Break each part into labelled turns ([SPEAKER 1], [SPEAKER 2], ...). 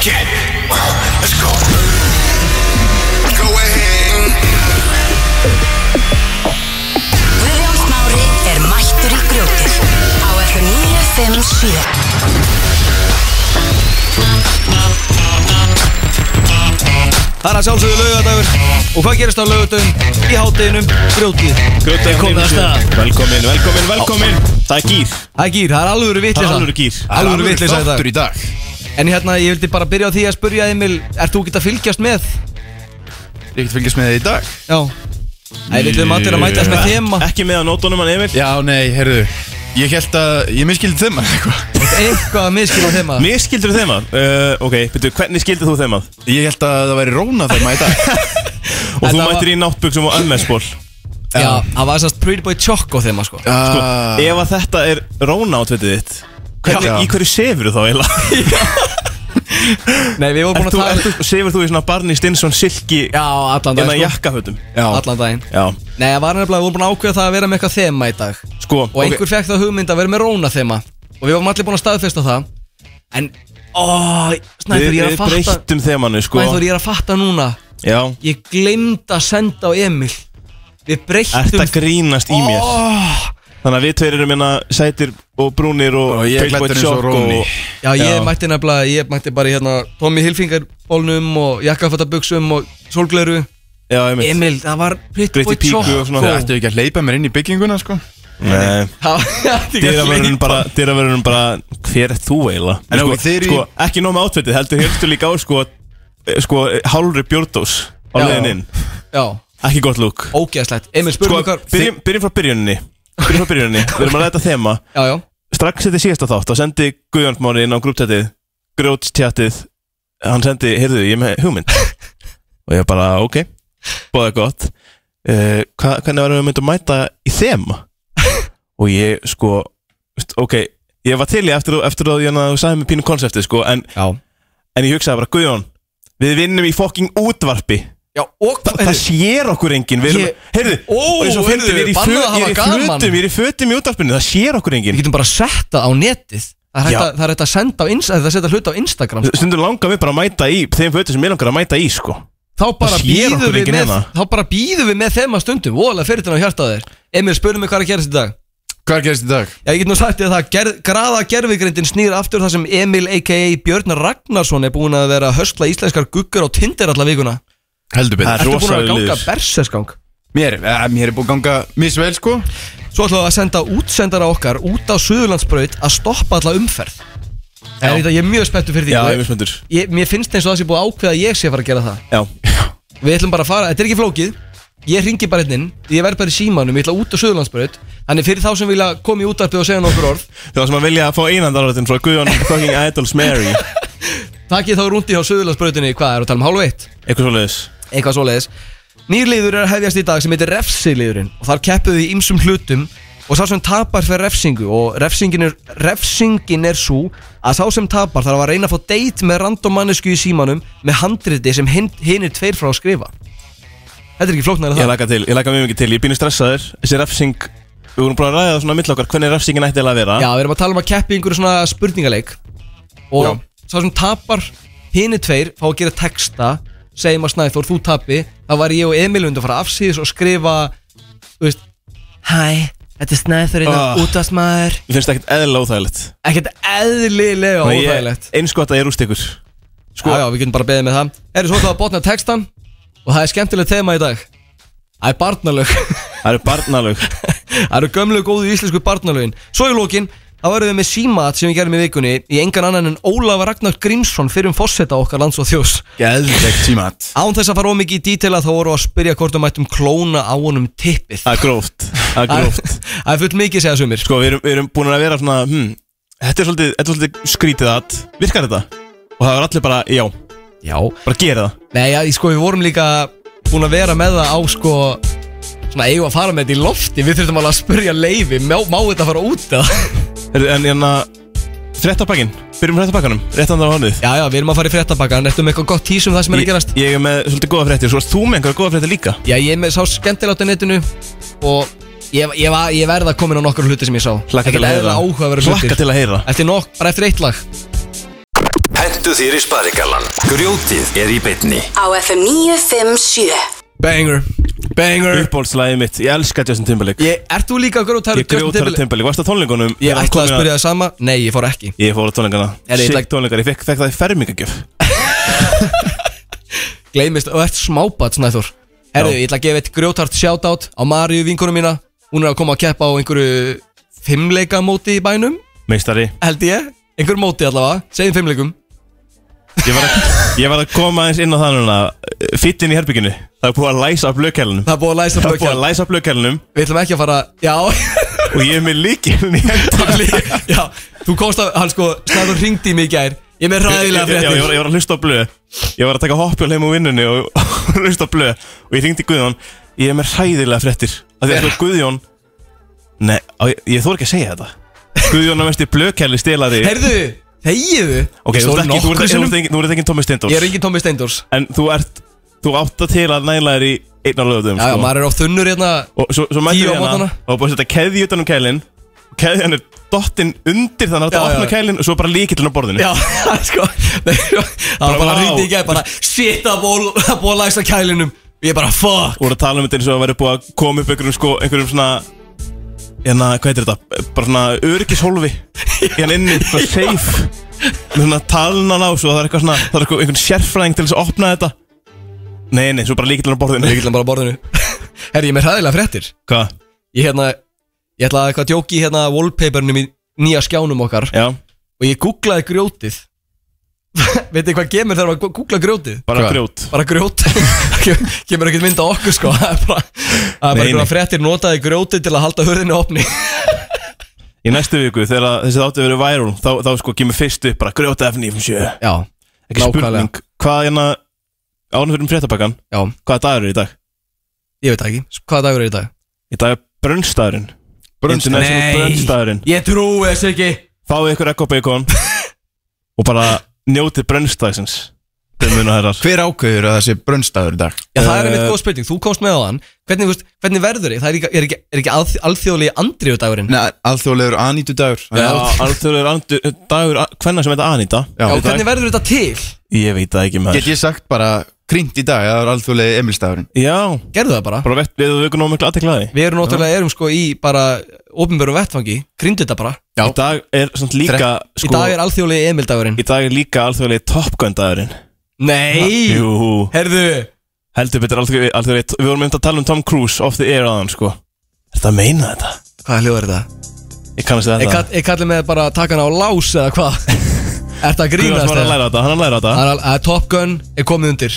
[SPEAKER 1] Get it. Let's go. Go ahead.
[SPEAKER 2] Guðjón Smári er mættur í grjótið á FM 957
[SPEAKER 3] Það er að sjálfsögðu laugadagur Og hvað gerist á laugadagum í hátdeginum? Grjótið
[SPEAKER 4] Grjótið
[SPEAKER 5] Komið af stað.
[SPEAKER 4] Velkomin, velkomin, velkomin Það er gýr
[SPEAKER 3] Það er gýr, það er alvöru vitlisa
[SPEAKER 4] Það er alvöru gýr.
[SPEAKER 1] Það er
[SPEAKER 3] Alvöru
[SPEAKER 1] alveg
[SPEAKER 3] vitlisa í dag
[SPEAKER 1] þáttur í dag
[SPEAKER 3] En hérna, ég vildi bara byrja á því að spurja Emil Ert þú ekki að fylgjast með?
[SPEAKER 1] Ég get fylgjast með þið í dag
[SPEAKER 3] Já Æ, við ætlum allir að mætast með þema
[SPEAKER 4] Ekki með að nótunum hann Emil
[SPEAKER 1] Já, nei, heyrðu Ég held að, ég miskildi þeim eða eitthvað
[SPEAKER 3] Eitthvað að miskila þema
[SPEAKER 4] Mér skildur þeim að uh, Ok, betur, hvernig skildur þú þeim að?
[SPEAKER 1] Ég held að það væri róna þeim að í dag
[SPEAKER 4] Og þú
[SPEAKER 3] Þetta var-
[SPEAKER 4] mættir í náttbuksum og MS-ból
[SPEAKER 3] Já, það var þessast Pretty Boy Choco þema, sko
[SPEAKER 4] Sko,
[SPEAKER 1] Ah,
[SPEAKER 4] ef að þetta er róna átveitið þitt Hvernig,
[SPEAKER 1] Já.
[SPEAKER 4] í hverju sefur þú þá eiginlega?
[SPEAKER 3] Nei, við
[SPEAKER 4] Ert
[SPEAKER 3] vorum búin að
[SPEAKER 4] þú,
[SPEAKER 3] taka
[SPEAKER 4] ert þú, sefur þú í svona Barney Stinson silki
[SPEAKER 3] Já, allan
[SPEAKER 4] En að
[SPEAKER 3] daginn,
[SPEAKER 4] jakkafötum
[SPEAKER 3] sko
[SPEAKER 1] Já.
[SPEAKER 3] Allan daginn
[SPEAKER 4] Já,
[SPEAKER 3] Nei, það var nefnilega, við vorum búin að ákveða það að vera með eitthvað þema í dag
[SPEAKER 4] sko
[SPEAKER 3] Og einhver fekk það hugmynd að vera með róna þema Og við vorum allir búin að staðfesta það En, ó,
[SPEAKER 4] Við,
[SPEAKER 3] Snæður, ég er
[SPEAKER 4] við
[SPEAKER 3] að fatta
[SPEAKER 4] breyttum þemannu sko
[SPEAKER 3] Snæður, ég er að fatta núna
[SPEAKER 4] Já
[SPEAKER 3] Ég glemd að senda á Emil Við
[SPEAKER 4] Ert
[SPEAKER 3] breyttum
[SPEAKER 4] að grínast í mér
[SPEAKER 3] oh,
[SPEAKER 4] Þannig að við tveir erum hérna sætir og brúnir og
[SPEAKER 1] Og ég er
[SPEAKER 4] Big Boy
[SPEAKER 1] klæddur eins og
[SPEAKER 4] Jock
[SPEAKER 1] Róni.
[SPEAKER 3] Já, ég
[SPEAKER 4] Já.
[SPEAKER 3] mætti nefnilega, ég mætti bara í hérna Tommy Hilfingarbólnum og jakkafattabuxum og sólgleru
[SPEAKER 4] Já, Emil
[SPEAKER 3] Emil, það var Pretty
[SPEAKER 4] Greytti
[SPEAKER 3] Boy
[SPEAKER 4] píku og
[SPEAKER 3] Choco
[SPEAKER 4] svona.
[SPEAKER 1] Það ættu ekki að hleypa mér inn í bygginguna, sko
[SPEAKER 4] Nei Dyravörðurinn
[SPEAKER 3] Dyravörðurinn
[SPEAKER 4] bara, dyravörðurinn bara, hver er þú eiginlega?
[SPEAKER 1] En ok, þeir eru í-
[SPEAKER 4] sko, ekki nóg með átveitið, heldur heldur líka á sko, eh, sko hálfri bjórdós á
[SPEAKER 3] Já.
[SPEAKER 4] leiðin inn.
[SPEAKER 3] Já,
[SPEAKER 4] Ekki gott lúk.
[SPEAKER 3] ógeðslegt Emil,
[SPEAKER 4] Sko,
[SPEAKER 3] spurðu mig hvað
[SPEAKER 4] byrjum, byrjum frá byrjuninni. Byrjum frá byrjuninni, við erum að ræta þema.
[SPEAKER 3] Já, já,
[SPEAKER 4] Strax þetta síðasta þátt, þá sendi Guðjón Mári inn á grúptættið, grjótstjættið, hann sendi, heyrðu, ég er með hugmynd. Og ég bara, ok, bóða gott. Uh, hva, hvernig varum við myndum mæta í þema? og ég sko veist, ok, ég var til í eftir, eftir að ég þú sagði mér pínu konseptið sko en,
[SPEAKER 3] já
[SPEAKER 4] en ég hugsaði bara, Guðjón við vinnum í fokking útvarpi
[SPEAKER 3] Já, og
[SPEAKER 4] Þa, það sér okkur enginn við erum,
[SPEAKER 3] Ég-
[SPEAKER 4] heyrðu,
[SPEAKER 3] Ó,
[SPEAKER 4] og eins og
[SPEAKER 3] heyrðu,
[SPEAKER 4] fyndið, ég er í
[SPEAKER 3] bannað
[SPEAKER 4] föt-
[SPEAKER 3] að hafa
[SPEAKER 4] ég er í
[SPEAKER 3] gaman.
[SPEAKER 4] fötum, ég er í fötum í útvarpinu það sér okkur
[SPEAKER 3] Við
[SPEAKER 4] enginn
[SPEAKER 3] getum bara að setja á netið Það er hægt
[SPEAKER 4] Já.
[SPEAKER 3] að- það er hægt að senda á Insta- Það er hægt að setja hluta á Instagram sko.
[SPEAKER 4] stundum langar mig bara að mæta í þeim fötum sem ég langar að mæta í sko
[SPEAKER 3] Þá bara
[SPEAKER 4] sér
[SPEAKER 3] býðum
[SPEAKER 4] okkur
[SPEAKER 3] við
[SPEAKER 4] enginn
[SPEAKER 3] með
[SPEAKER 4] hérna.
[SPEAKER 3] Þá bara býðum við með þeim að stundum Ólega fyrir þennan hjarta á þér Emil, spurðu mig hvað er að gerast í dag
[SPEAKER 1] Hvað gerist í dag?
[SPEAKER 3] Já, ég get nú sagt ég að það gerð, Graða gerfigrindin snýr aftur þar sem Emil a.k.a. Björn Ragnarsson er búin að vera að höstla íslenskar guggur á Tinder alla vikuna
[SPEAKER 1] Heldur
[SPEAKER 4] Það
[SPEAKER 1] betur
[SPEAKER 4] er
[SPEAKER 3] Ertu búin að
[SPEAKER 4] Rosaleg
[SPEAKER 3] ganga
[SPEAKER 4] liður.
[SPEAKER 3] berserskang
[SPEAKER 1] Mér, eh, mér er búið að ganga misvel, sko
[SPEAKER 3] Svo ætlum við að senda útsendara okkar út á Suðurlandsbraut að stoppa alla umferð En þetta, ég er mjög spenntur fyrir því
[SPEAKER 4] já,
[SPEAKER 3] Og
[SPEAKER 4] ég er smöndur
[SPEAKER 3] ég, Mér finnst eins og það sé búið að ákveða að ég sé að fara að gera það
[SPEAKER 4] já,
[SPEAKER 3] Við ætlum bara að fara, þetta er ekki flókið Ég ringi bara hérna inn, ég verð bara í símanum, ég ætla út á Suðurlandsbraut Þannig fyrir þá sem vilja koma í útarpið og segja nokkur orð
[SPEAKER 4] þá sem að vilja að fá einandararöðin frá Guðjón fucking Idols Mary
[SPEAKER 3] Takk ég þá rúndi hjá Suðurlandsbrautinni, hvað er að tala um hálf eitt?
[SPEAKER 4] eitthvað svoleiðis
[SPEAKER 3] eitthvað svoleiðis Nýr liður er að hefjast í dag sem heitir refsiliðurinn og þar keppuðu í ymsum hlutum og sá sem tapar fyrir refsingu og refsingin er, refsingin er svo að sá sem tapar þarf að reyna að fá date með random mannesku í símanum með handriti sem hinn hin er tveir frá að skrifa Þetta er ekki flóknar að
[SPEAKER 4] Ég
[SPEAKER 3] það
[SPEAKER 4] laka til, ég laka mjög mikið til, ég er býnir stressaður Þessi refsing, við vorum búin að ræða það svona mittl okkar Hvernig refsingin ætti eiginlega að vera
[SPEAKER 3] Já, við erum að tala um að keppi einhverju svona spurningaleik og
[SPEAKER 1] Já.
[SPEAKER 3] sá sem tapar hinn er tveir fá að gera texta segjum að Snæþór, þú tapi þá var ég og Emil undir að fara afsýðis og skrifa þú veist Hæ, þetta er Snæþór hérna,
[SPEAKER 4] Ah.
[SPEAKER 3] oh. útastmaður
[SPEAKER 4] Mér finnst það ekkert eðla óþægilegt
[SPEAKER 3] Ekkert eðlilega
[SPEAKER 4] Þannig að ég-
[SPEAKER 3] óþægilegt
[SPEAKER 4] Eins gott að ég rúst ykkur
[SPEAKER 3] Sko, já, já, við getum bara beðið með það Erum svo þá að botna textan og það er skemmtilegt tema í dag Það er barnalög
[SPEAKER 4] Það eru barnalög
[SPEAKER 3] Það eru gömlu góðu íslensku barnalögin Svo í lókin, þá verðum við með símat sem við gerum í vikunni í engan annan en Ólaf Ragnar Grímsson fyrir um fósetta okkar lands og þjós
[SPEAKER 1] Geðvegt tímat
[SPEAKER 3] Án þess að fara ómikið í dítela þá voru að spyrja hvort við mættum klóna á honum tippið
[SPEAKER 4] Það er gróft Það er gróft
[SPEAKER 3] Það er fullt mikið segja sumir
[SPEAKER 4] Sko, við erum, við erum búin að vera svona hmm, Þetta er svolítið, þetta er svolítið skrítið að Virkar þetta? Og það var allir bara, já,
[SPEAKER 3] Já
[SPEAKER 4] bara gera það
[SPEAKER 3] Nei, já, sko, við vorum líka búin að vera með það á sko Svona eigum við að fara með þetta í lofti Við þurfum alveg að spyrja leifi Má, má þetta fara út eða?
[SPEAKER 4] Heyrðu, En en að Fréttapakkin, byrjum fréttapakkanum Rétt andan á honið
[SPEAKER 3] Já, já, við erum að fara í fréttabakkan Ertu með eitthvað gott tísum það sem er að gerast?
[SPEAKER 4] ég, ég er með svolítið góða fréttir Svo erst þú með einhverja góða fréttir líka
[SPEAKER 3] Já, ég er með sá skemmtilegt á netinu og ég, ég, var, ég verða að koma inn á nokkur hluti sem ég sá
[SPEAKER 4] Hlakka til að heyra.
[SPEAKER 3] áhuga að vera
[SPEAKER 4] Hlakka til að heyra
[SPEAKER 3] Eftir nokk, bara eftir eitt lag
[SPEAKER 1] Hent
[SPEAKER 5] Hendu þér í sparigallan Grjótið er í bytni
[SPEAKER 2] Á FM 957
[SPEAKER 3] Banger Banger
[SPEAKER 4] Uppbólslæðið mitt, ég elska Justin Timberlake
[SPEAKER 3] ég, Ert þú líka grótar
[SPEAKER 4] Ég grjótar að Timberlake, varst á tónlingunum
[SPEAKER 3] um Ég
[SPEAKER 4] Þegar hann
[SPEAKER 3] ætlaði að
[SPEAKER 4] kom í
[SPEAKER 3] spyrja það sama Nei, ég fór ekki
[SPEAKER 4] Ég fór á tónleikana
[SPEAKER 3] Er ég
[SPEAKER 4] Sick
[SPEAKER 3] ætla-
[SPEAKER 4] tónleikar, ég fekk, fekk það í fermingagjöf
[SPEAKER 3] Gleimist, og ert smábat snæður Herðu,
[SPEAKER 4] Já.
[SPEAKER 3] ég ætla að gefa eitt grjótart shoutout á Maríu vinkunum mína Hún er að koma að keppa á einhverju fimmleika móti í bænum
[SPEAKER 4] Meistari
[SPEAKER 3] Held ég Einhver móti allavega, segjum fimmleikum
[SPEAKER 4] Ég var, að, ég var að koma aðeins inn á það núna Fittin í herbygginu Það er búið að læsa upp lögkælunum
[SPEAKER 3] Það er búið að læsa
[SPEAKER 4] Það er búið að
[SPEAKER 3] blökk
[SPEAKER 4] læsa upp lögkælunum
[SPEAKER 3] Við ætlum ekki að fara Já,
[SPEAKER 4] Og ég er með líkilin í hendur
[SPEAKER 3] Hann lí- Já, þú komst að, hann sko, Snæður ringdi í mig í gær Ég er með ræðilega
[SPEAKER 4] Já, ég var,
[SPEAKER 3] fréttir
[SPEAKER 4] ég var að hlusta á blöð Ég var að taka hoppjól heim úr vinnunni og, og hlusta á blöð Og ég ringdi Guðjón Ég er með hræðilega fréttir Af því að sko Guðjón Nei, á, ég, ég þór ekki að segja þetta Guðjón er mest í blöðkæli stelari
[SPEAKER 3] Heyrðu, þegiðu
[SPEAKER 4] Ok, þú ert
[SPEAKER 3] Stóð
[SPEAKER 4] ekki, þú
[SPEAKER 3] nokkrum
[SPEAKER 4] ert- þú
[SPEAKER 3] sinnum.
[SPEAKER 4] ert engin- þú ert ekki Tómi Steindors
[SPEAKER 3] Ég er engin Tómi Steindors
[SPEAKER 4] En þú ert, þú átt að til að næla þér í einna lögðum sko.
[SPEAKER 3] Já, já, maður er á þunnur hérna
[SPEAKER 4] Og svo, svo
[SPEAKER 3] Tíu
[SPEAKER 4] mættum
[SPEAKER 3] á
[SPEAKER 4] við
[SPEAKER 3] morgnana.
[SPEAKER 4] hérna og búið að setja keði utan um kælinn og keðjan er dottinn undir þannig að
[SPEAKER 3] Já,
[SPEAKER 4] þetta opna
[SPEAKER 3] já.
[SPEAKER 4] kælinn og svo bara líkillinn á borðinu
[SPEAKER 3] Já, sko Nei, Það var
[SPEAKER 4] Bara,
[SPEAKER 3] bara
[SPEAKER 4] vá.
[SPEAKER 3] ringdi í gær bara Shit, það er búið það er búið að læsa kælinum Ég er bara, fuck
[SPEAKER 4] og voru að tala um þetta eins og að vera búið að koma upp einhverjum sko, einhverjum svona hérna, hvað heitir þetta, bara svona öryggishólfi hérna inni, svona safe með svona talnan á svo það er eitthvað svona, það er eitthvað einhvern sérfræðing til þess að opna þetta Nei, nei, svo bara líkillinn á borðinu
[SPEAKER 3] Ég ætla bara á borðinu Herri, ég er með ræðilega fréttir
[SPEAKER 4] Hvað?
[SPEAKER 3] Ég hérna Ég ætla að eitthvað djóki í hérna wallpapernum í nýja skjánum okkar
[SPEAKER 4] Já,
[SPEAKER 3] Og ég googlaði grjótið Veitir hvað gemur þegar maður googla grjótið?
[SPEAKER 4] bara
[SPEAKER 1] Hvað?
[SPEAKER 4] grjót
[SPEAKER 3] bara grjót Kem- kemur ekkert mynd á okkur sko það er bara, það er
[SPEAKER 4] Nei,
[SPEAKER 3] bara einhverja
[SPEAKER 4] nei.
[SPEAKER 3] fréttir notaði grjóti til að halda hurðinni opni
[SPEAKER 4] Í næstu viku, þegar þessi þáttu verið viral þá, þá sko kemur fyrst upp bara grjóta F957
[SPEAKER 3] já,
[SPEAKER 4] ekki
[SPEAKER 3] Nákvæmlega.
[SPEAKER 4] spurning hvað hérna ánum fyrir um fréttabakkan
[SPEAKER 3] já,
[SPEAKER 4] hvaða dagur er í dag?
[SPEAKER 3] ég veit það ekki hvaða dagur er í dag?
[SPEAKER 4] í dag er brunstagurinn International brunstagurinn
[SPEAKER 3] ég trúi þess ekki
[SPEAKER 4] fáið ykkur ekko bacon og bara njótið brunstagsins þeir muna herrar
[SPEAKER 1] Hver ákveður að þessi brunstaður í dag?
[SPEAKER 3] já, það er einmitt
[SPEAKER 4] Eh,
[SPEAKER 3] góð spurning, þú komst með á hann hvernig, þú veist, hvernig verður þið? það er ekki, er ekki, er ekki alþ- alþjóðlegi andriðu dagurinn
[SPEAKER 1] Nei, alþjóðlegur anýtu dagur
[SPEAKER 4] Já, alþjóðlegur andur- dagur hvernig sem þetta anýta
[SPEAKER 1] Já, í
[SPEAKER 3] já,
[SPEAKER 1] dag.
[SPEAKER 3] hvernig verður þetta til?
[SPEAKER 4] ég veit það ekki
[SPEAKER 1] Get
[SPEAKER 4] maður
[SPEAKER 1] ég sagt bara kringt í dag að það er alþjóðlegi Emilsdagurinn
[SPEAKER 4] já
[SPEAKER 3] gerðu það bara
[SPEAKER 4] bara vett við við ykkur nóg miklu aðteklaði
[SPEAKER 3] við erum náttúrulega erum sko í bara ofinbjörnum vettfangi grindu þetta bara
[SPEAKER 1] Já.
[SPEAKER 4] í dag er samt líka
[SPEAKER 3] í
[SPEAKER 4] sko
[SPEAKER 3] dag er alþjóðlegi Emil dagurinn
[SPEAKER 4] í dag er líka alþjóðlegi toppgöndagurinn
[SPEAKER 3] nei
[SPEAKER 4] Ah, jú
[SPEAKER 3] herðu
[SPEAKER 4] heldur betur alþjóðlegi alþjóðlegi- við vorum myndið að tala um Tom Cruise off the air aðan sko er þetta að meina þetta?
[SPEAKER 3] hvaða hljóð er þetta?
[SPEAKER 4] Ég kannast við
[SPEAKER 3] Ég,
[SPEAKER 4] þetta
[SPEAKER 3] kall, ég kalli mig bara að taka hana á lás eða hvað Ert það að
[SPEAKER 4] Guðjón
[SPEAKER 3] grínast
[SPEAKER 4] sem er að
[SPEAKER 3] eða?
[SPEAKER 4] læra þetta, hann er að læra þetta
[SPEAKER 3] Það er al- að Top Gun er komið undir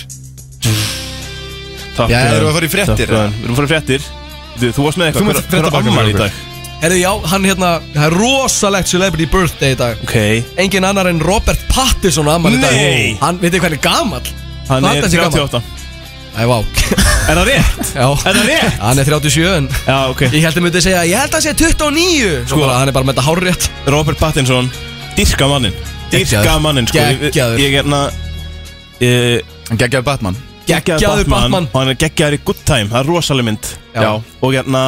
[SPEAKER 4] Takk
[SPEAKER 1] Já,
[SPEAKER 4] Guðjón.
[SPEAKER 1] erum við að fara í fréttir,
[SPEAKER 4] Takk, Guðjón. Við erum að fara í fréttir Þú, þú varst
[SPEAKER 1] Þú
[SPEAKER 4] með eitthvað,
[SPEAKER 1] með
[SPEAKER 4] hver- hver er
[SPEAKER 1] fréttabakkan
[SPEAKER 4] ammali í
[SPEAKER 1] með
[SPEAKER 4] dag?
[SPEAKER 3] Herðu já, hann hérna, það er rosalegt celebrity birthday í dag
[SPEAKER 4] Ok,
[SPEAKER 3] Engin annar en Robert Pattinson á afmæli í dag
[SPEAKER 4] Nei.
[SPEAKER 3] Hann, veitir hvað hann er gamall?
[SPEAKER 4] hann
[SPEAKER 3] Platan
[SPEAKER 4] er
[SPEAKER 3] sé gamall.
[SPEAKER 4] 38
[SPEAKER 3] Æ, vá
[SPEAKER 4] Er það rétt?
[SPEAKER 3] Já,
[SPEAKER 4] Er það rétt?
[SPEAKER 3] hann er 37 en
[SPEAKER 4] Já, ok
[SPEAKER 3] Ég held að myndi segja, ég held að hann sé 29 Sko,
[SPEAKER 4] Sko.
[SPEAKER 3] bara, hann er bara með þetta hárrétt
[SPEAKER 4] Robert Pattinson, dyrka mannin Dyrka
[SPEAKER 3] Geggjaður.
[SPEAKER 4] mannin, sko Ég-
[SPEAKER 3] Geggjaður.
[SPEAKER 4] Ég er hérna eh,
[SPEAKER 1] Hann geggjaði Batman
[SPEAKER 3] Geggjaður Batman.
[SPEAKER 4] Og hann er geggjaður í Good Time, það er rosaleg mynd
[SPEAKER 3] Já.
[SPEAKER 4] Og hérna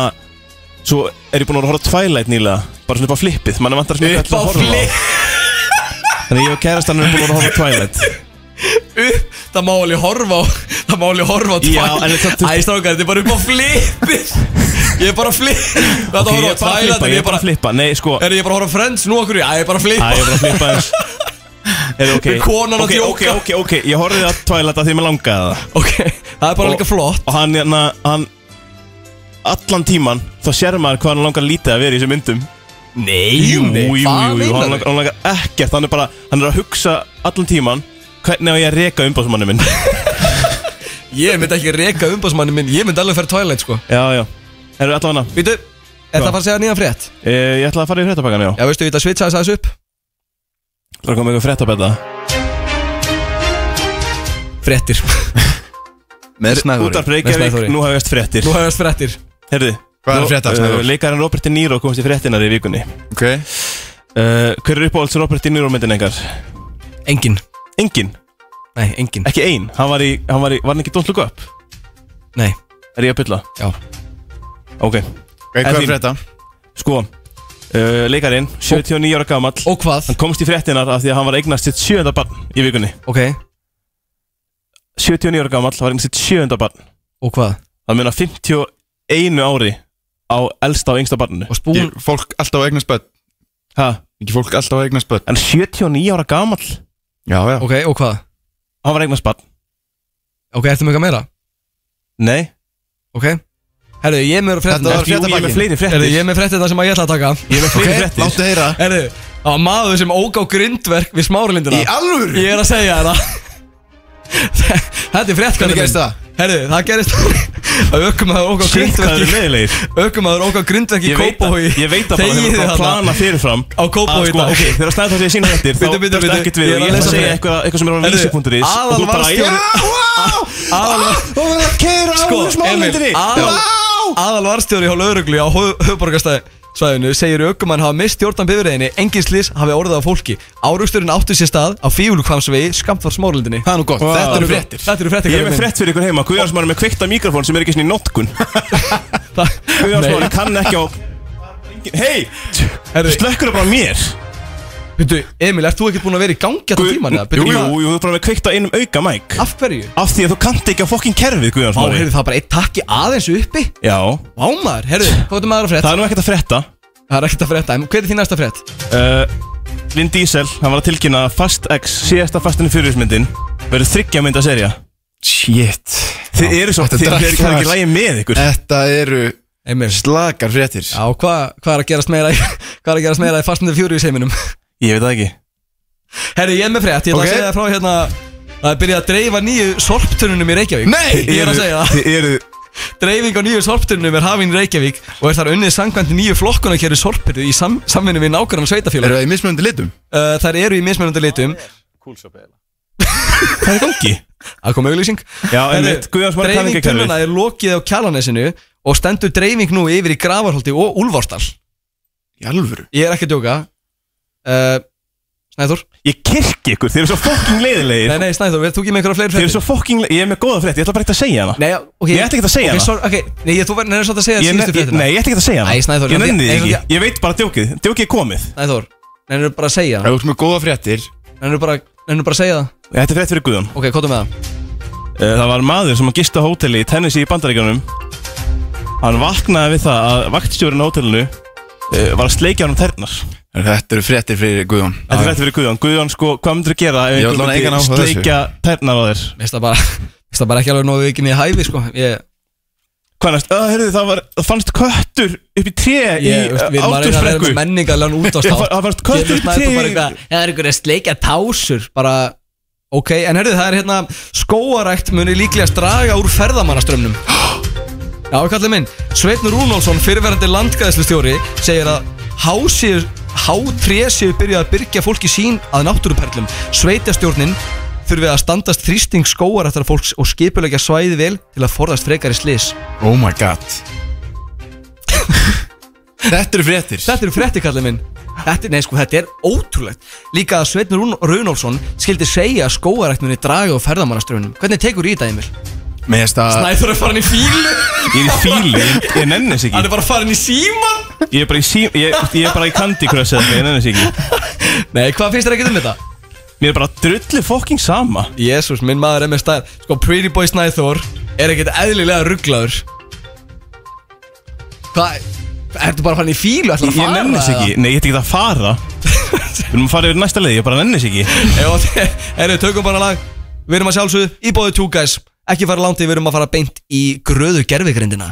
[SPEAKER 4] Svo er ég búinn að horfa á Twilight nýlega Bara svona upp á flippið, mann er vantar svona
[SPEAKER 3] Upp á
[SPEAKER 4] eitthvað til að horfa
[SPEAKER 3] flip
[SPEAKER 4] Þannig að ég og kærastann er búin að horfa á Twilight
[SPEAKER 3] upp Það má alveg horfa á Það má alveg horfa á
[SPEAKER 4] Já, en
[SPEAKER 3] Twilight.
[SPEAKER 4] þetta-
[SPEAKER 3] Æ, strákar, þetta er bara upp á flipið Ég er bara að flip Þetta
[SPEAKER 4] Ok,
[SPEAKER 3] horfa á
[SPEAKER 4] ég er bara að flippa,
[SPEAKER 3] Twilight en
[SPEAKER 4] ég er bara að flippa Nei, sko,
[SPEAKER 3] Er ég bara að horfa á Friends nú okkur? Já, ég er bara að
[SPEAKER 4] Æ,
[SPEAKER 3] flipa
[SPEAKER 4] ég var að flippa þess Er ok
[SPEAKER 3] Við konan að
[SPEAKER 4] Ok, ok,
[SPEAKER 3] djóka.
[SPEAKER 4] ok, ok Ég horfði að Twilight að því mér langaði það
[SPEAKER 3] Ok, það er bara líka flott
[SPEAKER 4] Og hann, hérna, hann Allan tíman Þá sér maður hvað hann langar lítið að vera í þessum myndum
[SPEAKER 3] Nei,
[SPEAKER 4] Jú, jú, jú, jú Hann langar,
[SPEAKER 3] jú
[SPEAKER 4] hann langar ekkert Hann er bara Hann er að hugsa allan tíman Hvernig á ég að reka umbásmanni minn
[SPEAKER 3] Ég myndi ekki reka umbásmanni minn Ég myndi alveg fara í Twilight sko
[SPEAKER 4] Já, já Erum við allan hana?
[SPEAKER 3] Vítu, er það að fara að segja nýjan frétt?
[SPEAKER 4] eh, Ég ætla að fara í fréttabakan, já
[SPEAKER 3] Já, veistu, við það svitsa þess aðeins upp
[SPEAKER 4] Það er komið eitthvað fréttabetta
[SPEAKER 3] Fréttir
[SPEAKER 1] Með snæðurinn
[SPEAKER 4] Útarp Reykjavík,
[SPEAKER 3] Snæþóri.
[SPEAKER 4] nú hefjast fréttir
[SPEAKER 3] Nú hefast fréttir
[SPEAKER 4] Herði
[SPEAKER 1] Hvað er að frétta, Snæþór?
[SPEAKER 4] Leikarinn Robert De Niro komst í fréttinar í vikunni
[SPEAKER 1] Ok
[SPEAKER 4] Uh, hver er uppáhalds Robert De Niro myndin engar?
[SPEAKER 3] Engin
[SPEAKER 4] Engin,
[SPEAKER 3] Nei, engin
[SPEAKER 4] ekki ein Hann var í, hann var í, var hann ekki Don't Look Up?
[SPEAKER 3] Nei,
[SPEAKER 4] Er ég að bylla?
[SPEAKER 3] já
[SPEAKER 4] Ok,
[SPEAKER 1] Ok, hvað
[SPEAKER 4] En
[SPEAKER 1] er
[SPEAKER 4] þín?
[SPEAKER 1] að frétta?
[SPEAKER 4] sko uh, leikarinn, 79 ára gamall
[SPEAKER 3] Og hvað?
[SPEAKER 4] Hann komst í fréttinar af því að hann var að eignast sitt sjönda barn í vikunni
[SPEAKER 3] Ok,
[SPEAKER 4] 79 ára gamall var eignast sitt sjönda barn
[SPEAKER 3] og hvað?
[SPEAKER 4] Það meina 51 ári á elsta og yngsta barninu
[SPEAKER 3] Og spún,
[SPEAKER 1] Ekki Fólk alltaf að eignast börn
[SPEAKER 4] ha,
[SPEAKER 1] Ekki fólk alltaf að eignast börn
[SPEAKER 4] En 79 ára gamall
[SPEAKER 1] Já, já
[SPEAKER 3] ok, og hvað?
[SPEAKER 4] Hann var að eignast barn
[SPEAKER 3] Ok, ertu með eitthvað meira?
[SPEAKER 4] Nei
[SPEAKER 3] Ok Herðu, ég er með
[SPEAKER 1] Þetta
[SPEAKER 3] frétta
[SPEAKER 1] var-
[SPEAKER 4] Jú, ég er
[SPEAKER 1] fréttapakkinn.
[SPEAKER 4] með fleiri fréttir
[SPEAKER 3] Herðu, ég er með frétta það sem að ég ætla að taka
[SPEAKER 4] Ég er með fleiri
[SPEAKER 3] Ok,
[SPEAKER 4] fréttir
[SPEAKER 1] Láttu heyra
[SPEAKER 3] Herðu, það var maður sem óg á grindverk við smáralindina
[SPEAKER 1] Í alvöru
[SPEAKER 3] Ég er að segja þér það Þetta er frétt
[SPEAKER 1] Hvernig gerist það?
[SPEAKER 3] Herðu, það gerist að aukumæður óg á
[SPEAKER 4] Shit, hvað eru
[SPEAKER 3] grindverk
[SPEAKER 4] leiðilegir
[SPEAKER 3] Aukumæður óg á grindverk í
[SPEAKER 4] Ég veit að,
[SPEAKER 3] Kópavogi
[SPEAKER 4] ég veit að bara
[SPEAKER 3] Þegiðu
[SPEAKER 4] þegar það
[SPEAKER 3] þarna.
[SPEAKER 4] plana fyrirfram
[SPEAKER 3] Á Kópavogi
[SPEAKER 4] að sko,
[SPEAKER 3] dag.
[SPEAKER 4] Ok, þegar snæður það sé sína hættir Þá
[SPEAKER 3] Bíddu, bíddu,
[SPEAKER 4] þarfst
[SPEAKER 3] bíddu,
[SPEAKER 4] ekkert við
[SPEAKER 3] ég er
[SPEAKER 4] og
[SPEAKER 3] að
[SPEAKER 4] Ég ætla að
[SPEAKER 3] lesa
[SPEAKER 4] segja
[SPEAKER 3] fyrir.
[SPEAKER 4] eitthvað eitthvað sem er á
[SPEAKER 3] Heyrðu,
[SPEAKER 4] vísi.is og þú bara
[SPEAKER 3] aðalvarðstjóri-
[SPEAKER 4] já,
[SPEAKER 3] Aðal-
[SPEAKER 1] Og það keira á
[SPEAKER 3] Sko, Emil, aðal- aðalvarstjóri hjá lauruglu á höfuborgarsvæðinu segir aukumann hafa mist stjórnan bifurðinni engin slís hafi orðið á fólki árugsturinn átti sér stað á fíulukvamsvegi skamt var smárlindinni
[SPEAKER 1] Það er nú gott
[SPEAKER 4] Vá.
[SPEAKER 1] Þetta
[SPEAKER 4] eru
[SPEAKER 1] er
[SPEAKER 4] fréttir.
[SPEAKER 3] Þetta eru fréttir
[SPEAKER 4] Ég er
[SPEAKER 3] Kari
[SPEAKER 4] með
[SPEAKER 3] minn.
[SPEAKER 4] frett fyrir ykkur heima Guðjón Smári er með kveikta mikrofón sem er ekki svona í notkun Guðjón
[SPEAKER 3] Nei.
[SPEAKER 4] Smári kann ekki á Hei,
[SPEAKER 3] Herðu-
[SPEAKER 4] slökkur það bara á mér
[SPEAKER 3] Veitu, Emil, ert þú ekkert búinn að vera í gangi þetta
[SPEAKER 4] Guð-
[SPEAKER 3] tíman? eða?
[SPEAKER 4] Jú,
[SPEAKER 3] Bíddu,
[SPEAKER 4] jú,
[SPEAKER 3] hvað-
[SPEAKER 4] jú, þú er bara með kveikta einum auka mæk
[SPEAKER 3] Af hverju?
[SPEAKER 4] Af því að þú kannt ekki á fokkin kerfið Guðjón
[SPEAKER 3] Vá,
[SPEAKER 4] Smári
[SPEAKER 3] heyrðu, það er bara eitt takki aðeins uppi
[SPEAKER 4] Já,
[SPEAKER 3] Vá maður, heyrðu, hvað er maður að frétt?
[SPEAKER 4] það er nú ekkert að fretta
[SPEAKER 3] Það er ekkert að frétta, en hver er þín næsta frétt?
[SPEAKER 4] Uh, Vin Diesel, hann var að tilkynna að Fast X, síðasta Fast and Furious myndin verður þryggja mynda serja
[SPEAKER 1] Shit
[SPEAKER 4] Þið eru svo,
[SPEAKER 1] Þetta
[SPEAKER 4] þið
[SPEAKER 1] drakk
[SPEAKER 4] eru ekki
[SPEAKER 1] fast.
[SPEAKER 4] í lægi með ykkur
[SPEAKER 1] Þetta eru
[SPEAKER 3] Emil Já,
[SPEAKER 1] slakar fréttir
[SPEAKER 3] hvað hvað er að gerast meira í, hvað er að gerast meira í fastnandi fjóri í heiminum?
[SPEAKER 4] Ég veit það ekki
[SPEAKER 3] Herru, ég er með frétt, ég ætla
[SPEAKER 1] Ok.
[SPEAKER 3] að segja það frá hérna Það er byrjað að dreifa nýju sorptununum í Reykjavík
[SPEAKER 1] Nei!
[SPEAKER 3] Ég er að segja það
[SPEAKER 4] Þið eru,
[SPEAKER 3] Dreifing á nýju sorptununum er hafin í Reykjavík Og er þar unnið sangvænt nýju flokkunarkerri sorpirðu í sam, samvinni við nákvæmna sveitafélag
[SPEAKER 1] Eru það í mismunandi litum?
[SPEAKER 3] uh, Þær eru í mismunandi litum
[SPEAKER 4] hvað er í gangi?
[SPEAKER 3] Það kom auglýsing
[SPEAKER 4] Já, einmitt, Guðjón Smári kann ekki að
[SPEAKER 3] Dreifing
[SPEAKER 4] kerfið.
[SPEAKER 3] tunnuna er lokið á kjalanesinu Og stendur dreifing nú yfir í Grafarholti og Úlfarsdal
[SPEAKER 1] Í alvöru
[SPEAKER 3] Ég er ekki að djóka uh, Snæður?
[SPEAKER 4] Ég kirk ykkur, þið eru svo fokkin leiðilegir
[SPEAKER 3] Nei, nei, Snæður, þú ekki með einhverja fleiri
[SPEAKER 4] Þið eru
[SPEAKER 3] fréttir?
[SPEAKER 4] svo fokkin, ég er með góða frétt, ég ætla bara ekki að segja hana
[SPEAKER 3] Nei, ok
[SPEAKER 4] Ég ætti ekkert að segja
[SPEAKER 3] Ok,
[SPEAKER 4] það.
[SPEAKER 3] sorry, ok, nei, ég- þú verður nefnir svolítið að segja
[SPEAKER 4] Ég ne-
[SPEAKER 3] síðustu
[SPEAKER 4] ég-
[SPEAKER 3] fréttina
[SPEAKER 4] Nei, ég ætti ekki að segja hana
[SPEAKER 3] Æ, Snæþór,
[SPEAKER 4] Ég
[SPEAKER 3] en
[SPEAKER 4] nenni
[SPEAKER 3] því-
[SPEAKER 4] þið
[SPEAKER 3] en
[SPEAKER 4] ekki, ég veit bara djókið, djókið er komið
[SPEAKER 3] Snæþór, nefnir bara að segja
[SPEAKER 1] Ef þú ert með góða fréttir
[SPEAKER 3] Nefnir bara, nefnir bara að segja það
[SPEAKER 4] Þetta er frétt fyrir Guðjón
[SPEAKER 3] Ok, hvað er með það?
[SPEAKER 4] Eh, Það var maður sem að gista á hóteli í Tennessee í bandaríkjanum Hann vaknaði við það að vaktstjórinn á hótelinu eh, var að sleikja hann um ternar Þetta
[SPEAKER 1] Herru, Þetta eru fréttir fyrir Guðjón
[SPEAKER 4] er frétt fyrir Guðjón Guðjón, sko, hvað myndir þú gera
[SPEAKER 1] Ég
[SPEAKER 4] ef
[SPEAKER 1] ætla að hafa engan áhuga á
[SPEAKER 4] einhver myndi
[SPEAKER 1] þessu.
[SPEAKER 4] sleikja ternar á þér?
[SPEAKER 3] Mér finnst það bara Mér finnst það bara ekki alveg nógu ekki mér hæfi, sko Ég,
[SPEAKER 4] Hvað næst? Uh, heyrðu, það, var, það fannst köttur upp í tré í
[SPEAKER 3] ég, veist, við erum að reyna að vera
[SPEAKER 4] átursbrekku
[SPEAKER 3] með menningarlegan
[SPEAKER 4] Ég far-
[SPEAKER 3] útástátt
[SPEAKER 4] það fannst köttur í tré í-
[SPEAKER 3] Það er einhverja sleikja tásur Bara, ok, en herðu, það er hérna Skóarækt muni líklegast draga úr ferðamannaströmmnum Já, kallið minn Sveitn Rúnálsson, fyrirverandi landgæðslustjóri segir að hásir hátré séu byrjað að byrgja fólki sín að náttúruperlum. Sveitastjórnin þurfi að standast þrýsting skóar eftir fólks og skipulegja svæði vel til að forðast frekari slis.
[SPEAKER 1] Oh my god Þetta eru fréttir
[SPEAKER 3] Þetta eru frétti kallið minn Þetta, er- nei sko, þetta er ótrúlegt Líka að Sveitn Rún Runálsson skildi segja að skóarækninni draga á ferðamannaströfunum Hvernig tekur í þetta Emil?
[SPEAKER 1] Mér finnst að
[SPEAKER 3] Snæþór er farin í fílu
[SPEAKER 4] Ég er í fíli, ég, ég nenni þess
[SPEAKER 3] Hann
[SPEAKER 4] ekki
[SPEAKER 3] er bara farin í síman
[SPEAKER 4] Ég er bara í, sí, ég, ég er bara í Candy Crush eða eitthvað, ég nenni þess ekki
[SPEAKER 3] Nei, hvað finnst þér ekki um þetta?
[SPEAKER 4] Mér er bara drullu fokking sama
[SPEAKER 3] Jésús, minn maður er með stær Sko, Pretty Boy Snæþór er ekkert eðlilega rugglaður Hvað? Ertu bara farin í fílu? Ætlar
[SPEAKER 4] Ég, ég nenni þess ekki, nei, ég ætti ekki að fara Við erum að fara yfir næsta leið, ég bara nenni þess ekki
[SPEAKER 3] Erum við tökum bara lag Við erum að sjálfsögðu í bóðu 2 guys Ekki fara langt í, við erum að fara beint í gröðu gerfigrindina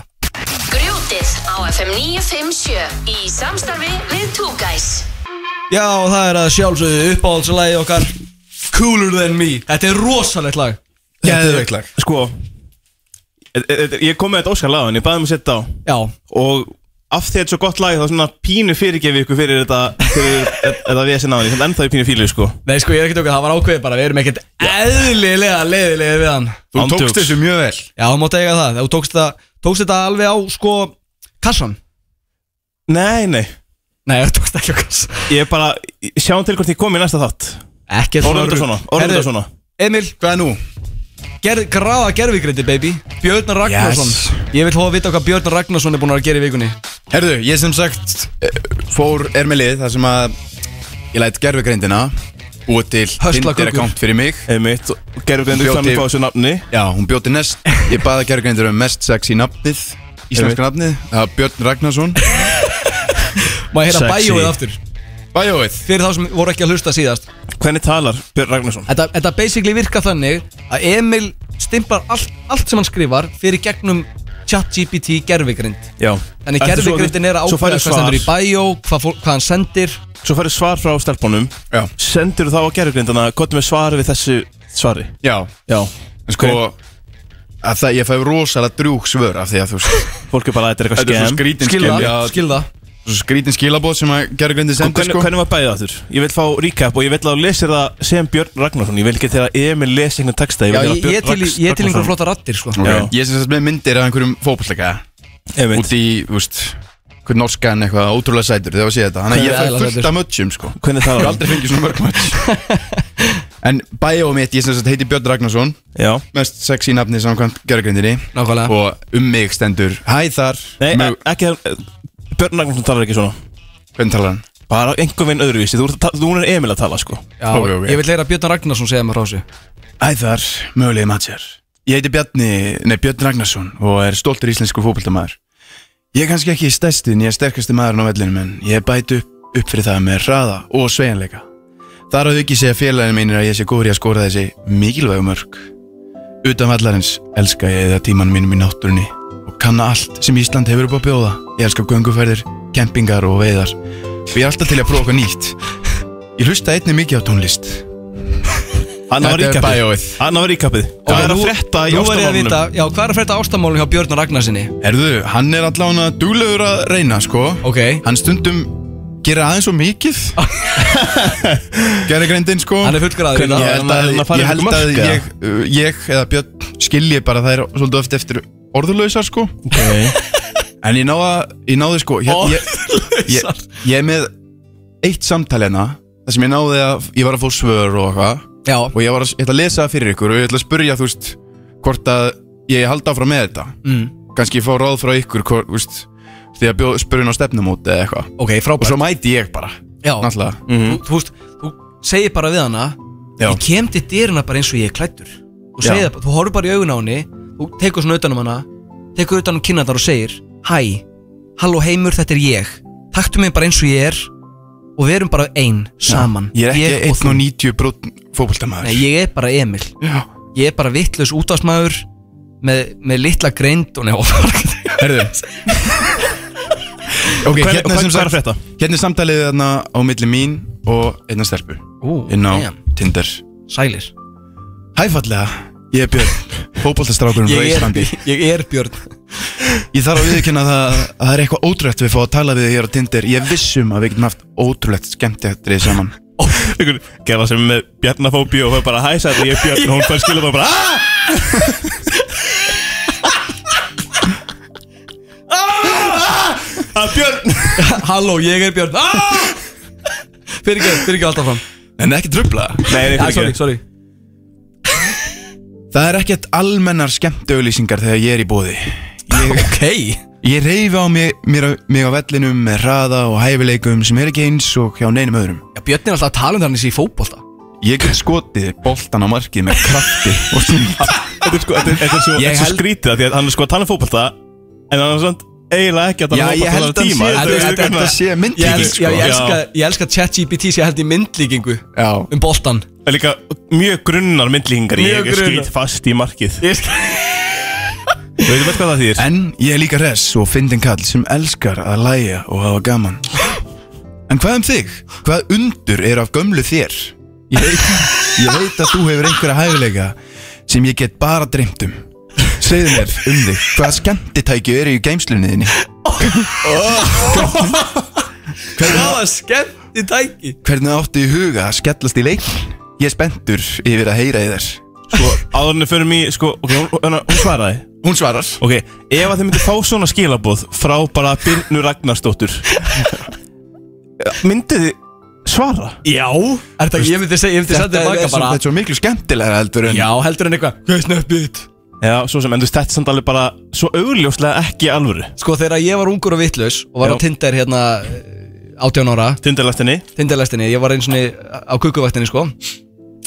[SPEAKER 6] Grjótið á FM 957 í samstarfi við Two Guys.
[SPEAKER 3] Já, og það er að sjálfsögðu uppáhaldslægi okkar Cooler Than Me Þetta er rosalegt lag
[SPEAKER 1] Geðveikt lag.
[SPEAKER 4] Sko e- e- e- Ég kom með þetta óskar lagan, ég baði mig að setja á
[SPEAKER 3] Já,
[SPEAKER 4] Og af því að þetta er svo gott lag Þá svona pínu fyrirgefi ykkur fyrir þetta Fyrir þetta vesen á því Samt ennþá í pínu fílu sko
[SPEAKER 3] nei sko ég er ekkert okkur, það var ákveðið bara Við erum ekkert eðlilega leiðilega við hann
[SPEAKER 1] Þú
[SPEAKER 4] Án
[SPEAKER 1] tókst
[SPEAKER 4] djóks.
[SPEAKER 1] þessu mjög vel
[SPEAKER 3] Já, þú mátt eiga það, þú tókst þetta, tókst þetta alveg á sko kassan
[SPEAKER 4] Nei, nei
[SPEAKER 3] Nei, þú tókst ekki á kassan
[SPEAKER 4] Ég er bara, sjáum til hvort ég kom í næsta þátt
[SPEAKER 3] Ekki
[SPEAKER 4] Orðum þetta svona, orðum þetta svona
[SPEAKER 3] Emil,
[SPEAKER 1] Hvað er nú?
[SPEAKER 3] ger, grafa gerfigrindi baby Björn Ragnarsson
[SPEAKER 1] Yes.
[SPEAKER 3] Ég vil hófa að vita hvað Björn Ragnarsson er búin að gera í vikunni
[SPEAKER 1] Herðu, ég sem sagt eh, fór er með lið þar sem að ég læt gerfugreindina búið til
[SPEAKER 3] Höstla
[SPEAKER 1] Tinder
[SPEAKER 3] guggur.
[SPEAKER 1] account fyrir mig
[SPEAKER 4] Einmitt, gerðu grindu
[SPEAKER 1] Bjóti-
[SPEAKER 4] þannig á þessu nafni
[SPEAKER 1] Já, hún bjóti nest Ég baða gerfugreindir um mest sex í nafnið Íslenska nafnið Það var Björn Ragnarsson
[SPEAKER 3] Má ég heyra
[SPEAKER 4] Sexy.
[SPEAKER 3] bæjóið aftur
[SPEAKER 1] Bæjóið
[SPEAKER 3] Fyrir þá sem voru ekki að hlusta síðast
[SPEAKER 4] Hvernig talar Björn Ragnarsson?
[SPEAKER 3] Þetta, þetta basically virka þannig að Emil stimplar allt, allt sem hann skrifar fyrir gegnum chat GPT gerfigrind
[SPEAKER 4] Já
[SPEAKER 3] Þannig
[SPEAKER 4] Eftir svo-
[SPEAKER 3] gerfigrindin er að
[SPEAKER 4] Svo
[SPEAKER 3] ákveða
[SPEAKER 4] færðu
[SPEAKER 3] hvað stendur í
[SPEAKER 4] svar,
[SPEAKER 3] bæjó, hvað, fólk- hvað hann sendir
[SPEAKER 4] svo færðu svar frá stelpunum
[SPEAKER 1] Já,
[SPEAKER 4] Sendur þá á gerðugrindana Kottum við svar við þessu svari
[SPEAKER 1] já
[SPEAKER 4] Já
[SPEAKER 1] En sko að það, Ég fæ rosalega drjúk svör af því að þú veist
[SPEAKER 4] Fólk er bara að þetta er
[SPEAKER 1] Þetta er
[SPEAKER 4] eitthvað
[SPEAKER 1] svo
[SPEAKER 4] skemm
[SPEAKER 1] skrítin
[SPEAKER 3] Skil það,
[SPEAKER 1] já,
[SPEAKER 3] skil það
[SPEAKER 1] Svo skrítin skilabóð sem að gerfugreindir
[SPEAKER 4] Sko,
[SPEAKER 1] sendir
[SPEAKER 4] Hvernig,
[SPEAKER 1] sko
[SPEAKER 4] hvernig var bæðið aftur? Ég vil fá recap og ég vil að þú lesir það sem Björn Ragnarsson Ég vil ekki þegar Emil lesi einhvern texta
[SPEAKER 3] Já,
[SPEAKER 4] vil
[SPEAKER 3] ég,
[SPEAKER 4] heyra
[SPEAKER 3] ég til,
[SPEAKER 4] Björn Rags-
[SPEAKER 3] ég til einhver
[SPEAKER 4] Ragnarsson.
[SPEAKER 3] flotta rattir sko
[SPEAKER 1] Ok,
[SPEAKER 4] Já.
[SPEAKER 1] Ég sem sagt með myndir af einhverjum fótballleika
[SPEAKER 4] Einmitt.
[SPEAKER 1] Út í, þú veist Hvern norskan eitthvað ótrúlega sætur þegar ég sé þetta Þannig að ég
[SPEAKER 3] Hver er
[SPEAKER 1] fæ
[SPEAKER 3] aðallega
[SPEAKER 1] fullt af mötsum sko
[SPEAKER 4] Hvernig
[SPEAKER 1] Ég
[SPEAKER 4] talar
[SPEAKER 1] hef
[SPEAKER 4] hann?
[SPEAKER 1] aldrei fengið svona mörg möts En bæjóð mitt, ég sem sagt heiti Björn Ragnarsson
[SPEAKER 4] Já
[SPEAKER 1] mest sexy nafni samkvæmt gerðgrindinni
[SPEAKER 3] Nákvæmlega.
[SPEAKER 1] og um mig stendur hæ þar
[SPEAKER 4] Nei,
[SPEAKER 1] Mjög-
[SPEAKER 4] e- ekki það Björn Ragnarsson talar ekki svona
[SPEAKER 1] hvernig talar hann
[SPEAKER 4] Bara einhver veginn öðruvísi Þú, ert að ta- þú er Emil að tala sko
[SPEAKER 3] Já,
[SPEAKER 1] Ok, ok.
[SPEAKER 3] Ég vil heyra Björn Ragnarsson segja mér frá þessu
[SPEAKER 1] hæ þar mögulegi matjar ég heiti Bjarni nei Björn Ragnarsson og er stoltur íslensku fókbaltamaður ég er kannski ekki stærsti en ég er sterkasti maðurinn á vellinu en ég bæt upp, upp fyrir það með hraða og svejanleika þar að ekki segja félagin mínir að ég sé góður í að skora þessi mikilvægu mörg utan vallarins elska ég eða tíman mínum í náttúrunni og kanna allt sem Ísland hefur upp að bjóða ég elska gönguferðir, kempingar og veiðar og ég er alltaf til að prófa eitthvað nýtt ég hlusta einni mikið á tónlist
[SPEAKER 4] Hann var
[SPEAKER 1] Þetta er
[SPEAKER 4] recapið
[SPEAKER 1] bæjóið
[SPEAKER 4] Hann var recapið Og
[SPEAKER 3] Ok,
[SPEAKER 4] það er að
[SPEAKER 3] nú-
[SPEAKER 4] frétta í
[SPEAKER 3] nú verð ég að
[SPEAKER 4] ástamálunum
[SPEAKER 3] vita- Já, hvað er að frétta ástamálunum hjá Björn Ragnarssoni?
[SPEAKER 1] Erðu, hann er allavega duglegur að reyna, sko
[SPEAKER 3] Ok
[SPEAKER 1] Hann stundum gera aðeins og mikið Gerði greindin, sko
[SPEAKER 3] Hann er fullgræður í
[SPEAKER 4] Hvernig-
[SPEAKER 1] Ég held
[SPEAKER 3] þetta
[SPEAKER 1] að,
[SPEAKER 4] Hann er að
[SPEAKER 1] ég,
[SPEAKER 4] fara í
[SPEAKER 1] held
[SPEAKER 4] mörk,
[SPEAKER 1] að
[SPEAKER 4] eða?
[SPEAKER 1] ég, uh, ég eða Björn skilji bara þær svolítið oft eftir orðulausar, sko
[SPEAKER 4] Ok
[SPEAKER 1] En ég náða, ég náði, sko ég, ég, ég, ég er með eitt samtal hérna Það sem ég náði að ég var að fá svör og eitthvað
[SPEAKER 3] Já,
[SPEAKER 1] Og ég var að, ég ætla að lesa það fyrir ykkur Og ég ætla að spurja, þú veist, hvort að ég haldi áfram með þetta
[SPEAKER 3] mm,
[SPEAKER 1] kannski fá ráð frá ykkur hvor, úst, því að bjóð spurðin á stefnumóti eða eitthvað
[SPEAKER 3] ok,
[SPEAKER 1] og
[SPEAKER 3] frábært
[SPEAKER 1] svo mæti ég bara
[SPEAKER 3] Já,
[SPEAKER 1] náttúrulega
[SPEAKER 3] þú, þú veist, þú segir bara við hana
[SPEAKER 1] Já.
[SPEAKER 3] Mm. Ég kem til dyrina bara eins og ég er klættur Þú segir
[SPEAKER 1] Já.
[SPEAKER 3] það, bara- þú horfur bara í augun á henni Þú tekur svona utan um hana Tekur utan um kynnandar og segir Hæ, halló heimur, þetta er ég Taktu mig bara eins og ég er Og við erum bara ein, saman
[SPEAKER 1] ég er
[SPEAKER 3] og
[SPEAKER 1] ekki
[SPEAKER 3] þú.
[SPEAKER 1] 1.90 brotn
[SPEAKER 3] Nei,
[SPEAKER 1] fókbaltamaður
[SPEAKER 3] ég er bara Emil Ég er bara vittlaus útásmaður með, með litla greind og nefn
[SPEAKER 1] herðu ok,
[SPEAKER 4] Hver-
[SPEAKER 1] hérna
[SPEAKER 4] hvað-
[SPEAKER 1] er sem
[SPEAKER 4] hvað er að
[SPEAKER 1] sagt
[SPEAKER 4] frétta?
[SPEAKER 1] hérna er samtalið þarna á milli mín og einna stelpu
[SPEAKER 3] Ú,
[SPEAKER 1] inn á
[SPEAKER 3] damn.
[SPEAKER 1] Tinder
[SPEAKER 3] Sælir
[SPEAKER 1] hæfallega, ég er Björn fókbaltastrákurinn frá Íslandi
[SPEAKER 3] ég er Björn
[SPEAKER 1] ég þarf að viðkynna það að það er eitthvað ótrúlegt við fá að tala við þig hér á Tinder ég er viss um að við getum haft ótrúlegt skemmtjættri saman
[SPEAKER 4] Einhver Gerða sem er með bjarnafóbíu og fær bara hæsa þetta Ég er bjarn og hún fær skilja bara "Ah!" Ah, Björn
[SPEAKER 3] Halló, ég er Björn ah! Fyrir ekki, fyrir ekki alltaf fram
[SPEAKER 1] en ekki trubla
[SPEAKER 4] Nei, nei,
[SPEAKER 3] ja,
[SPEAKER 4] fyrir
[SPEAKER 3] Sorry,
[SPEAKER 4] ekki
[SPEAKER 3] sorry
[SPEAKER 1] Það er ekkert almennar skemmtöðlýsingar þegar ég er í bóði.
[SPEAKER 3] Ok
[SPEAKER 1] Ég reyfi á mig, mér, á- mig á vellinum með hraða og hæfileikum sem er ekki eins og hjá neinum öðrum.
[SPEAKER 3] ja, Björn er alltaf að tala um þannig sér í fótbolta
[SPEAKER 1] Ég get skotið boltan á markið með krafti og svona.
[SPEAKER 4] Þetta er sko, þetta er- þetta er svo,
[SPEAKER 1] Ég
[SPEAKER 4] þetta er svo
[SPEAKER 1] held-
[SPEAKER 4] skrítið af Því að hann er sko að tala um fótbolta En hann er svona eiginlega ekki að tala um fótbolta hann er tíma,
[SPEAKER 3] sé-
[SPEAKER 4] þetta er-
[SPEAKER 3] þetta-
[SPEAKER 4] þetta er-
[SPEAKER 1] þetta sé
[SPEAKER 3] Ég,
[SPEAKER 1] myndlíking,
[SPEAKER 3] elska,
[SPEAKER 1] sko.
[SPEAKER 3] ég,
[SPEAKER 4] Já.
[SPEAKER 3] elska, ég elska ChatGPT sem held í myndlíkingu
[SPEAKER 1] Já.
[SPEAKER 3] um boltan
[SPEAKER 4] Það er líka mjög grunnar myndlíkingar
[SPEAKER 3] Mjög
[SPEAKER 4] Ég er
[SPEAKER 3] grunnar.
[SPEAKER 4] skýt fast í markið
[SPEAKER 3] Ég skal
[SPEAKER 4] Þú veitum hvað það þýr
[SPEAKER 1] En ég er líka res og fyndin kall sem elskar að læja og hafa gaman. En hvað um þig? Hvað undur er af gömlu þér? Ég veit, ég veit að þú hefur einhverja hæfileika sem ég get bara dreymt um. Segðu mér um þig, hvaða skemmtitæki eru í geimslunni þinni?
[SPEAKER 3] Það var skemmt í tæki
[SPEAKER 1] Hvernig áttu í huga að skellast í leik? Ég er spenntur yfir að heyra í þér.
[SPEAKER 4] Sko, áður en við förum í, sko, ok, hún, hún, hún svaraði
[SPEAKER 1] Hún svarar.
[SPEAKER 4] Ok, ef að þið myndir fá svona skilaboð frá bara Birnu Ragnarsdóttur Myndið þið svara?
[SPEAKER 3] Já Ég myndi segja, ég myndi senda
[SPEAKER 1] Þetta
[SPEAKER 3] þér
[SPEAKER 1] er,
[SPEAKER 3] maka
[SPEAKER 1] er, svo,
[SPEAKER 3] bara
[SPEAKER 1] þetta er svo miklu skemmtilega heldur en
[SPEAKER 3] Já, heldur en eitthvað Hvað er snöppið?
[SPEAKER 4] Já, svo sem, en þú veist, þetta er samt alveg bara svo augljóslega ekki alvöru
[SPEAKER 3] Sko þegar ég var ungur og vitlaus og var
[SPEAKER 4] Já.
[SPEAKER 3] á Tinder hérna eh, 18 ára
[SPEAKER 4] Tindarlastinni
[SPEAKER 3] Tinderlestinni, ég var eins og á kukkuvættinni sko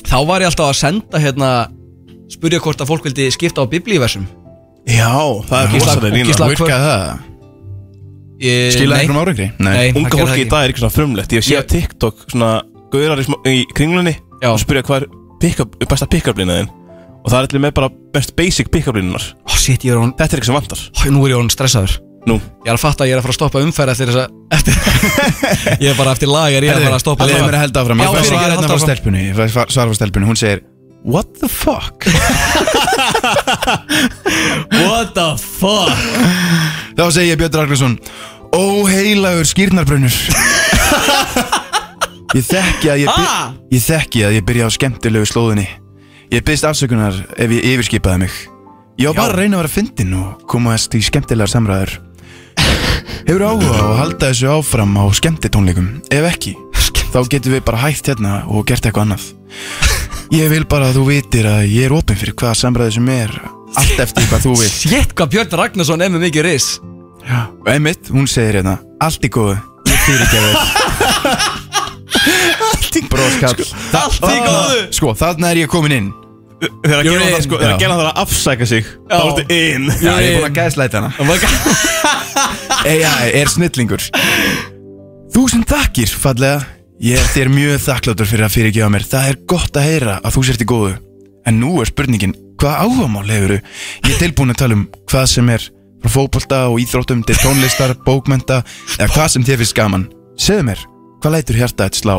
[SPEAKER 3] Þá var ég alltaf að senda hérna spurja hvort að fólk vildi skipta á biblíversum
[SPEAKER 4] Já, það er
[SPEAKER 3] Gísla-
[SPEAKER 4] rosalega lína
[SPEAKER 3] Gísla- Slakvör.
[SPEAKER 1] Virkaði það?
[SPEAKER 3] Ég-
[SPEAKER 1] Skilaði
[SPEAKER 3] nei,
[SPEAKER 1] einhverjum árangri?
[SPEAKER 3] Nei, það
[SPEAKER 4] Unga
[SPEAKER 3] gerði
[SPEAKER 4] fólki í
[SPEAKER 3] það
[SPEAKER 4] dag er ekki svona frumlegt Ég sé
[SPEAKER 3] Ég-
[SPEAKER 4] á TikTok svona gaurar í, smá- í kringlunni
[SPEAKER 3] Já.
[SPEAKER 4] og spyrja hvað er pick-up, besta pick-up línaðin og það er allir með bara best basic pick-up línunar
[SPEAKER 3] Ó, shit, ég er hún,
[SPEAKER 4] Þetta er ekki sem vantar
[SPEAKER 3] ó, nú er ég hún stressaður
[SPEAKER 4] Nú,
[SPEAKER 3] Ég er að fatta að ég er að fara að stoppa umferð eftir þess að eftir, Ég er bara eftir lagar, ég er að fara að stoppa
[SPEAKER 1] Leðið mér að helda áfram
[SPEAKER 3] Já,
[SPEAKER 1] Ég fæ
[SPEAKER 3] fyrir
[SPEAKER 1] svara
[SPEAKER 3] ekki,
[SPEAKER 1] hérna
[SPEAKER 3] halda
[SPEAKER 1] frá
[SPEAKER 3] áfram.
[SPEAKER 1] stelpunni Ég fæ svar- svara frá stelpunni Hún segir What the fuck?
[SPEAKER 3] What the fuck
[SPEAKER 1] Þá segir Björn Ragnarsson Óheilagur skýrnarbrunur Ég þekki að ég byr-
[SPEAKER 3] Ah!
[SPEAKER 1] Ég þekki að ég byrja á skemmtilegu slóðinni Ég byrst afsökunar ef ég yfirskipaði mig Ég á bara að reyna að vera fyndin og komast í skemmtilegar samræður Hefur áhuga á að halda þessu áfram á skemmtitónleikum Ef ekki, þá getum við bara hægt hérna og gert eitthvað annað Ég vil bara að þú vitir að ég er opinn fyrir hvaða samræði sem er Allt eftir hvað þú vilt
[SPEAKER 3] Shit, hvað Björn Ragnarsson er með mikið ris
[SPEAKER 1] Og Einmitt, hún segir hérna Allt í góðu, ég fyrirgeði þér Allt í góðu Bróskall
[SPEAKER 3] Allt í góðu
[SPEAKER 1] Sko, þarna er ég komin inn
[SPEAKER 4] þegar að
[SPEAKER 1] You're
[SPEAKER 4] gera það
[SPEAKER 1] in.
[SPEAKER 4] sko, þegar
[SPEAKER 1] Já.
[SPEAKER 4] að gera það að afsæka sig þá
[SPEAKER 3] Já.
[SPEAKER 4] ertu in
[SPEAKER 1] Já, ég er búin að gæðslæta hana
[SPEAKER 3] Oh my god
[SPEAKER 1] AI er snillingur Þú sem þakkir, fallega Ég er þér mjög þakklátur fyrir að fyrirgefa mér Það er gott að heyra að þú sért í góðu En nú er spurningin, hvað áhamál hefuru? Ég er tilbúin að tala um hvað sem er frá fótbolta og íþróttum til tónlistar, bókmenta eða hvað sem þér finnst gaman Segðu mér, hvað lætur hjarta þetta slá?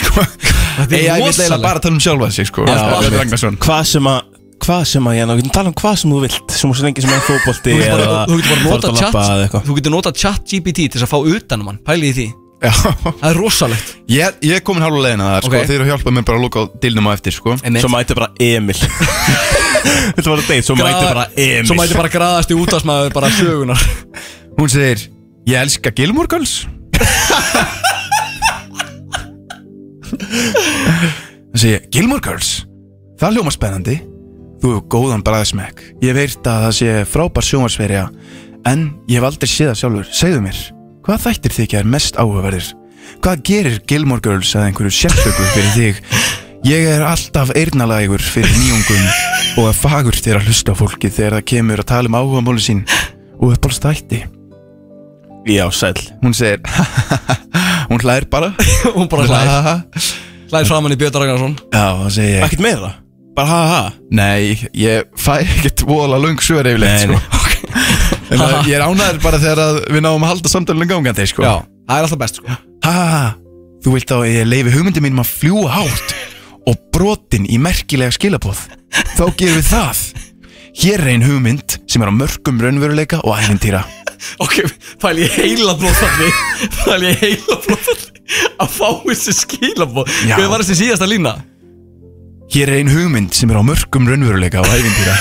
[SPEAKER 1] Sko,
[SPEAKER 3] Þetta er
[SPEAKER 1] AI vil
[SPEAKER 3] rosalegt.
[SPEAKER 1] eiginlega bara tala um sjálfa sig sko
[SPEAKER 3] Já,
[SPEAKER 1] Björn
[SPEAKER 3] einmitt.
[SPEAKER 1] Ragnarsson.
[SPEAKER 4] Hvað sem að Hvað sem að, já, ná, við getum talað um hvað sem þú vilt Sem svo lengi sem er fótbolti
[SPEAKER 3] Þú getur
[SPEAKER 4] eða
[SPEAKER 3] bara- þú getur
[SPEAKER 4] þú ert
[SPEAKER 3] bara nota
[SPEAKER 4] að labba eða
[SPEAKER 3] chat
[SPEAKER 4] eitthvað.
[SPEAKER 3] Þú getur nota chat GPT til þess að fá utanum hann Pæli í því
[SPEAKER 1] Já,
[SPEAKER 3] Það er rosalegt
[SPEAKER 1] ég, ég er komin hálfa leiðina það sko,
[SPEAKER 3] Ok.
[SPEAKER 1] okay. Þeir eru að hjálpa mér bara að lúka á dilnum á eftir sko.
[SPEAKER 3] Einmitt.
[SPEAKER 4] Svo mæti bara Emil Þetta var að deyta, svo mæti bara Emil
[SPEAKER 3] Svo mæti bara graðast í útastmaður bara sögunar
[SPEAKER 1] Hún segir, ég elska Gilmore Girls Það segir, ég, Gilmore Girls? Það hljóma spennandi Þú hefur góðan bræðismekk Ég veit að það sé frábær sjónvarsverja En ég hef aldrei séð það sjálfur Segðu mér, hvað þættir þykja er mest áhugaverðir? Hvað gerir Gilmore Girls að einhverju sérstöku fyrir þig? Ég er alltaf eirnalægur fyrir nýjungum og að fagur þér að hlusta á fólki þegar það kemur að tala um áhugamóli sín og uppáls þætti
[SPEAKER 4] Já, sæl
[SPEAKER 1] hún segir hún hlær bara
[SPEAKER 3] Hún bara hlæði
[SPEAKER 1] já,
[SPEAKER 3] Hlæði framann í Björn Ragnarsson
[SPEAKER 1] það segi ég
[SPEAKER 4] Ekkert meira Bara ha ha
[SPEAKER 1] nei, ég fæ ekkert vola lung svör yfirleitt
[SPEAKER 4] Nei,
[SPEAKER 1] sko. En það- ég er ánæður bara þegar að við náum að halda samtalen gangandi sko.
[SPEAKER 3] Já Það er alltaf best sko
[SPEAKER 1] ha, ha, ha. þú vilt þá að ég leifi hugmyndi mínum að fljúa hátt og brotin í merkilega skilabóð þá gerum við það hér er ein hugmynd sem er á mörgum raunveruleika og æfintýra
[SPEAKER 3] Ok, pæli í heila blóðfalli Pæli í heila blóðfalli Að fá þessi skilabóð
[SPEAKER 1] Já.
[SPEAKER 3] Hvað var þessi síðasta lína?
[SPEAKER 1] Hér er ein hugmynd sem er á mörgum raunveruleika og æfintýra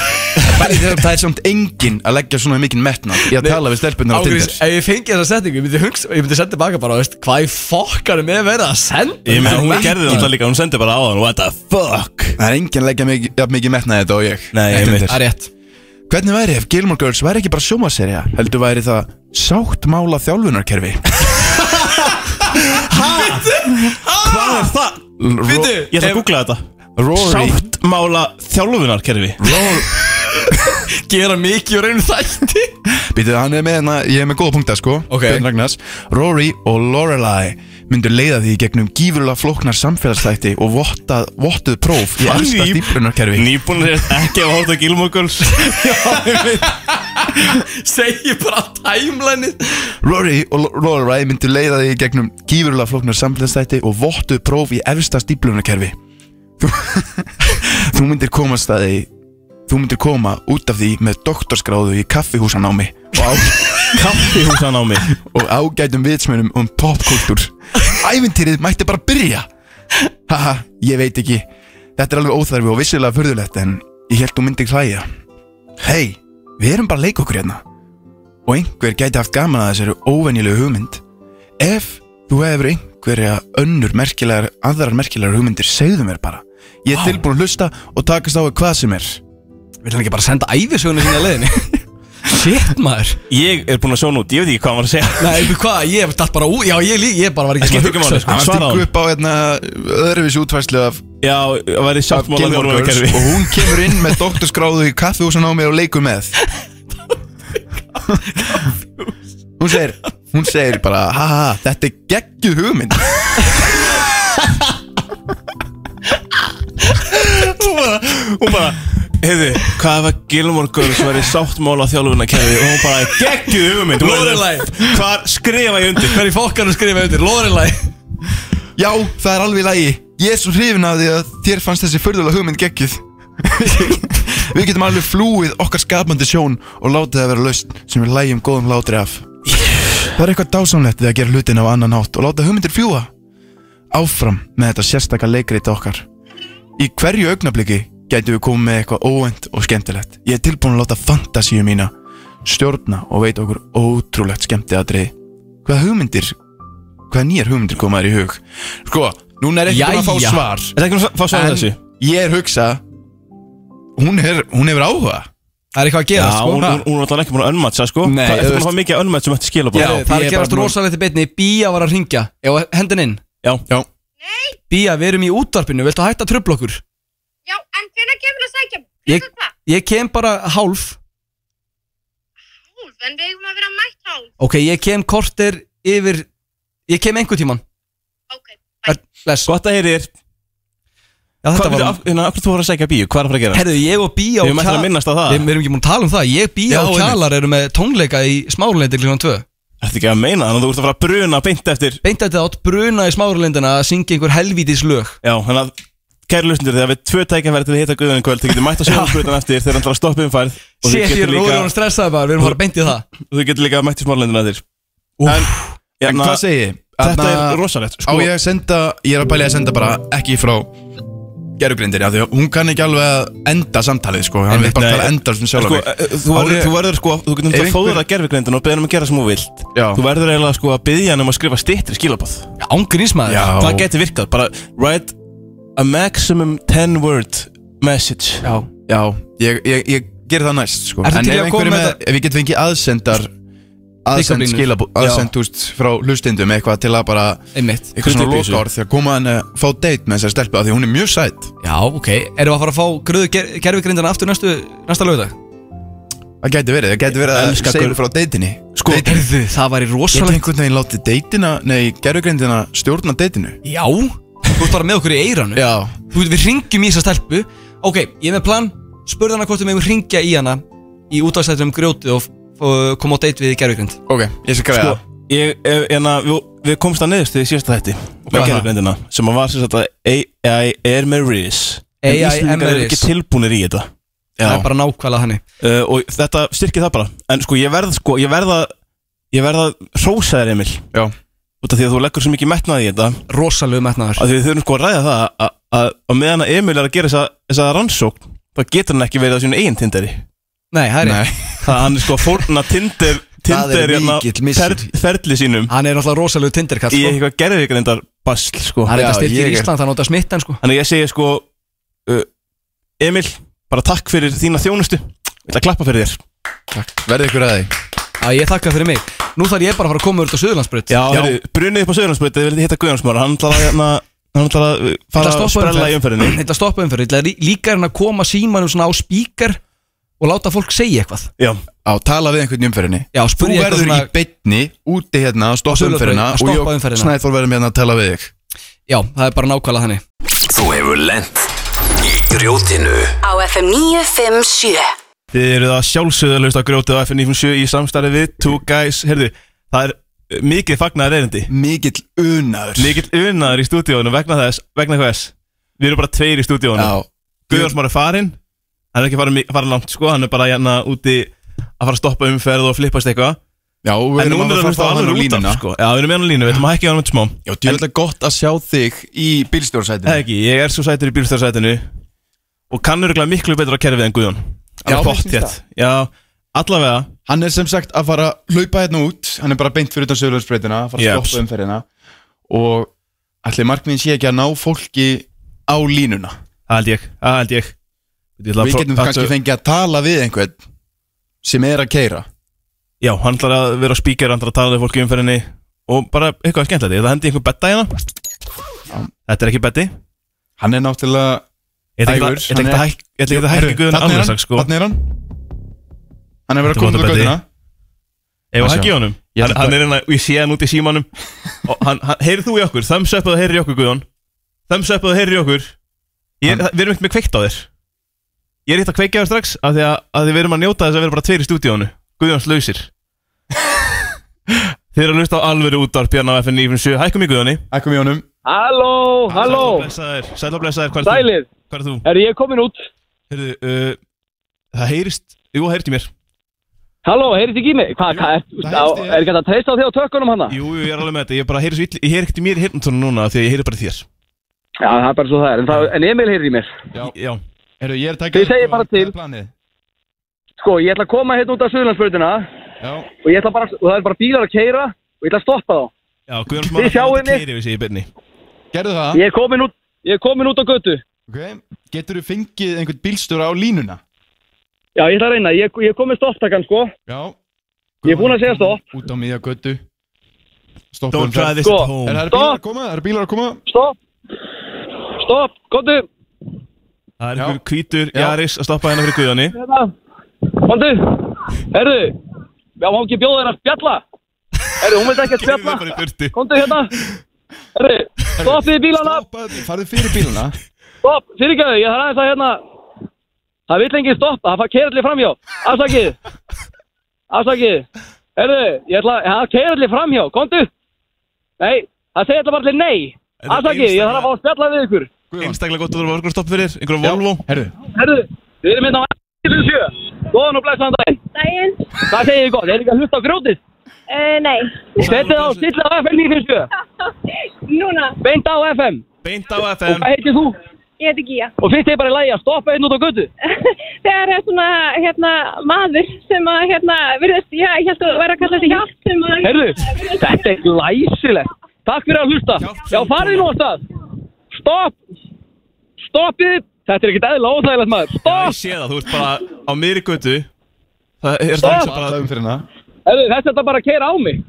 [SPEAKER 1] Bæði þegar það er samt enginn að leggja svona mikinn metnað í að
[SPEAKER 3] Nei,
[SPEAKER 1] tala við stelpunar á
[SPEAKER 3] Ágríns,
[SPEAKER 1] Tinder
[SPEAKER 3] ef ég fengi þessa setningu Ég myndi, hugsa, ég myndi senda baka bara veist, Hvað í fokkanum er verið að senda
[SPEAKER 4] Ég meina,
[SPEAKER 3] Þetta er
[SPEAKER 4] hún
[SPEAKER 3] ekki-
[SPEAKER 4] gerði þetta líka, hún sendi bara á hann What the fuck
[SPEAKER 1] Það er enginn að leggja mikið, ja, mikið metnað í þetta og ég
[SPEAKER 4] Nei,
[SPEAKER 1] Á
[SPEAKER 4] ég
[SPEAKER 1] Tinder.
[SPEAKER 4] veit.
[SPEAKER 3] Það er rétt
[SPEAKER 1] Hvernig væri ef Gilmore Girls væri ekki bara sjómaserja heldur væri það sáttmála þjálfunarkerfi
[SPEAKER 4] Hvað er það?
[SPEAKER 1] Ro-
[SPEAKER 4] Ég ætla að googla þetta
[SPEAKER 1] Rory
[SPEAKER 4] Sáttmála þjálfunarkerfi
[SPEAKER 3] Gera mikið og raunum þætti
[SPEAKER 1] Býtu, hann er með hérna, ég er með góða punkta sko
[SPEAKER 3] Ok.
[SPEAKER 1] Björn Ragnars Rory og Lorelai myndu leiða því gegnum gífurlega flóknar samfélagsþætti og vottað, vottuð próf í elsta
[SPEAKER 4] Ný-
[SPEAKER 1] stíplunarkerfi
[SPEAKER 4] Nýbúnir er ekki að horta Gilmore Girls
[SPEAKER 3] Segir bara tæmlænið
[SPEAKER 1] Rory og Lo- Lorelai myndu leiða þig í gegnum gífurlega flóknar samfélagsþætti og vottu próf í efsta stíplunarkerfi Þú, þú myndir komast að því Þú myndir koma út af því með doktorskráðu í kaffihúsanámi og, á,
[SPEAKER 4] Kaffihúsan á mig
[SPEAKER 1] og ágætum vitsmunum um popkultúr Ævintýrið mætti bara byrja Haha, ég veit ekki Þetta er alveg óþarfi og vissilega furðulegt en ég held þú myndir hlæja Hei, við erum bara að leika okkur hérna og einhver gæti haft gaman að þessari óvenjulegu hugmynd Ef þú hefur einhverja önnur merkilegar, aðrar merkilegar hugmyndir segðu mér bara Ég er tilbúin að hlusta og takast á við hvað sem er
[SPEAKER 3] Vil hann ekki bara senda æfisöguna sína að leiðinni? Shit maður
[SPEAKER 4] Ég er búin að sjóna út, ég veit ekki hvað hann var að segja
[SPEAKER 3] Nei, veitu hvað, ég hef dætt bara út Já, ég, lí- ég bara var ekki
[SPEAKER 4] Það skiptir ekki
[SPEAKER 1] Hann
[SPEAKER 4] máli.
[SPEAKER 1] var
[SPEAKER 4] Svaraði
[SPEAKER 1] stingu
[SPEAKER 4] hún?
[SPEAKER 1] upp á hérna, öðruvísi útfæslu af,
[SPEAKER 4] Já, það væri
[SPEAKER 1] af
[SPEAKER 4] sáttmála
[SPEAKER 1] Gilmore Girls
[SPEAKER 4] mormónakerfi.
[SPEAKER 1] og hún kemur inn með doktorskráðu í kaffihúsan á mér og leikur með Hún segir, hún segir bara ha ha, ha, þetta er geggjuð hugmynd
[SPEAKER 4] Hún bara, heyrðu, hvað var Gilmore Girls væri sáttmála þjálfunarkerfi og hún bara, geggjuð hugmynd Hún var-
[SPEAKER 3] Lorelei.
[SPEAKER 4] Hvar skrifa ég undir?
[SPEAKER 3] Hver í fokkanum skrifa undir, Lorelai
[SPEAKER 1] Já, það er alveg í lagi Ég er svo hrifin af því að þér fannst þessi fyrðulega hugmynd geggjuð Við getum alveg flúið okkar skapandi sjón og látið það vera laust sem við lægjum góðum látri af Það er eitthvað dásamlegt við að gera hlutin á annan hátt og láta hugmyndir fljúa Áfram með þetta sérstaka leikrit okkar Í hverju augnabliki gætum við komið með eitthvað óend og skemmtilegt Ég er tilbúin að láta fantasíu mína stjórna og veita okkur ótrúlegt skemmtiatriði Hvaða hugmyndir hvaða nýjar hugmyndir koma þér í hug sko, núna er ekki búin að fá
[SPEAKER 3] Jæja.
[SPEAKER 1] svar
[SPEAKER 4] Er það ekki að fá svar þessu?
[SPEAKER 1] ég er hugsa hún, er, hún hefur áhuga
[SPEAKER 3] Það er eitthvað að
[SPEAKER 4] Já,
[SPEAKER 3] gera, sko
[SPEAKER 4] hún, hún, hún var alltaf ekki búin að önmatsa, sko
[SPEAKER 1] Nei,
[SPEAKER 4] Það er
[SPEAKER 1] þú
[SPEAKER 4] búin að fá mikið um önmat sem ætti skila
[SPEAKER 3] Já,
[SPEAKER 4] bara
[SPEAKER 3] það er
[SPEAKER 1] ég
[SPEAKER 3] að
[SPEAKER 1] er
[SPEAKER 3] gerast
[SPEAKER 1] bara-
[SPEAKER 3] rosalegt í beinni Bía var að ringja Já, hendin inn
[SPEAKER 4] Já,
[SPEAKER 1] já,
[SPEAKER 3] Bía, við erum í útvarpinu, viltu hætta að trubla okkur?
[SPEAKER 7] Já, en hvenær kemur að sækja mig?
[SPEAKER 3] Ég,
[SPEAKER 7] Klukkan hvað?
[SPEAKER 3] ég kem bara hálf
[SPEAKER 7] Hálf, en við eigum að vera mætt hálf.
[SPEAKER 3] Ok, ég kem korter yfir Ég kem einhver tíman
[SPEAKER 7] Ok,
[SPEAKER 3] Les Já,
[SPEAKER 4] gott að heyri þér
[SPEAKER 3] þetta
[SPEAKER 4] Hvað hérna,
[SPEAKER 3] var
[SPEAKER 4] var það þú voru að segja bíu? Hvað er að fara að gera?
[SPEAKER 3] Herðu, ég og Bía
[SPEAKER 4] Við
[SPEAKER 3] og
[SPEAKER 4] erum eftir að
[SPEAKER 3] Kjalar
[SPEAKER 4] minnast á það
[SPEAKER 3] Við við erum ekki múin að tala um það Ég, Bía
[SPEAKER 1] Já,
[SPEAKER 3] og
[SPEAKER 1] einmitt.
[SPEAKER 3] Kjalar eru með tónleika í smárlendi klíðan 2
[SPEAKER 4] Ertu ekki að meina þannig að þú ert að fara að bruna beint eftir
[SPEAKER 3] Beint þetta átt bruna í smárlendina að syngja einhver helvítis lög
[SPEAKER 4] Já, þannig að kæri lusnir þegar við tvö tækjafæri til að hitta Guðan í kvöld þú getur mætt á sjónskrutan eftir þegar hann þarf að stoppa umfærð og þú
[SPEAKER 3] Sér, ég
[SPEAKER 4] getur
[SPEAKER 3] er
[SPEAKER 4] líka,
[SPEAKER 3] róður og stressaði bara, við erum bara beint í það
[SPEAKER 4] og þú getur líka mætt í smálendina eftir En,
[SPEAKER 1] en
[SPEAKER 4] en
[SPEAKER 1] hvað segi ég?
[SPEAKER 4] Hérna, þetta
[SPEAKER 1] Þarna-
[SPEAKER 4] er rosalegt
[SPEAKER 1] á
[SPEAKER 4] sko,
[SPEAKER 1] ég að senda, ég er að bæli að senda bara ekki frá gerugrindir af því að hún kann ekki alveg að enda samtalið sko, hann vil bara
[SPEAKER 4] Nei.
[SPEAKER 1] tala endar sem sjálf
[SPEAKER 4] sko,
[SPEAKER 1] sko,
[SPEAKER 4] eh, þú,
[SPEAKER 1] Á
[SPEAKER 4] verður,
[SPEAKER 1] ég-
[SPEAKER 4] þú verður sko,
[SPEAKER 1] Ef
[SPEAKER 4] þú getur náttúrulega
[SPEAKER 1] einhver-
[SPEAKER 4] fóður að gerfugreindin og beðið hann um að gera sem hún vilt
[SPEAKER 1] Já.
[SPEAKER 4] Þú verður eiginlega sko að byggja hann um að skrifa styttri skilabóð
[SPEAKER 3] Ángrínsmaður
[SPEAKER 1] Já.
[SPEAKER 4] Það getur virkað, bara write a maximum 10 word message
[SPEAKER 3] Já
[SPEAKER 1] já, ég, ég, ég ger það næst sko,
[SPEAKER 3] Ertu
[SPEAKER 1] en
[SPEAKER 3] til í
[SPEAKER 1] ef
[SPEAKER 3] að
[SPEAKER 1] einhverju
[SPEAKER 3] koma
[SPEAKER 1] með,
[SPEAKER 3] með
[SPEAKER 1] ef ég get fengið aðsendar aðsend
[SPEAKER 3] Pick-up línur.
[SPEAKER 1] skilabú, aðsend úst frá hlustindum eitthvað til að bara,
[SPEAKER 3] Einmitt
[SPEAKER 1] eitthvað svona
[SPEAKER 4] Krullibysu.
[SPEAKER 1] lokaorð því að koma hann að fá date með þessar stelpu af því að hún er mjög sætt,
[SPEAKER 3] Já, ok Erum við að fara að fá gröðu ger gerfugrindana aftur næstu, næsta lögða?
[SPEAKER 1] það gæti verið, það gæti verið að
[SPEAKER 4] Elska
[SPEAKER 1] segja
[SPEAKER 4] Guð.
[SPEAKER 1] frá datinni
[SPEAKER 4] Sko,
[SPEAKER 1] Date-
[SPEAKER 3] Herðu, það væri
[SPEAKER 1] Getur
[SPEAKER 3] rosalegt
[SPEAKER 1] einhvern veginn látið deitina, nei, gerfugrindina stjórna deitinu?
[SPEAKER 3] Já Þú ert bara með okkur í eiranu
[SPEAKER 1] Já
[SPEAKER 3] Þú veit, við ringjum í þessa stelpu Ok, ég er með plan Spurð hana hvort við megum ringja í hana Í útvarsættum grjótið og, og koma á date við gerfugrind
[SPEAKER 1] Ok, ég skal græða
[SPEAKER 4] sko, ég, ef- hérna, við, við komst að neðust í síðasta þætti
[SPEAKER 3] hvað
[SPEAKER 4] með
[SPEAKER 3] er það?
[SPEAKER 4] gerðargrindina sem að var sem sagt að AI er með RIS en
[SPEAKER 3] AI
[SPEAKER 4] Íslendingar
[SPEAKER 3] er
[SPEAKER 4] eru ekki tilbúnir í þetta
[SPEAKER 3] Það er bara nákvæmlega þannig
[SPEAKER 4] uh, og þetta styrkir það bara en sko ég verð sko, ég verð að ég verð að hrósa þér Emil
[SPEAKER 1] Já.
[SPEAKER 4] út af því að þú leggur svo mikið metnaði í þetta
[SPEAKER 3] Rosalegu metnaður
[SPEAKER 4] að við þurfum sko að ræða það að, að, að meðan að Emil er að gera þessa, þessa rannsókn þá getur hann ekki verið að sínu eigin tinderi
[SPEAKER 3] Nei, það er
[SPEAKER 1] Nei,
[SPEAKER 3] rétt
[SPEAKER 4] það hann er sko að fórna tinder,
[SPEAKER 1] Það er
[SPEAKER 4] tinder hérna,
[SPEAKER 1] mikill missir.
[SPEAKER 4] fer- ferli sínum
[SPEAKER 3] Hann er náttúrulega rosalegu tindirkall
[SPEAKER 4] í
[SPEAKER 3] sko.
[SPEAKER 4] eitthvað gerðvigrindar basl sko
[SPEAKER 3] Það er
[SPEAKER 1] Já,
[SPEAKER 3] eitthvað styrkir
[SPEAKER 1] ég er-
[SPEAKER 3] Ísland, það nota smittan sko
[SPEAKER 4] Þannig að ég segi sko uh, Emil, bara takk fyrir þína þjónustu Ég ætla að klappa fyrir þér
[SPEAKER 1] verði ykkur að því
[SPEAKER 3] Já, ég þakka fyrir mig Nú þarf ég bara að fara að koma úr þetta Suðurlandsbrut
[SPEAKER 4] Já, já. Brunið upp á Söðurlandsbröð Þið viljið hitta Guðjónsmára Hann ætlar að, hérna, hann ætlar að uh, fara að sprella í umferðinni
[SPEAKER 3] Þetta stoppa umferð Ég ætla lí- líka er hann að koma símanum svona á spíkar Og láta fólk segja eitthvað
[SPEAKER 4] Já,
[SPEAKER 1] Á, tala við einhvern í umferðinni
[SPEAKER 3] Já,
[SPEAKER 1] Þú
[SPEAKER 3] spyrja eitthvað
[SPEAKER 1] verður
[SPEAKER 3] svona-
[SPEAKER 1] í beinni, úti hérna að stoppa
[SPEAKER 3] Á Suðurlandsbraut,
[SPEAKER 1] umferðina
[SPEAKER 3] að
[SPEAKER 1] Og
[SPEAKER 3] stoppa
[SPEAKER 1] ég
[SPEAKER 3] umferðina.
[SPEAKER 1] snæður verðum hérna að tala við þig
[SPEAKER 3] Já, það er bara nákvæmlega þannig
[SPEAKER 5] Þú hefur lent í grjótinu
[SPEAKER 2] Á FM 957
[SPEAKER 4] þið eruð að sjálfsögðu að hlusta á grjótið á FN97 Í samstarfi við Two Guys Herðu, það er uh, mikið fagnaðar erindi
[SPEAKER 1] Mikill unaður
[SPEAKER 4] Mikið unnaður í stúdíónu vegna þess Vegna hvers Við erum bara tveir í stúdíónu
[SPEAKER 1] Já,
[SPEAKER 4] Guðjónsmára er farinn Hann er ekki farin, farin langt sko Hann er bara hérna úti að fara að stoppa umferð og flippast eitthvað
[SPEAKER 1] já, við
[SPEAKER 4] En
[SPEAKER 1] erum
[SPEAKER 4] núna
[SPEAKER 1] að fara
[SPEAKER 4] er það
[SPEAKER 1] að fá
[SPEAKER 4] hlusta
[SPEAKER 1] hann á
[SPEAKER 4] alveg út
[SPEAKER 1] línuna
[SPEAKER 4] af sko Já, við erum með hann á línu, við ætlum að hækja hann um smá
[SPEAKER 1] Já, djúvöldlega gott að sjá þig í
[SPEAKER 4] Það
[SPEAKER 1] bílstjórsætinu
[SPEAKER 4] er ekki, ég er svo sætur í bílstæðarsætinu Og kannur ekki miklu betur að kerfið en Guðjón
[SPEAKER 1] Já,
[SPEAKER 4] Alveg
[SPEAKER 1] finnst
[SPEAKER 4] pott hér Já, allavega
[SPEAKER 1] Hann er sem sagt að fara að hlaupa hérna út Hann er bara beint fyrir utan sögurlöfsbreytina Fara að
[SPEAKER 4] Jeps.
[SPEAKER 1] stoppa umferðina Og ætli markmiðin sé ekki að ná fólki á línuna
[SPEAKER 4] Það held ég, það held ég
[SPEAKER 1] Við getum kannski fengið að tala við einhvern sem er að keira
[SPEAKER 4] Já, hann ætlar að vera á spíker, hann ætlar að tala við fólki í umferðinni og bara eitthvað skemmtilegt, ég ætla að hendi einhver betta hérna Þetta er ekki betti Ég
[SPEAKER 1] Hann er náttúrulega
[SPEAKER 4] ætla ekki
[SPEAKER 1] Ægur,
[SPEAKER 4] að- ég ætla
[SPEAKER 1] hann
[SPEAKER 4] ekki að
[SPEAKER 1] er-
[SPEAKER 4] hæk- ég ætla ekki að hækka guðun
[SPEAKER 1] Þarna er
[SPEAKER 4] alveg
[SPEAKER 1] hann,
[SPEAKER 4] strax sko
[SPEAKER 1] þarna er hann Hann er verið að
[SPEAKER 4] Þetta
[SPEAKER 1] koma
[SPEAKER 4] var
[SPEAKER 1] til
[SPEAKER 4] þetta
[SPEAKER 1] göttuna
[SPEAKER 4] Ef að
[SPEAKER 1] Sjá.
[SPEAKER 4] hækki honum
[SPEAKER 1] Ég ætla
[SPEAKER 4] Hann hann
[SPEAKER 1] bara-
[SPEAKER 4] er hérna, ég sé hann út í símanum og hann, hann, heyrið þú í okkur, thumbs up eða heyrið í okkur guðun Thumbs up eða heyrið í okkur ég, er- Við erum ekkert með kveikt á þér Ég er hitt að kveikja þér strax af því að, að þið verum að njóta þess að vera bara tveir í stúdíónu Guðjóns lausir Þið eru að hlusta á alvöru útvarp hérna á FN 957 Hækkum í Guðjóni
[SPEAKER 1] Ækkum í honum
[SPEAKER 8] Halló, halló,
[SPEAKER 4] Sæl og blessaður, hvað er þú?
[SPEAKER 8] sælir,
[SPEAKER 4] Hvað er þú?
[SPEAKER 8] er ég komin út?
[SPEAKER 4] Heyrðu, uh, það heyrist Jú, það heyrist í mér
[SPEAKER 8] Halló, heyrðist ekki í mig? Hvað, hvað, er,
[SPEAKER 4] það
[SPEAKER 8] á,
[SPEAKER 4] heyrist í þér.
[SPEAKER 8] er ekki hægt að treysta á þig á tökkunum hana?
[SPEAKER 4] Jú, jú, ég er alveg með þetta Ég bara heyrist vill Ég heyr ekkert í mér hirntónu núna af Því að ég heyri bara í þér
[SPEAKER 8] Já, það er bara svo það er, en, það, en Emil heyrði í mér.
[SPEAKER 4] Já
[SPEAKER 1] Heru, ég er að taka
[SPEAKER 8] Þið segið bara til.
[SPEAKER 1] Hvað er planið?
[SPEAKER 8] Sko, ég ætla að koma hérna út af Suðurlandsbröðina
[SPEAKER 1] Já,
[SPEAKER 8] og ég ætla bara, og það er bara bílar að keira og ég ætla að stoppa þá.
[SPEAKER 4] Já, Guðjóns maður
[SPEAKER 8] Þið sjáið mig.
[SPEAKER 4] Keiri við sig í byrni
[SPEAKER 1] gerðu það
[SPEAKER 8] Ég er komin út, ég er komin út á götu.
[SPEAKER 1] okay. Getur þú fengið einhvern bílstjóra á línuna?
[SPEAKER 8] Já, ég ætla að reyna, ég, ég er komin stopptakan, sko.
[SPEAKER 1] Já
[SPEAKER 8] Ég er búinn að segja stopp.
[SPEAKER 1] Út á miðja göttu Stopp um
[SPEAKER 4] Don't try this
[SPEAKER 8] Sko,
[SPEAKER 4] at
[SPEAKER 1] Er það bílar
[SPEAKER 4] home
[SPEAKER 1] að koma? Er það bílar að koma?
[SPEAKER 8] Stopp, stopp, komdu,
[SPEAKER 4] Það er
[SPEAKER 1] Já.
[SPEAKER 4] einhver hvítur Jaris að stoppa hérna fyrir Guðjóni
[SPEAKER 8] hérna, komdu, herðu, já, má ekki bjóða þér að spjalla? Herðu, hún veit ekki að
[SPEAKER 4] Keyrið þau
[SPEAKER 8] spjalla.
[SPEAKER 4] bara í burtu.
[SPEAKER 8] Komdu hérna Herri, stoppið bílana
[SPEAKER 1] Stoppaðu, farðu fyrir bíluna
[SPEAKER 8] Stopp, fyrirgjöðu, ég þarf aðeins að hérna Það vill engin stoppa, það fær keirallir framhjá Afsakið Afsakið Herri, ég ætla að, það keirallir framhjá, komdu Nei, það segir alltaf bara allir nei
[SPEAKER 4] er
[SPEAKER 8] Afsakið, ég þarf að fá að spjalla við ykkur
[SPEAKER 4] Einstaklega gott að vera okkur stopp fyrir Einhverja Volvo
[SPEAKER 1] Herru,
[SPEAKER 8] Herri, við erum hérna á 57 Góðan og blæsaðan daginn
[SPEAKER 7] Dæin?
[SPEAKER 8] Hvað segir þið gott, er ekki að hlusta á grjótið
[SPEAKER 7] Uh, nei.
[SPEAKER 8] Settið á, stillið á FM 957
[SPEAKER 7] Núna,
[SPEAKER 8] Beint á FM
[SPEAKER 4] Beint á
[SPEAKER 8] Og
[SPEAKER 4] FM
[SPEAKER 8] hvað heitir þú?
[SPEAKER 7] ég heiti Gía.
[SPEAKER 8] Og finnst þið bara í lagi að stoppa einn út á götu?
[SPEAKER 7] Þegar er svona, hérna, maður sem að, hérna, virðist, já, ég held að vera að kalla þessi hjálp sem að...
[SPEAKER 8] Herðu, þetta er læsilegt. Takk fyrir að hlusta.
[SPEAKER 4] Hjálpsöm
[SPEAKER 8] Já, farið nú á stað. Stopp. Stoppið. Þetta er ekkert eðla óþægilegt maður.
[SPEAKER 4] Já, Ég
[SPEAKER 8] Stopp.
[SPEAKER 4] sé það, þú ert bara á miðri götu Það er það sem bara
[SPEAKER 1] það um fyrir hana
[SPEAKER 8] Herðu, þess er bara að keira á mig.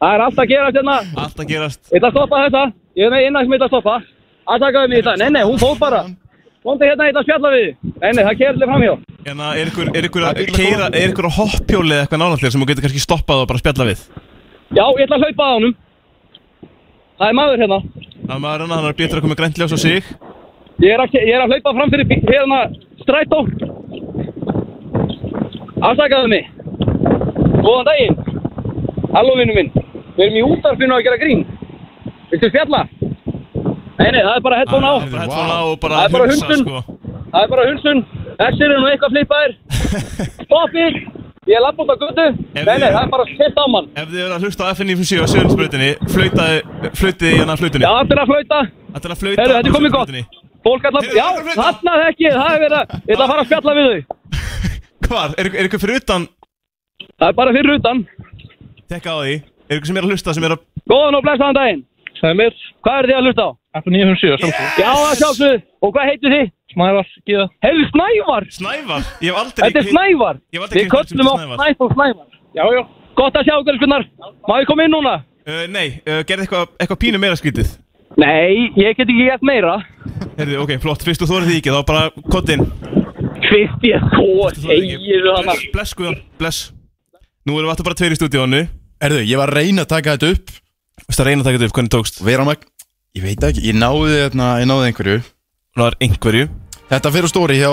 [SPEAKER 8] Það er allt að gera hérna.
[SPEAKER 4] Allt að gerast
[SPEAKER 8] Ég ætla að stoppa þessa. Ég er með innan sem ég ætla að stoppa. Aðtakaðu mig í þetta. Nei, nei, hún fór bara. Vondi hérna, ég ætla að spjalla við. þig. Nei, nei, það keira allir framhjá.
[SPEAKER 4] En að Hérna, er ykkur, er ykkur að keira, er ykkur að hoppjóli eða eitthvað nálægt þér sem þú getur kannski stoppað og bara spjalla við?
[SPEAKER 8] Já, ég ætla að hlaupa að honum. Það er maður hérna.
[SPEAKER 4] Það er maður hann, hann er betur að koma grænt ljós á sig
[SPEAKER 8] Ég er að, ég er að hlaupa fram fyrir bí- hérna strætó. Afsakaðu mig. Góðan daginn. Halló vinnu minn. Við erum í útarfinu að gera grín. Viltu spjalla? Nei, nei, það er bara headphone á.
[SPEAKER 4] Það er bara headphone á og bara
[SPEAKER 8] Það er bara
[SPEAKER 4] hugsa,
[SPEAKER 8] hundun.
[SPEAKER 4] sko.
[SPEAKER 8] Það er bara hundsun. Þessir eru nú eitthvað flippaðir. Stoppið. Ég er lapp út á götu.
[SPEAKER 4] Ef
[SPEAKER 8] Nei, nei,
[SPEAKER 4] þið-
[SPEAKER 8] það er bara sitt á mann.
[SPEAKER 4] Ef þið eru að hlusta á FN97 á Söðunsbröðinni Flautaði, flautiði hérna
[SPEAKER 8] Já,
[SPEAKER 4] flutunni
[SPEAKER 8] allir að flauta.
[SPEAKER 4] Þetta er að flauta
[SPEAKER 8] Herru, þetta er komið
[SPEAKER 4] á
[SPEAKER 8] gott.
[SPEAKER 4] Suðurbrautinni.
[SPEAKER 8] Fólk allar...
[SPEAKER 4] Heyrðu,
[SPEAKER 8] Já,
[SPEAKER 4] það er að flauta.
[SPEAKER 8] þarna þekki ég. Það er verið að... Ég ætla að fara að spjalla við þau.
[SPEAKER 4] Hvar? Er, er ykkur fyrir utan
[SPEAKER 8] Það er bara fyrir utan.
[SPEAKER 4] Tekka á því Er ykkur sem er að hlusta sem er að
[SPEAKER 8] Góðan og blessaðan daginn. Sæmir. Hvað er þið að hlusta á?
[SPEAKER 9] Eftir 957, sjálfsög.
[SPEAKER 8] Já, það sjálfsögðu. Og hvað heitir þið?
[SPEAKER 9] Snævar, Gíða.
[SPEAKER 8] Heyrðu Snævar.
[SPEAKER 4] Snævar? Ég hef aldrei
[SPEAKER 8] Þetta er Snævar.
[SPEAKER 4] Ég hef aldrei kynnst
[SPEAKER 8] Við
[SPEAKER 4] fyrir
[SPEAKER 8] köllum á
[SPEAKER 4] Snævar.
[SPEAKER 8] Snæþór Snævar.
[SPEAKER 9] Já, já.
[SPEAKER 8] Gott að sjá ykkur, Gunnar. Má ég koma inn núna?
[SPEAKER 4] Uh, nei, uh, gerði eitthvað eitthva pínu meira skrítið
[SPEAKER 8] Nei, ég get ekki gett meira.
[SPEAKER 4] Herðu, ok, flott, fyrst þú þórið því ekki, þá bara kottinn
[SPEAKER 8] Fyrst ég þó, segir þú hann.
[SPEAKER 4] Bless, Guðan, bless Nú erum við alltaf bara tveir í stúdíónu
[SPEAKER 1] Erðu, ég var að reyna að taka þetta upp
[SPEAKER 4] Vist að reyna að taka þetta upp, hvernig tókst?
[SPEAKER 1] og vera magn Ég veit það ekki, ég náði þarna, ég náði einhverju
[SPEAKER 4] Nú er einhverju
[SPEAKER 1] Þetta fyrir stóri hjá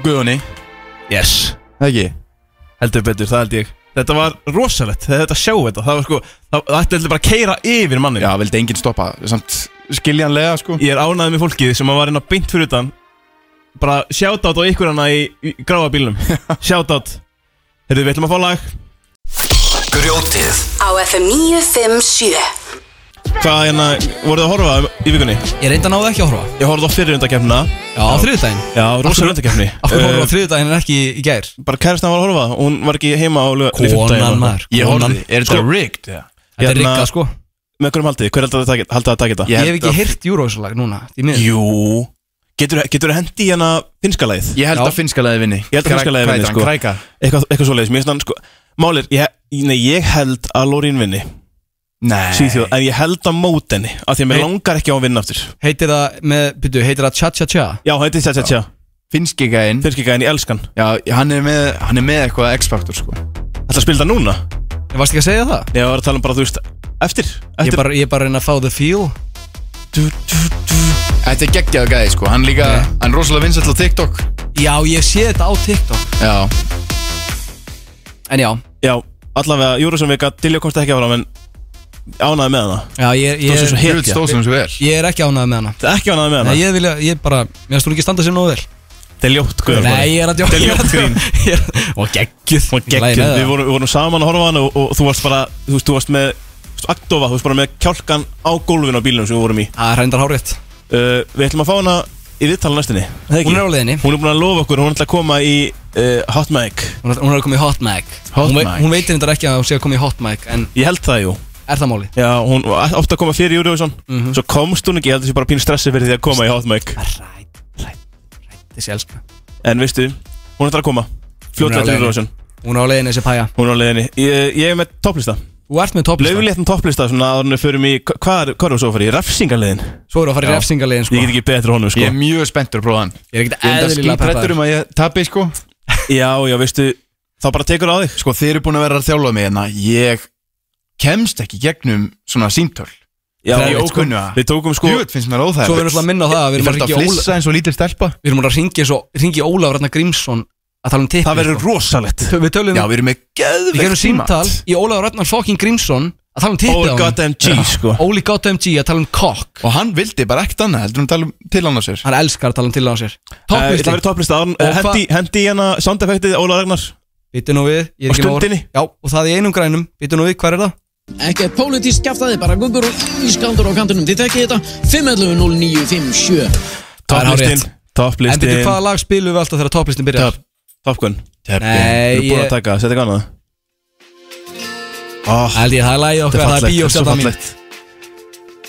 [SPEAKER 1] Guðunni,
[SPEAKER 4] Yes
[SPEAKER 1] það ekki?
[SPEAKER 4] Heldur betur, það held ég Þetta var rosalegt, þegar þetta sjá þetta Það var sko, það það ætti heldur bara að keira yfir manni
[SPEAKER 1] Já, vildi enginn stoppa, samt skiljanlega sko
[SPEAKER 4] Ég er ánæðið með fólkið sem að var inn á beint fyrir utan Bara sjátátt á ykkur hana í, í gráa bílnum Sjátátt Herðu, við ætlum að fá lag
[SPEAKER 5] Grjótið
[SPEAKER 2] Á FM 957
[SPEAKER 4] Hvað hérna, voruð þið að horfa í vikunni?
[SPEAKER 3] Ég reynda náði ekki að horfa
[SPEAKER 4] Ég horfði á fyrir undakefnina
[SPEAKER 3] Já, á þriðdægin
[SPEAKER 4] Já, rosalega undakefni
[SPEAKER 3] Af hverju
[SPEAKER 4] Eh,
[SPEAKER 3] horfum á þriðdægin en ekki í gær?
[SPEAKER 4] bara kærastan var að horfa og hún var ekki heima á lög
[SPEAKER 3] Konan maður
[SPEAKER 1] Ég
[SPEAKER 3] konan. Sko,
[SPEAKER 1] horfði, er þetta rigged? eða?
[SPEAKER 3] Þetta er
[SPEAKER 4] Hérna-
[SPEAKER 3] riggað sko
[SPEAKER 4] með hverjum haldið, hver haldið að taka þetta?
[SPEAKER 3] Ég
[SPEAKER 1] held
[SPEAKER 3] hef ekki
[SPEAKER 1] að-
[SPEAKER 3] heyrt Eurovision lag núna því miður.
[SPEAKER 4] Jú, Getur, getur hendi í hana finnska lagið?
[SPEAKER 1] Ég held
[SPEAKER 3] Já.
[SPEAKER 1] að finnska leiði vinni
[SPEAKER 4] Ég held að finnska lagið vinni, sko.
[SPEAKER 1] Kræka
[SPEAKER 4] Eitthvað, eitthvað svoleiðis, mér finnst hann sko Málir, ég, nei, ég held að Lorín vinni
[SPEAKER 1] Nei
[SPEAKER 4] Svíþjóð, en ég held að mót henni Af því að mér
[SPEAKER 3] Nei.
[SPEAKER 4] langar ekki á að vinna aftur
[SPEAKER 3] Heitir það, með, byrju, heitir það Cha-Cha-Cha
[SPEAKER 4] Já, þetta er tja, tja, tja,
[SPEAKER 1] Finnski gæinn
[SPEAKER 4] fyrst ekki en ég elskan
[SPEAKER 1] Já, hann er með, hann er með eitthvað X-faktor sko
[SPEAKER 4] Ætla að spila það núna?
[SPEAKER 3] Varst ekki að segja það?
[SPEAKER 4] Nei, ég var að tala um bara, þú veist, eftir
[SPEAKER 3] Ég
[SPEAKER 4] Eftir,
[SPEAKER 3] bara, ég bara reyna að fá the feel
[SPEAKER 1] Þetta er geggjaðu gæði sko Hann líka,
[SPEAKER 3] Nei.
[SPEAKER 1] hann er rosalega vinsall á TikTok
[SPEAKER 3] Já, ég sé þetta á TikTok
[SPEAKER 1] Já
[SPEAKER 3] En já,
[SPEAKER 4] já, allavega, Júrusson vika, Dilljó komst ekki áfram En ánæði með hana
[SPEAKER 3] já, ég,
[SPEAKER 4] Þú sem svo
[SPEAKER 3] ég,
[SPEAKER 4] hetja.
[SPEAKER 1] Hjörð stóð sem svo vel
[SPEAKER 3] ég er ekki ánægð með hana
[SPEAKER 4] Það er ekki ánæði með
[SPEAKER 3] Nei,
[SPEAKER 4] hana
[SPEAKER 3] ég vilja, ég bara, mér finnst hún ekki standa sér nógu vel
[SPEAKER 4] Þetta er ljótt, guður
[SPEAKER 3] Nei, ég er að djóka
[SPEAKER 4] Þetta er ljótt grín
[SPEAKER 3] grín Og geggjuð
[SPEAKER 4] Og
[SPEAKER 3] Ég lagi
[SPEAKER 4] geggjum, við
[SPEAKER 3] með það.
[SPEAKER 4] vorum, við vorum saman að horfa á hana og, og þú varst bara, þú veist, þú varst með þú veist, Agdofa, þú veist bara með kjálkan á gólfinu á bílunum sem við vorum í
[SPEAKER 3] Það er hrændar hárétt
[SPEAKER 4] uh, Við ætlum að fá hana í viðtala næstinni Það ekki?
[SPEAKER 3] Hún er á leiðinni
[SPEAKER 4] Hún er búin að lofa okkur, hún ætla að koma í uh, Hot Mic
[SPEAKER 3] Hún er, hún er komið í hot mag
[SPEAKER 1] Hot
[SPEAKER 3] Hún, vei-
[SPEAKER 1] mic.
[SPEAKER 3] hún veitir þetta ekki að hún sé að komið í hot mag En
[SPEAKER 4] Ég held það jú
[SPEAKER 3] er það máli?
[SPEAKER 4] Já, hún var ofta að koma fyrir Eurovision Svo komst hún ekki, ég held þessi bara pínu stressi fyrir því að koma í Hot Mic
[SPEAKER 3] Rætt, rætt, rætt Þessi elska
[SPEAKER 4] En veistu, hún ætlar að koma
[SPEAKER 3] Hún er á
[SPEAKER 4] Fljótlega til
[SPEAKER 3] leiðinni.
[SPEAKER 4] Eurovision
[SPEAKER 3] Hún er á leiðinni þessi pæja
[SPEAKER 4] Hún er á leiðinni Ég, ég er með topplista
[SPEAKER 3] Þú ert með topplista
[SPEAKER 4] Lauguléttan topplista svona að hún förum í hva- Hvað er, hvað er hún svo fyrir? Refsingarleiðin
[SPEAKER 3] Svo eru að fara í
[SPEAKER 1] Já.
[SPEAKER 3] refsingarlegin sko
[SPEAKER 4] Ég get ekki betur honum sko
[SPEAKER 1] Ég er mjög spenntur að prófa hann
[SPEAKER 3] Ég er ekkert
[SPEAKER 1] Ég er enda
[SPEAKER 3] eðlilega
[SPEAKER 1] skítrættur
[SPEAKER 3] peppaður
[SPEAKER 1] um að ég tapi sko
[SPEAKER 4] Já, já, veistu Þá bara tekur á þig
[SPEAKER 1] Sko þeir eru búin að vera að þjálfa mig hérna Ég kemst ekki gegnum svona síntöl
[SPEAKER 4] Já,
[SPEAKER 1] Það er
[SPEAKER 4] við-
[SPEAKER 1] ókunnu að-
[SPEAKER 4] Við tókum sko
[SPEAKER 1] Júið finnst mér óþægilegt
[SPEAKER 3] Svo erum við alltaf að minna á það að Við
[SPEAKER 1] Ég fyrir að
[SPEAKER 3] erum að ringi Óla
[SPEAKER 1] flissa eins og lítil stelpa
[SPEAKER 3] Við erum að ringi eins og Ringi Ólaf Ragnar Grímsson Að tala um tippi
[SPEAKER 4] Það verður rosalegt
[SPEAKER 3] Við tölum
[SPEAKER 1] Já, við erum með
[SPEAKER 3] Við gerum
[SPEAKER 1] geðveikt
[SPEAKER 3] símtal Í Ólaf Ragnar fucking Grímsson Að tala um tippi
[SPEAKER 4] Over goddamn G sko
[SPEAKER 3] Óli gott MG Að tala um kokk
[SPEAKER 1] Og hann vildi bara ekkert annað heldur en tala um til hann á sér
[SPEAKER 3] Hann elskar að tala um til á sér
[SPEAKER 4] Eh, Það verður topplista
[SPEAKER 3] Topplisti
[SPEAKER 4] Aron, eh,
[SPEAKER 3] Og hva-
[SPEAKER 4] Hendi hendi í hana soundeffektið Óla Ragnar
[SPEAKER 3] Býtu nú við
[SPEAKER 4] Og
[SPEAKER 3] Ég er ekki með orð.
[SPEAKER 4] stundinni
[SPEAKER 3] Já, og það í einum grænum Býtu nú við, hver er það?
[SPEAKER 10] Ekki að pólitísk kjaftaði, bara guggur og ískandur á kantunum. Þið tekkið þetta 511-0957.
[SPEAKER 3] Það er
[SPEAKER 4] Topplistin
[SPEAKER 3] hárrétt. En
[SPEAKER 4] Topplistin
[SPEAKER 3] býtu hvaða lag spilum við alltaf þegar topplistin byrjar?
[SPEAKER 4] Top Top Gun
[SPEAKER 3] Nei,
[SPEAKER 4] Við erum búin
[SPEAKER 3] ég-
[SPEAKER 4] að taka Sett eitthvað annað Ah,
[SPEAKER 1] oh,
[SPEAKER 3] Held ég, það er lagið okkar, það er bíóstjarnan mín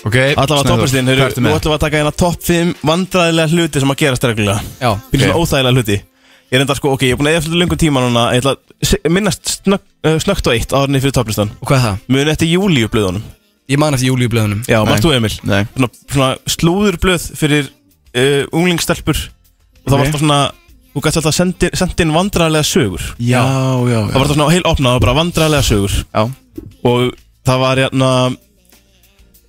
[SPEAKER 1] Ok,
[SPEAKER 4] Alla var topplistin Nú
[SPEAKER 1] Hvertu með?
[SPEAKER 4] ætlum við að taka hérna topp 5 vandræðilega hluti sem að gerast reglulega
[SPEAKER 3] Já,
[SPEAKER 4] Fyrir svona
[SPEAKER 1] Ok.
[SPEAKER 4] óþægilega hluti Ég reyndar sko, ok, ég er búin að eða fyrir lengur tíma núna Ég ætla að se- minnast snögg- eh, snöggt á eitt árinni fyrir topplistan
[SPEAKER 3] og hvað er það?
[SPEAKER 4] Muni eftir júliublöðunum
[SPEAKER 3] Ég man eftir júliublöðunum
[SPEAKER 4] Já,
[SPEAKER 1] Nei.
[SPEAKER 4] margt þú Emil
[SPEAKER 1] Nei,
[SPEAKER 4] Svona, svona slúðurblöð fyrir uh, unglingstelpur Og
[SPEAKER 1] Ok.
[SPEAKER 4] það var alltaf svona Þú gæti alltaf sendi, sendi inn vandræðilega sögur
[SPEAKER 1] já, já,
[SPEAKER 4] Það
[SPEAKER 1] já.
[SPEAKER 4] var alltaf svona heil opnað og bara vandræðilega sögur
[SPEAKER 1] já.
[SPEAKER 4] og það var hérna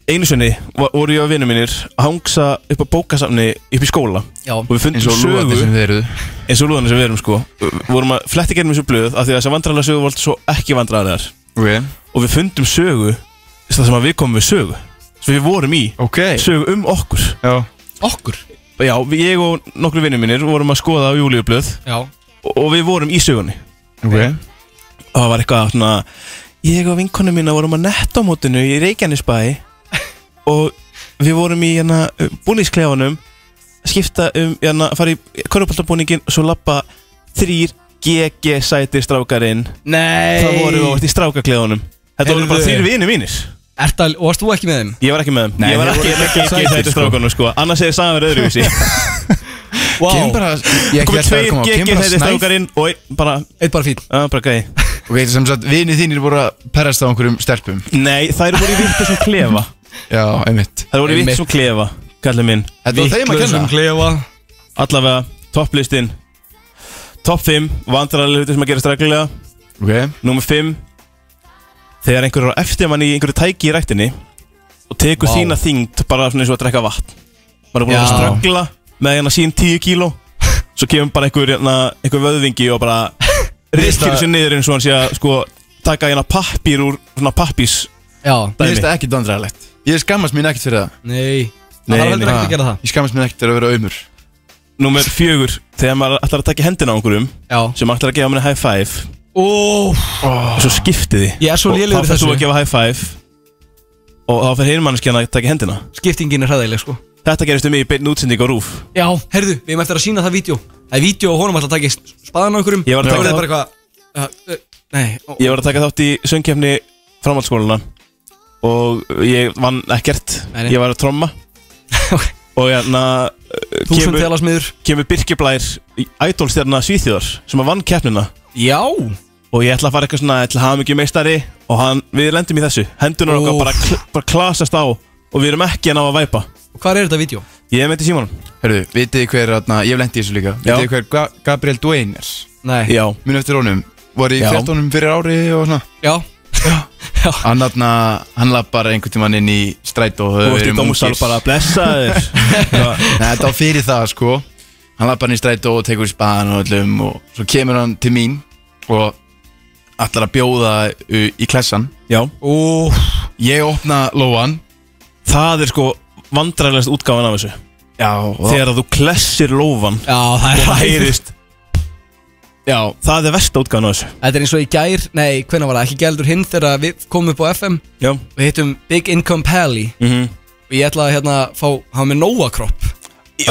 [SPEAKER 4] einu sinni va- voru ég og vinnu mínir að hangsa upp á bókasafni upp í skóla
[SPEAKER 3] Já,
[SPEAKER 4] og
[SPEAKER 1] Eins
[SPEAKER 4] við fundum
[SPEAKER 1] og lúðandi sem
[SPEAKER 4] sögu
[SPEAKER 1] þið eruð
[SPEAKER 4] eins og lúðanir sem við erum sko við vorum að fletti gerum þessu blöð af því að þessar vandræðarlega sögu voru svo ekki vandræðarlegar
[SPEAKER 1] Ok,
[SPEAKER 4] og við fundum sögu það sem að við komum við sögu sem við vorum í
[SPEAKER 1] ok
[SPEAKER 4] sögu um okkur
[SPEAKER 1] Já,
[SPEAKER 3] okkur
[SPEAKER 4] já, við- ég og nokkru vinnu mínir vorum að skoða á júliublöð
[SPEAKER 3] Já,
[SPEAKER 4] og og við vorum í sögunni
[SPEAKER 1] ok
[SPEAKER 4] og það var eitthvað svona ég og vinkonu mína vorum á nettómótinu í Reykjanesbæ og við vorum í hérna búningsklefanum skipta um hérna fara í körfuboltabúningin og svo lappa þrýr GG sæti strákarinn
[SPEAKER 3] nei
[SPEAKER 4] það voru við átt í strákaklefanum þetta voru bara
[SPEAKER 3] Heyrðu.
[SPEAKER 4] þrýr vinir mínir
[SPEAKER 3] Ertal, og varst þú ekki með þeim?
[SPEAKER 4] ég var ekki með þeim
[SPEAKER 1] Nei,
[SPEAKER 4] ég var
[SPEAKER 1] þeir
[SPEAKER 4] ekki
[SPEAKER 1] voru
[SPEAKER 4] með GG
[SPEAKER 1] sætir,
[SPEAKER 4] sæti
[SPEAKER 1] sko.
[SPEAKER 4] strákarinn sko annars hefði sagan verið öðruvísi
[SPEAKER 3] Vá,
[SPEAKER 1] Kem bara, ég held
[SPEAKER 4] komið
[SPEAKER 1] að það
[SPEAKER 4] tveir
[SPEAKER 1] koma
[SPEAKER 4] GG
[SPEAKER 1] Kem bara
[SPEAKER 4] sæti
[SPEAKER 1] snæð
[SPEAKER 4] strákarinn og einn bara
[SPEAKER 3] eitt Ah, bara fín
[SPEAKER 4] að, bara gæði
[SPEAKER 1] Ok, sem sagt, vinið þínir voru að perrast á einhverjum stelpum
[SPEAKER 4] nei þær voru í vittu sem klefa
[SPEAKER 1] Já, einmitt
[SPEAKER 4] þær voru í
[SPEAKER 3] Einmitt.
[SPEAKER 4] vittu sem klefa kallið minn
[SPEAKER 1] Þetta var þeim að kenna
[SPEAKER 3] klefa
[SPEAKER 4] allavega topplistin topp 5 vandrarlega hluti sem að gerast reglulega
[SPEAKER 1] Ok,
[SPEAKER 4] nummer 5 þegar einhver er á eftir manni í einhverju tæki í rættinni og tekur
[SPEAKER 3] Vá.
[SPEAKER 4] þína þyngd bara svona eins og að drekka vatn bara búin að
[SPEAKER 3] Já.
[SPEAKER 4] straggla með hérna sín 10 kíló svo kemur bara einhver, hérna, einhver vöðvingi og bara riskir sér niður eins og hann sé að sko taka hérna pappír úr svona pappís
[SPEAKER 3] Já,
[SPEAKER 1] ég
[SPEAKER 4] Dæmi.
[SPEAKER 1] veist það ekki dandræðalegt Ég skammast mín ekkert fyrir það
[SPEAKER 3] nei Það
[SPEAKER 4] Nei,
[SPEAKER 3] var heldur
[SPEAKER 4] nei.
[SPEAKER 3] ekki að gera það
[SPEAKER 1] Ég skammast mín ekkert fyrir að vera auðmur
[SPEAKER 4] nummer 4 þegar maður ætlar að taka hendina á einhverjum
[SPEAKER 3] Já
[SPEAKER 4] sem ætlar að gefa manni high five
[SPEAKER 3] Ó,
[SPEAKER 4] og svo skiptið því
[SPEAKER 3] Ég er svo lélegur
[SPEAKER 4] Og
[SPEAKER 3] í
[SPEAKER 4] þá fyrir þú
[SPEAKER 3] þessu.
[SPEAKER 4] að gefa high five Og þá fyrir hinmannskjana að taka í hendina
[SPEAKER 3] skiptingin er hræðileg sko
[SPEAKER 4] Þetta gerist um mig í beinni útsending á rúf
[SPEAKER 3] Já, herðu, við erum eftir að sína það vídeo Það er vídeo og honum alltaf að taka spaðan á einhverjum
[SPEAKER 4] Ég var að
[SPEAKER 3] Þá
[SPEAKER 4] taka
[SPEAKER 3] er
[SPEAKER 4] það.
[SPEAKER 3] bara eitthvað uh, uh, Nei, ó,
[SPEAKER 4] Ég var að taka þátt í söngkefni framhaldsskólana Og ég vann ekkert
[SPEAKER 3] Nei, nei.
[SPEAKER 4] Ég var að tromma
[SPEAKER 3] Ok.
[SPEAKER 4] Og hérna
[SPEAKER 3] Þúsund félagsmiður
[SPEAKER 4] Kemur Birkiblær Ædólstjarna Svíþjóðar sem að vann keppnina
[SPEAKER 3] Já
[SPEAKER 4] Og ég ætla að fara eitthvað svona Ég ætla að hafa mikið meistari Og hann, við lendum í þessu Hendunar okkar
[SPEAKER 3] Úff.
[SPEAKER 4] bara, kl- bara klasast á Og við erum ekki að ná að væpa
[SPEAKER 3] Hvað er þetta vídeo?
[SPEAKER 4] Ég meinti Simon
[SPEAKER 1] Herðu, vitið þið hver, atna, ég hef lendið í þessu líka Vitið þið hver Ga Gabriel Duane er?
[SPEAKER 3] Nei
[SPEAKER 4] Já
[SPEAKER 1] Minn eftir honum Var í
[SPEAKER 4] Já.
[SPEAKER 1] fjartónum fyrir ári og svona
[SPEAKER 3] Já
[SPEAKER 1] Hann, atna, hann lappar einhvern tímann inn í strætó og þau
[SPEAKER 4] Þú ert í
[SPEAKER 1] verið
[SPEAKER 4] dómsal
[SPEAKER 1] ungir.
[SPEAKER 4] bara að blessa þér
[SPEAKER 1] Nei, þetta var fyrir það sko Hann lappar hann í strætó og tekur í spaðan og öllum og svo kemur hann til mín og allar að bjóða uh, í klessan
[SPEAKER 4] Já
[SPEAKER 3] Ó
[SPEAKER 1] Ég opna lóan
[SPEAKER 4] Það er sko vandræðilegast útgáfan af þessu
[SPEAKER 1] Já, og
[SPEAKER 4] Þegar að þú klessir lófan
[SPEAKER 3] Já, það
[SPEAKER 4] Og
[SPEAKER 3] er
[SPEAKER 4] það
[SPEAKER 3] hæður
[SPEAKER 4] heyrist Já, það er versta útgáfan af þessu
[SPEAKER 3] Þetta er eins og í gær, nei, hvenær var það, ekki gældur hinn þegar við komum upp á FM
[SPEAKER 4] Já
[SPEAKER 3] og hittum Big Income Pally
[SPEAKER 4] mm
[SPEAKER 3] og ég ætlaði að hérna fá, hafa með Nóakropp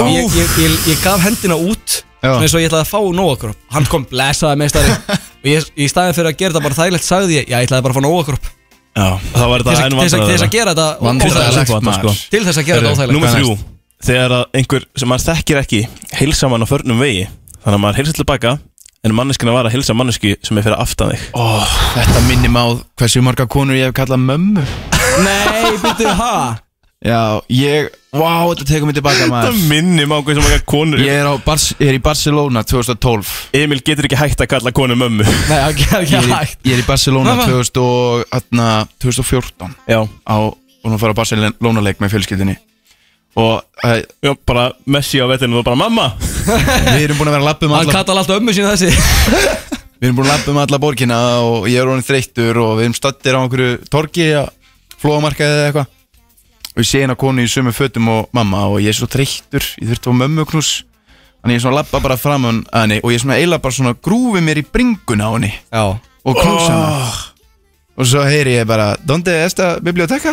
[SPEAKER 3] og ég, ég, ég, ég gaf hendina út
[SPEAKER 1] Já.
[SPEAKER 3] svona eins og ég ætlaði að fá Nóakropp hann kom blessaði meistari og ég, í staðin fyrir að gera þetta bara þægilegt sagði ég, já, ég ætlaði bara að fá Nóakropp til
[SPEAKER 4] Já, það var þetta
[SPEAKER 3] þess
[SPEAKER 4] enn
[SPEAKER 3] að- til þess að- til þess
[SPEAKER 4] vandræðilega
[SPEAKER 3] að gera þetta
[SPEAKER 1] Vandræðalegt
[SPEAKER 3] óþægilegt.
[SPEAKER 1] maður
[SPEAKER 4] sko.
[SPEAKER 3] til þess að gera þetta
[SPEAKER 1] Herru,
[SPEAKER 3] óþægilegt
[SPEAKER 4] Númer
[SPEAKER 1] Hvað
[SPEAKER 4] þrjú Þegar að einhver sem maður þekkir ekki Heilsa mann á förnum vegi Þannig að maður heilsa til baka En manneskina var að heilsa manneski sem er fyrir aftan þig
[SPEAKER 1] Ó, þetta minnir mig á hversu marga konur ég hef kallað mömmu
[SPEAKER 3] nei, byrju, ha?
[SPEAKER 1] Já, ég, vá, þetta tekur mig tilbaka maður
[SPEAKER 4] Þetta minnum á hversu maka konur
[SPEAKER 1] Ég er, á Bars, ég er í Barcelona 2012
[SPEAKER 4] Emil getur ekki hægt að kalla konu mömmu
[SPEAKER 3] nei, ekki,
[SPEAKER 1] Ég
[SPEAKER 3] ekki
[SPEAKER 1] er,
[SPEAKER 3] hægt
[SPEAKER 1] í- ég er í Barcelona
[SPEAKER 3] Mamma.
[SPEAKER 1] 2000 og, atna, 2014
[SPEAKER 4] Já
[SPEAKER 1] á, og nú fara á Barcelona leik með fjölskyldinni og uh,
[SPEAKER 4] Já, bara Messi á vettinu og bara mamma
[SPEAKER 1] við erum búin að vera að labba um
[SPEAKER 3] hann
[SPEAKER 1] alla,
[SPEAKER 3] kallar alltaf ömmu sína þessi
[SPEAKER 1] við erum búin að labba um alla borgina og ég er orðin þreyttur og við erum stattir á einhverju torgi að flóamarkaði eða eitthvað og ég sé hérna konu í sömu fötum og mamma og ég er svo þreyttur, ég þurfti á mömmu knús þannig ég er svona að labba bara fram um- að henni og ég er svona eila bara svona grúfi mér í bringuna á henni
[SPEAKER 3] já,
[SPEAKER 1] og knúsa hana og svo heyri ég bara Donde esta biblioteka?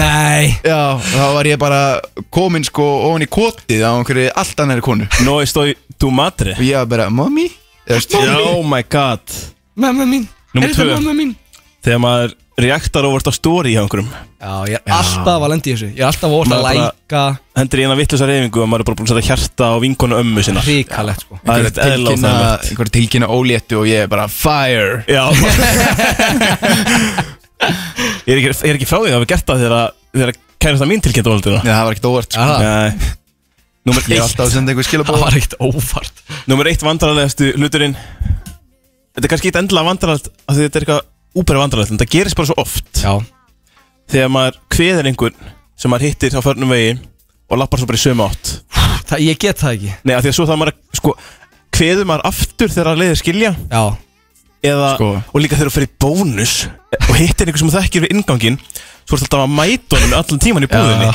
[SPEAKER 3] nei
[SPEAKER 1] Já, þá var ég bara komin sko ofan í kotið á einhverju allt annari konu
[SPEAKER 4] No estoy tu madre
[SPEAKER 1] og ég var bara, mommy?
[SPEAKER 4] Já, oh my god
[SPEAKER 3] mamma mín,
[SPEAKER 4] Númer
[SPEAKER 3] er þetta
[SPEAKER 4] tvö.
[SPEAKER 3] mamma mín
[SPEAKER 4] Þegar maður reaktar og vart á story hjá einhverjum
[SPEAKER 3] já, ég er alltaf að lendi þessu ég er alltaf að orða
[SPEAKER 4] Maður
[SPEAKER 3] að
[SPEAKER 4] bara-
[SPEAKER 3] læka
[SPEAKER 4] Hendur í eina vitlusa reyfingu og maður er bara búin að setja hjarta á vinkonu ömmu sinna
[SPEAKER 3] hríkalegt sko
[SPEAKER 4] Það er eitthvað eðla á
[SPEAKER 1] tilkynna, einhverju tilkynna óléttu og ég er bara fire
[SPEAKER 4] Já Ég er ekki, ég er ekki frá því að hafa gert það þegar, þegar kærasta mín tilkynnt óhaldina
[SPEAKER 1] Nei, það var ekkert óvart sko.
[SPEAKER 3] Já,
[SPEAKER 4] Nei Númer
[SPEAKER 1] Ég er
[SPEAKER 4] eitt,
[SPEAKER 1] alltaf að senda einhver
[SPEAKER 3] það
[SPEAKER 1] skilabóð
[SPEAKER 3] var eitt óvart
[SPEAKER 4] númer eitt vandrarlegastu hluturinn Þetta er kannski eitt endilega vandrarlegt af því þetta er eitthvað úper vandrarlegt en það gerist bara svo oft
[SPEAKER 3] já,
[SPEAKER 4] þegar maður kveður einhvern sem maður hittir á förnum vegi og lappar svo bara í sömu átt
[SPEAKER 3] það, ég get það ekki
[SPEAKER 4] Nei, af því að svo það maður að, sko kveður maður aftur þegar að leiðir skilja
[SPEAKER 3] já,
[SPEAKER 4] eða,
[SPEAKER 1] Sko.
[SPEAKER 4] og líka þegar þú fyrir bónus og hittir einhver sem þú þekkir við ingangin svo ertu alltaf að mæta honum allan tíman í búðinni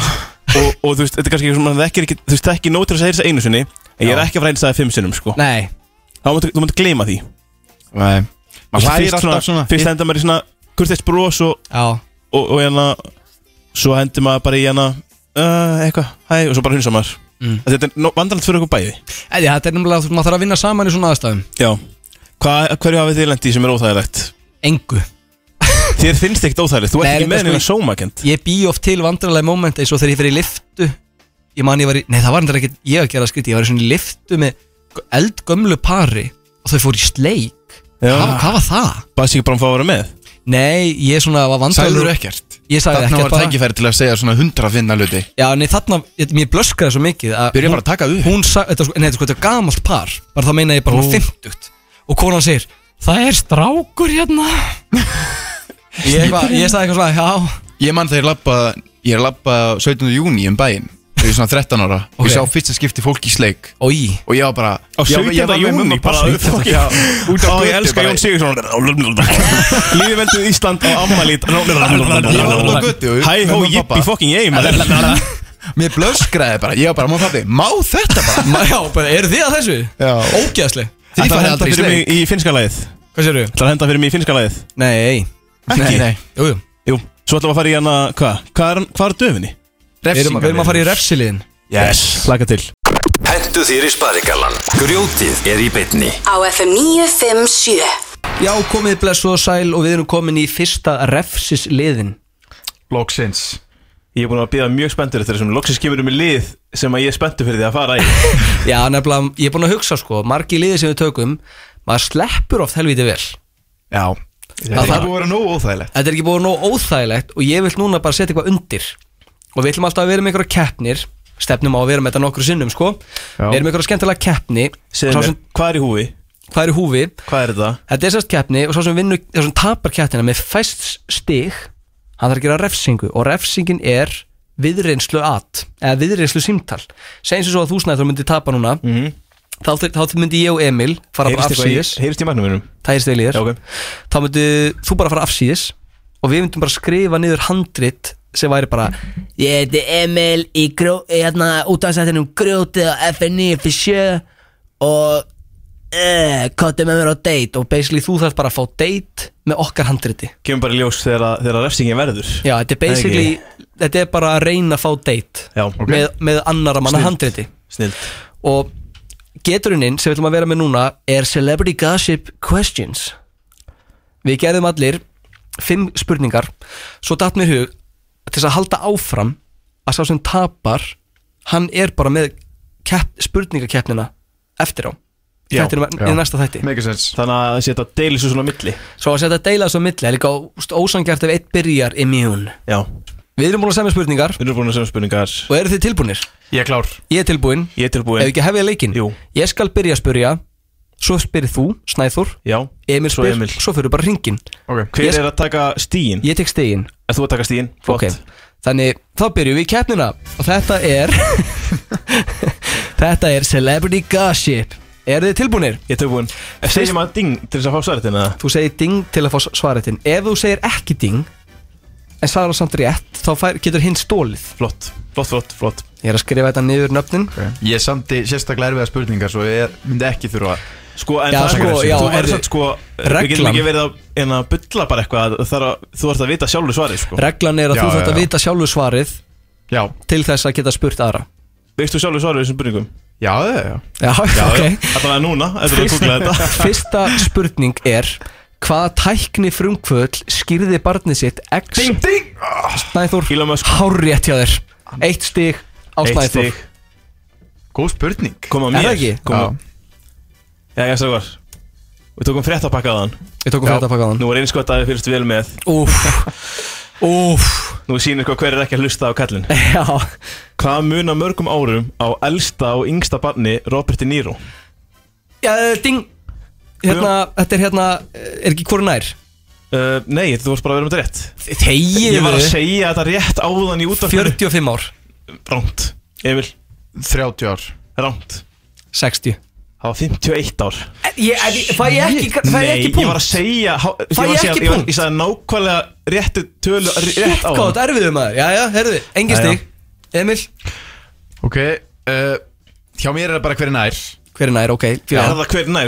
[SPEAKER 4] og, og þú veist, þetta er kannski eitthvað sem maður þekkir ekki, þú veist, þekkir nóg til að segja þess að einu sinni en ég er
[SPEAKER 3] Já.
[SPEAKER 4] ekki að fræðins það fimm sinnum, sko
[SPEAKER 3] nei
[SPEAKER 4] þá máttu, þú máttu gleyma því
[SPEAKER 1] Nei, maður hlæðir
[SPEAKER 4] Fyrst
[SPEAKER 1] alltaf svona
[SPEAKER 4] fyrst henda maður í svona kurteist brós og,
[SPEAKER 3] já,
[SPEAKER 4] og, og hérna svo hendur maður bara í hérna uh, eitthvað, hæ, og svo bara hunsa maður
[SPEAKER 3] Mm.
[SPEAKER 4] Að þetta er vandralt fyrir okkur bæði
[SPEAKER 3] Eða, þetta er nefnilega að maður þarf að vinna saman í svona aðstæðum
[SPEAKER 4] Já, Hva, hverju hafið þið lendi sem er óþægilegt?
[SPEAKER 3] Engu
[SPEAKER 4] Þér finnst ekkert óþægilegt, þú ert
[SPEAKER 3] Nei,
[SPEAKER 4] ekki
[SPEAKER 3] reyndar
[SPEAKER 4] með
[SPEAKER 3] sko-
[SPEAKER 4] neina sómakend
[SPEAKER 3] Ég bý oft til vandrarlega moment eins og þegar ég fer í liftu Ég man ég var í, nei það var endur ekkert ég að gera skriti Ég var í svona liftu með g- eldgömlu pari Og þau fór í sleik
[SPEAKER 4] Já.
[SPEAKER 3] hvað, hvað var það?
[SPEAKER 4] Bæs ekki bara um að fá að vera með
[SPEAKER 3] Nei, ég svona var
[SPEAKER 1] Sælur
[SPEAKER 3] vandrarlega
[SPEAKER 1] ekkert
[SPEAKER 3] Ég sagði
[SPEAKER 1] Þarna
[SPEAKER 3] ekkert
[SPEAKER 1] var
[SPEAKER 3] bara
[SPEAKER 1] tækifæri til að segja svona hundra finna hluti
[SPEAKER 3] Já, nei þarna, ég, mér blöskraði svo mikið að
[SPEAKER 1] Byrja
[SPEAKER 3] hún-
[SPEAKER 1] bara að taka upp.
[SPEAKER 3] Hún sagði, þetta, er sko- nei þetta er sko, þetta er gamalt par Bara þá meina ég bara svona 50 Og konan segir, það er strákur hérna Ég, eitthvað- ég sagði eitthvað svona, já
[SPEAKER 1] Ég man þegar ég labba Ég er að labba 17. júni um bæinn Þegar ég er svona 13 ára
[SPEAKER 3] Ok.
[SPEAKER 1] og Ég sá fyrsta skipti fólk í sleik
[SPEAKER 3] Ói,
[SPEAKER 1] Og ég var bara
[SPEAKER 4] Á
[SPEAKER 1] ég var-
[SPEAKER 4] 17.
[SPEAKER 1] ég var með
[SPEAKER 4] júni
[SPEAKER 1] mömmu
[SPEAKER 4] bara
[SPEAKER 1] bara- Já, Út á
[SPEAKER 4] Ó, ég
[SPEAKER 1] götu
[SPEAKER 4] elska
[SPEAKER 1] bara.
[SPEAKER 4] Jón Sigursson Lífið veldur Ísland á afmælít
[SPEAKER 1] á götu,
[SPEAKER 4] Hæ hó,
[SPEAKER 1] mömmu og
[SPEAKER 4] jippi
[SPEAKER 1] pabba.
[SPEAKER 4] fucking ég maður.
[SPEAKER 1] Mér blöskraði bara Ég var bara, má pappi, má þetta bara
[SPEAKER 3] Ma- Já, bara, eru þið að þessu?
[SPEAKER 1] Já.
[SPEAKER 3] Ógæðsli
[SPEAKER 1] Þið
[SPEAKER 4] Ætlar að
[SPEAKER 1] farið
[SPEAKER 4] henda
[SPEAKER 1] aldrei í
[SPEAKER 4] fyrir
[SPEAKER 1] sleik.
[SPEAKER 4] mig í finnska lagið
[SPEAKER 3] Hvað sér þau?
[SPEAKER 4] Það henda fyrir mig í finnska lagið
[SPEAKER 3] Nei,
[SPEAKER 1] Nei, nei
[SPEAKER 3] jú, jú
[SPEAKER 4] Jú, svo ætlum við að fara í hana Hvað? Hvað er, hvað er döfinni?
[SPEAKER 3] Við erum, við erum að fara í refsiliðin
[SPEAKER 4] Yes Laka til
[SPEAKER 5] Hentu þér í sparigallan Grjótið er í beinni
[SPEAKER 2] Á FM 957
[SPEAKER 3] Já, komið blessu og sæl og við erum komin í fyrsta refsisliðin
[SPEAKER 1] Blóksins
[SPEAKER 4] Ég er búin að bíða mjög spenntur eftir þessum Loksins kemur um í lið sem að ég er spenntur fyrir því að fara í
[SPEAKER 3] Já, nefnilega, ég er búin að hugsa sko Margi liði sem við tökum Maður sleppur oft helviti vel
[SPEAKER 1] Já
[SPEAKER 3] Það
[SPEAKER 1] Það er búið
[SPEAKER 3] þarf-
[SPEAKER 1] að vera nógu óþægilegt
[SPEAKER 3] Þetta er ekki búin nóg óþægilegt Og ég vil núna bara setja eitthvað undir Og við ætlum alltaf að vera með einhverja keppnir Stefnum á að vera með þetta nokkru sinnum sko
[SPEAKER 4] Já.
[SPEAKER 3] Við erum með einhverja skemmtilega keppni
[SPEAKER 4] Segðu
[SPEAKER 3] Sá
[SPEAKER 4] mér,
[SPEAKER 3] sem-
[SPEAKER 4] hvað er í húfi?
[SPEAKER 3] Hvað er í húfi?
[SPEAKER 4] Hvað er þetta?
[SPEAKER 3] Þetta er sérst keppni og svo sem vinnur Svo sem tapar keppnina með fæst stig Hann þarf að gera refsingu Og refsingin er viðreynslu at Eða viðreynslu símtal Segjum sem svo að þú snæður myndi tapa núna
[SPEAKER 4] Mhm.
[SPEAKER 3] þá, þá myndi ég og Emil fara bara
[SPEAKER 4] Heyrist eitthvað í-
[SPEAKER 3] afsýðis
[SPEAKER 4] Heyrist í magnum minnum?
[SPEAKER 3] tæðist vel í þér
[SPEAKER 4] Já, ok.
[SPEAKER 3] þá myndu þú bara fara afsíðis og við myndum bara skrifa niður handrit sem væri bara ég heiti Emil í grjó, eh, hérna, útafsættinum grjótið á FNI fyrir sjö og eh, kottu með mér á date og basically þú þarf bara að fá date með okkar handriti
[SPEAKER 4] Kemur bara í ljós þegar, að- þegar að refsingin verður
[SPEAKER 3] já, þetta er basically þetta er bara að reyna að fá date
[SPEAKER 4] Já, ok.
[SPEAKER 3] með, með annara manna
[SPEAKER 4] Snilld.
[SPEAKER 3] handriti
[SPEAKER 4] Snill
[SPEAKER 3] og geturinn sem við ætlum að vera með núna er Celebrity Gossip Questions Við gerðum allir fimm spurningar svo datt mér í hug til þess að halda áfram að sá sem tapar hann er bara með kepp, spurningakeppnina eftir á í,
[SPEAKER 4] Já,
[SPEAKER 3] þættinum-
[SPEAKER 1] já.
[SPEAKER 3] í næsta þætti
[SPEAKER 1] Make a sense
[SPEAKER 4] Þannig að setja deilis og svona á milli
[SPEAKER 3] Svo að setja að deila þessu á milli er líka ósangjart ef eitt byrjar immune
[SPEAKER 4] Já,
[SPEAKER 3] Við erum búin að semja spurningar
[SPEAKER 4] við erum búin að segja spurningar
[SPEAKER 3] og eru þið tilbúinir?
[SPEAKER 1] Ég er klár
[SPEAKER 3] Ég er tilbúin
[SPEAKER 4] Ég er tilbúin
[SPEAKER 3] Ef ekki hefja leikinn
[SPEAKER 4] Jú.
[SPEAKER 3] Ég skal byrja að spyrja Svo spyrir þú, Snæþór
[SPEAKER 4] Já,
[SPEAKER 3] Emil
[SPEAKER 4] Svo
[SPEAKER 3] spyr,
[SPEAKER 4] Emil.
[SPEAKER 3] svo fyrir bara hringin
[SPEAKER 1] Ok
[SPEAKER 4] hver
[SPEAKER 3] Ég-
[SPEAKER 4] er að taka stíin?
[SPEAKER 3] Ég tek stegin
[SPEAKER 4] Er þú að taka stíin?
[SPEAKER 3] Ok, þannig þá byrjum við keppnina Og þetta er Þetta er Celebrity Gossip Er þið tilbúnir?
[SPEAKER 4] Ég er tilbúin Segjum að ding til þess að fá svartin eða?
[SPEAKER 3] Þú segir ding til að fá svaretinn Ef þú segir ekki ding En svarar samt rétt Þá fær, getur hinn stólið
[SPEAKER 4] Flott, flott, flott, flott
[SPEAKER 3] Ég er að skrifa þetta niður nöfnin
[SPEAKER 1] Ég samti sérstaklega erfiða spurningar Svo ég myndi ekki þurfa að-
[SPEAKER 4] Sko, en
[SPEAKER 3] Já,
[SPEAKER 4] það
[SPEAKER 3] sko,
[SPEAKER 4] er sko,
[SPEAKER 3] já,
[SPEAKER 4] þú er
[SPEAKER 3] heyrðu,
[SPEAKER 4] satt sko Við getum
[SPEAKER 3] reglan-
[SPEAKER 4] ekki verið að, en að bylla bara eitthvað að þar að, Þú ert að vita sjálfur svarið sko
[SPEAKER 3] Reglan er að
[SPEAKER 1] Já,
[SPEAKER 3] þú
[SPEAKER 1] já,
[SPEAKER 3] þátt að
[SPEAKER 1] já.
[SPEAKER 3] vita sjálfu svarið
[SPEAKER 1] Já
[SPEAKER 3] Til þess að geta spurt aðra
[SPEAKER 4] Veist þú sjálfur svarið í þessum spurningum?
[SPEAKER 1] Já, já, já
[SPEAKER 3] Já, ok
[SPEAKER 4] Alltaf að núna, eftir að googla þetta
[SPEAKER 3] Fyrsta spurning er Hvaða tækni frumkvöld skýrði barnið sitt X Ding, ding Snæþór,
[SPEAKER 4] Elon Musk.
[SPEAKER 3] hárétt hjá þér Eitt stig á
[SPEAKER 4] Eitt
[SPEAKER 3] Snæþór
[SPEAKER 4] stig
[SPEAKER 1] Góð spurning
[SPEAKER 4] Koma
[SPEAKER 3] Er það
[SPEAKER 4] mér
[SPEAKER 3] ekki?
[SPEAKER 4] Koma Já, ég sagði var Við tókum fréttapakkaðan
[SPEAKER 3] Við tókum þetta að pakka þann
[SPEAKER 4] Nú er eins gott að við fylgst vel með
[SPEAKER 3] Úf, úf
[SPEAKER 4] Nú sýnir sko hver er ekki að hlusta á kallin
[SPEAKER 3] Já,
[SPEAKER 4] Hvað muna mörgum árum á elsta og yngsta barni Robert De Niro?
[SPEAKER 3] Já eh, ding Hérna, þetta er hérna, eh, er ekki hvori nær
[SPEAKER 4] Uh, nei, þú varst bara að vera með þetta rétt
[SPEAKER 3] Þegið
[SPEAKER 4] Ég var að segja þetta rétt áðan í útvarpinu
[SPEAKER 3] 45 ár,
[SPEAKER 4] Ránt Emil,
[SPEAKER 1] 30 ár
[SPEAKER 4] ránt
[SPEAKER 3] 60
[SPEAKER 4] Það var 51 ár
[SPEAKER 3] Eh, ég, ég, Fæ ég ekki, fæ ég ekki
[SPEAKER 4] ég var
[SPEAKER 3] punkt
[SPEAKER 4] að segja há- ég var
[SPEAKER 3] ég
[SPEAKER 4] að segja-
[SPEAKER 3] ekki
[SPEAKER 4] ég var-
[SPEAKER 3] punkt?
[SPEAKER 4] Ég sagði nákvæmlega réttu tölu Rétt
[SPEAKER 3] Hvað,
[SPEAKER 4] áðan
[SPEAKER 3] þetta erfiðu maður, já, já, herðu Engin
[SPEAKER 4] Já, já.
[SPEAKER 3] stig, Emil,
[SPEAKER 1] Ok uh, Hjá mér er það bara hver er nær
[SPEAKER 3] hver er nær, ok
[SPEAKER 4] Er
[SPEAKER 3] já.
[SPEAKER 4] það hver, nei,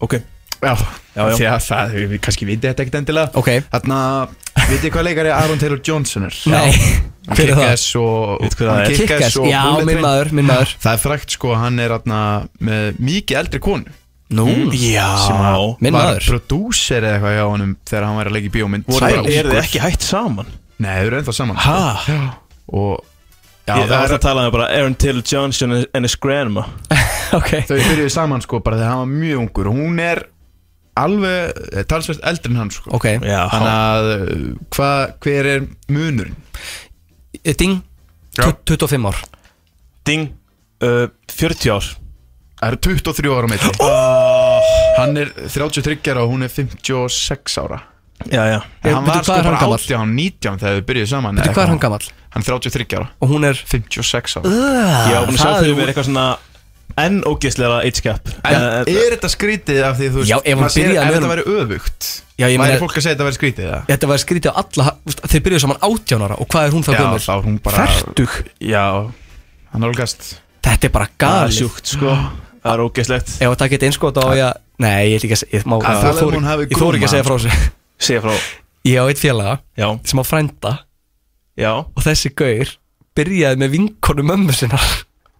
[SPEAKER 4] ok
[SPEAKER 1] Já,
[SPEAKER 4] Já, já.
[SPEAKER 1] Því að það, við við kannski vitið þetta ekkert endilega
[SPEAKER 3] Ok.
[SPEAKER 1] Þarna, vitið hvað leikari Aaron Taylor Johnson er?
[SPEAKER 3] Nei, hver er það?
[SPEAKER 1] Kick-Ass og
[SPEAKER 4] Veit hver það er?
[SPEAKER 1] Kick-Ass
[SPEAKER 3] Kick-Ass,
[SPEAKER 1] og
[SPEAKER 3] já,
[SPEAKER 1] Bullet
[SPEAKER 3] minn
[SPEAKER 1] Train.
[SPEAKER 3] maður, minn maður.
[SPEAKER 1] Það er frækt sko, hann er atna, með mikið eldri konu
[SPEAKER 3] Nú,
[SPEAKER 4] Já
[SPEAKER 1] Var
[SPEAKER 3] minn maður
[SPEAKER 1] prodúser eða eitthvað hjá honum þegar hann var að leika í bíómynd
[SPEAKER 4] Voru
[SPEAKER 1] Sævar.
[SPEAKER 4] er þið ekki hægt saman?
[SPEAKER 1] Nei, þau eru ennþá saman sko.
[SPEAKER 4] Ha?
[SPEAKER 1] Og já,
[SPEAKER 4] Ég
[SPEAKER 1] það
[SPEAKER 4] var
[SPEAKER 1] er,
[SPEAKER 4] að tala um bara Aaron Taylor Johnson and his grandma
[SPEAKER 3] Eh, Ok,
[SPEAKER 1] Þau byrjuðu saman sko bara þegar hann var mjög ungur og Hún er alveg eh, talsvert eldri en hann sko
[SPEAKER 3] ok
[SPEAKER 4] Já,
[SPEAKER 1] Þannig að eh, hva, hver er munurinn?
[SPEAKER 3] Eh, Ding,
[SPEAKER 1] Já.
[SPEAKER 3] 25 ár
[SPEAKER 4] ding uh, 40 ár
[SPEAKER 1] Það eru 23 ára á milli Hann er 33 ára og hún er 56 ára
[SPEAKER 4] Já, já
[SPEAKER 3] Eh,
[SPEAKER 1] Hann var
[SPEAKER 3] veitu, hvað
[SPEAKER 1] sko
[SPEAKER 3] er hann
[SPEAKER 1] bara
[SPEAKER 3] gamall?
[SPEAKER 1] 18, 19 þegar þau byrjuðu saman
[SPEAKER 3] Veitu
[SPEAKER 1] eða
[SPEAKER 3] hvað er
[SPEAKER 1] eitthvað.
[SPEAKER 3] hann gamall?
[SPEAKER 1] Hann er 33 ára,
[SPEAKER 3] Og hún er
[SPEAKER 1] 56 ára
[SPEAKER 4] Ég var búin að sjá
[SPEAKER 3] það er-
[SPEAKER 4] fyrir mér eitthvað svona enn ógeðslega age gap Eh,
[SPEAKER 1] En er þetta skrítið af því þú veist
[SPEAKER 3] Já, ef hún
[SPEAKER 1] maður sér-
[SPEAKER 3] byrjaði
[SPEAKER 1] Ef
[SPEAKER 3] með
[SPEAKER 1] þetta
[SPEAKER 3] honum-
[SPEAKER 1] væri öðvugt
[SPEAKER 3] Já, ég
[SPEAKER 1] Væri
[SPEAKER 3] meina-
[SPEAKER 1] fólk að segja þetta væri skrítið eða?
[SPEAKER 3] Þetta var skrítið á alla úst, Þeir byrjuðu saman 18 ára Og hvað er hún þá
[SPEAKER 1] Já,
[SPEAKER 3] gömur?
[SPEAKER 1] þá er hún bara-
[SPEAKER 3] Fertug
[SPEAKER 4] Já,
[SPEAKER 1] Hann er olgast
[SPEAKER 3] Þetta er bara
[SPEAKER 4] það er
[SPEAKER 3] galið
[SPEAKER 4] sjúkt sko Það er ógeðslegt
[SPEAKER 3] Ef það geta einskot á ég Nei, ég ætla ekki að segja Ég, má-
[SPEAKER 1] Að
[SPEAKER 3] ég
[SPEAKER 1] tala um
[SPEAKER 3] þori-
[SPEAKER 1] hún hafi
[SPEAKER 3] ég þóri ekki að
[SPEAKER 1] gúmmað.
[SPEAKER 3] segja frá þessu
[SPEAKER 4] Segja frá
[SPEAKER 3] Ég á eitt félaga
[SPEAKER 4] Já,
[SPEAKER 3] Sem á frænda
[SPEAKER 4] já
[SPEAKER 3] Og þessi gaur Byrjaði með vinkonu mömmu sinna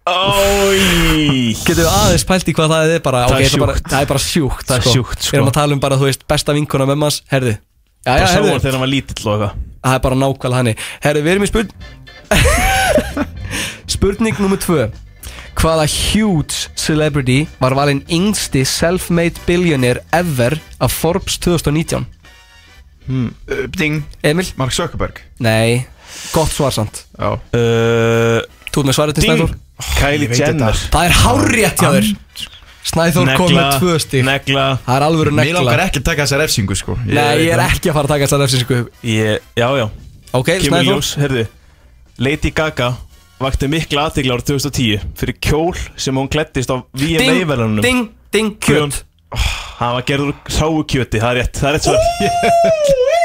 [SPEAKER 4] Ói
[SPEAKER 3] Getum við aðeins pælt í hvað það er bara
[SPEAKER 4] Það er
[SPEAKER 3] ok, þetta bara-
[SPEAKER 4] sjúkt.
[SPEAKER 3] Það er bara sjúkt
[SPEAKER 4] Það er
[SPEAKER 3] sko.
[SPEAKER 4] sjúkt, sko.
[SPEAKER 3] Við erum að tala um bara, þú veist, besta vinkona mömmu hans Herðu Já, já,
[SPEAKER 4] Það sá hann
[SPEAKER 3] herðu
[SPEAKER 4] þegar hann var lítill og eitthvað
[SPEAKER 3] Það er bara nákvæmlega hannig Herðu, við erum í spurn Spurning nummer tvö Hvaða huge celebrity var valinn yngsti self-made billionaire ever af Forbes 2019?
[SPEAKER 11] Hmm. Uh, ding
[SPEAKER 3] Emil
[SPEAKER 11] Mark Zuckerberg
[SPEAKER 3] Nei, gott svarsamt
[SPEAKER 11] Já
[SPEAKER 4] uh,
[SPEAKER 3] Þú ert með svarið til
[SPEAKER 4] Ding.
[SPEAKER 3] Snæþór
[SPEAKER 4] Kylie
[SPEAKER 3] Ég veit
[SPEAKER 4] Jenner.
[SPEAKER 3] þetta. Það er hárrétt hjá þér Snæþór kom með tvö stík
[SPEAKER 4] Negla
[SPEAKER 3] Það er alvöru negla
[SPEAKER 11] Mér langar ekki að taka þessa refsingu sko
[SPEAKER 3] Nei, ég er ekki að fara að taka þessar efsins sko
[SPEAKER 4] Ég, já, já
[SPEAKER 3] Ok,
[SPEAKER 4] Kemur í
[SPEAKER 3] Snæþór.
[SPEAKER 4] ljós, herðu Lady Gaga vakti mikla aðtegla árið 2010 fyrir kjól sem hún klettist á
[SPEAKER 3] Ding,
[SPEAKER 4] VMA-verðanum
[SPEAKER 3] ding, ding, kjöt
[SPEAKER 4] Hann var gerður sáu kjöti, það er rétt, það er rétt svar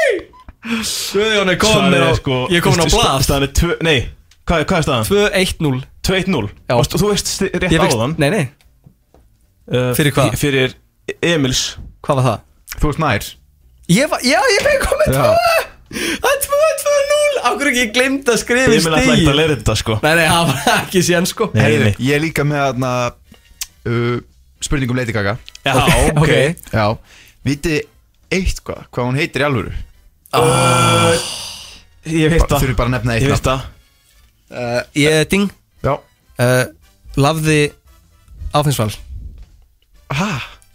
[SPEAKER 3] Guðjón er komin
[SPEAKER 4] Svarið
[SPEAKER 3] á-
[SPEAKER 4] sko,
[SPEAKER 3] ég er komin á
[SPEAKER 4] st- st-
[SPEAKER 3] blað.
[SPEAKER 4] Staðan er tvö, nei, hvað, hvað er staðan?
[SPEAKER 3] 2-1-0
[SPEAKER 4] 2-1-0
[SPEAKER 3] Já.
[SPEAKER 4] Og st- Þú veist sti- rétt
[SPEAKER 3] Ég fékkst-
[SPEAKER 4] áðan
[SPEAKER 3] Nei, nei,
[SPEAKER 4] uh,
[SPEAKER 3] Fyrir hvað?
[SPEAKER 4] Fyrir Emils
[SPEAKER 3] hvað var það?
[SPEAKER 11] Þú ert nær
[SPEAKER 3] Ég var, já, ég fekk komið
[SPEAKER 11] Já.
[SPEAKER 3] tvö Það er tvö, tvö, núl Akkur ekki, ég glemt að skrifa í
[SPEAKER 4] Emil ætlaði
[SPEAKER 3] stíð
[SPEAKER 4] ekki að leira þetta sko
[SPEAKER 3] Nei, nei, það var ekki síðan sko
[SPEAKER 4] Nei,
[SPEAKER 11] Heyrðu,
[SPEAKER 4] nei.
[SPEAKER 11] Ég er líka með aðna uh, spurningum Lady Gaga
[SPEAKER 4] Já,
[SPEAKER 3] Ok,
[SPEAKER 4] ok
[SPEAKER 3] ok.
[SPEAKER 11] Já Vitið eitt hvað, hvað hún heitir í alvöru
[SPEAKER 4] sko. Ég veit það
[SPEAKER 11] Þurfi bara að nefna eitt
[SPEAKER 4] Ég veit það
[SPEAKER 3] Uh, Ég, ding,
[SPEAKER 11] nafn. Já
[SPEAKER 3] uh, lafði áfinnsval
[SPEAKER 11] Hæ?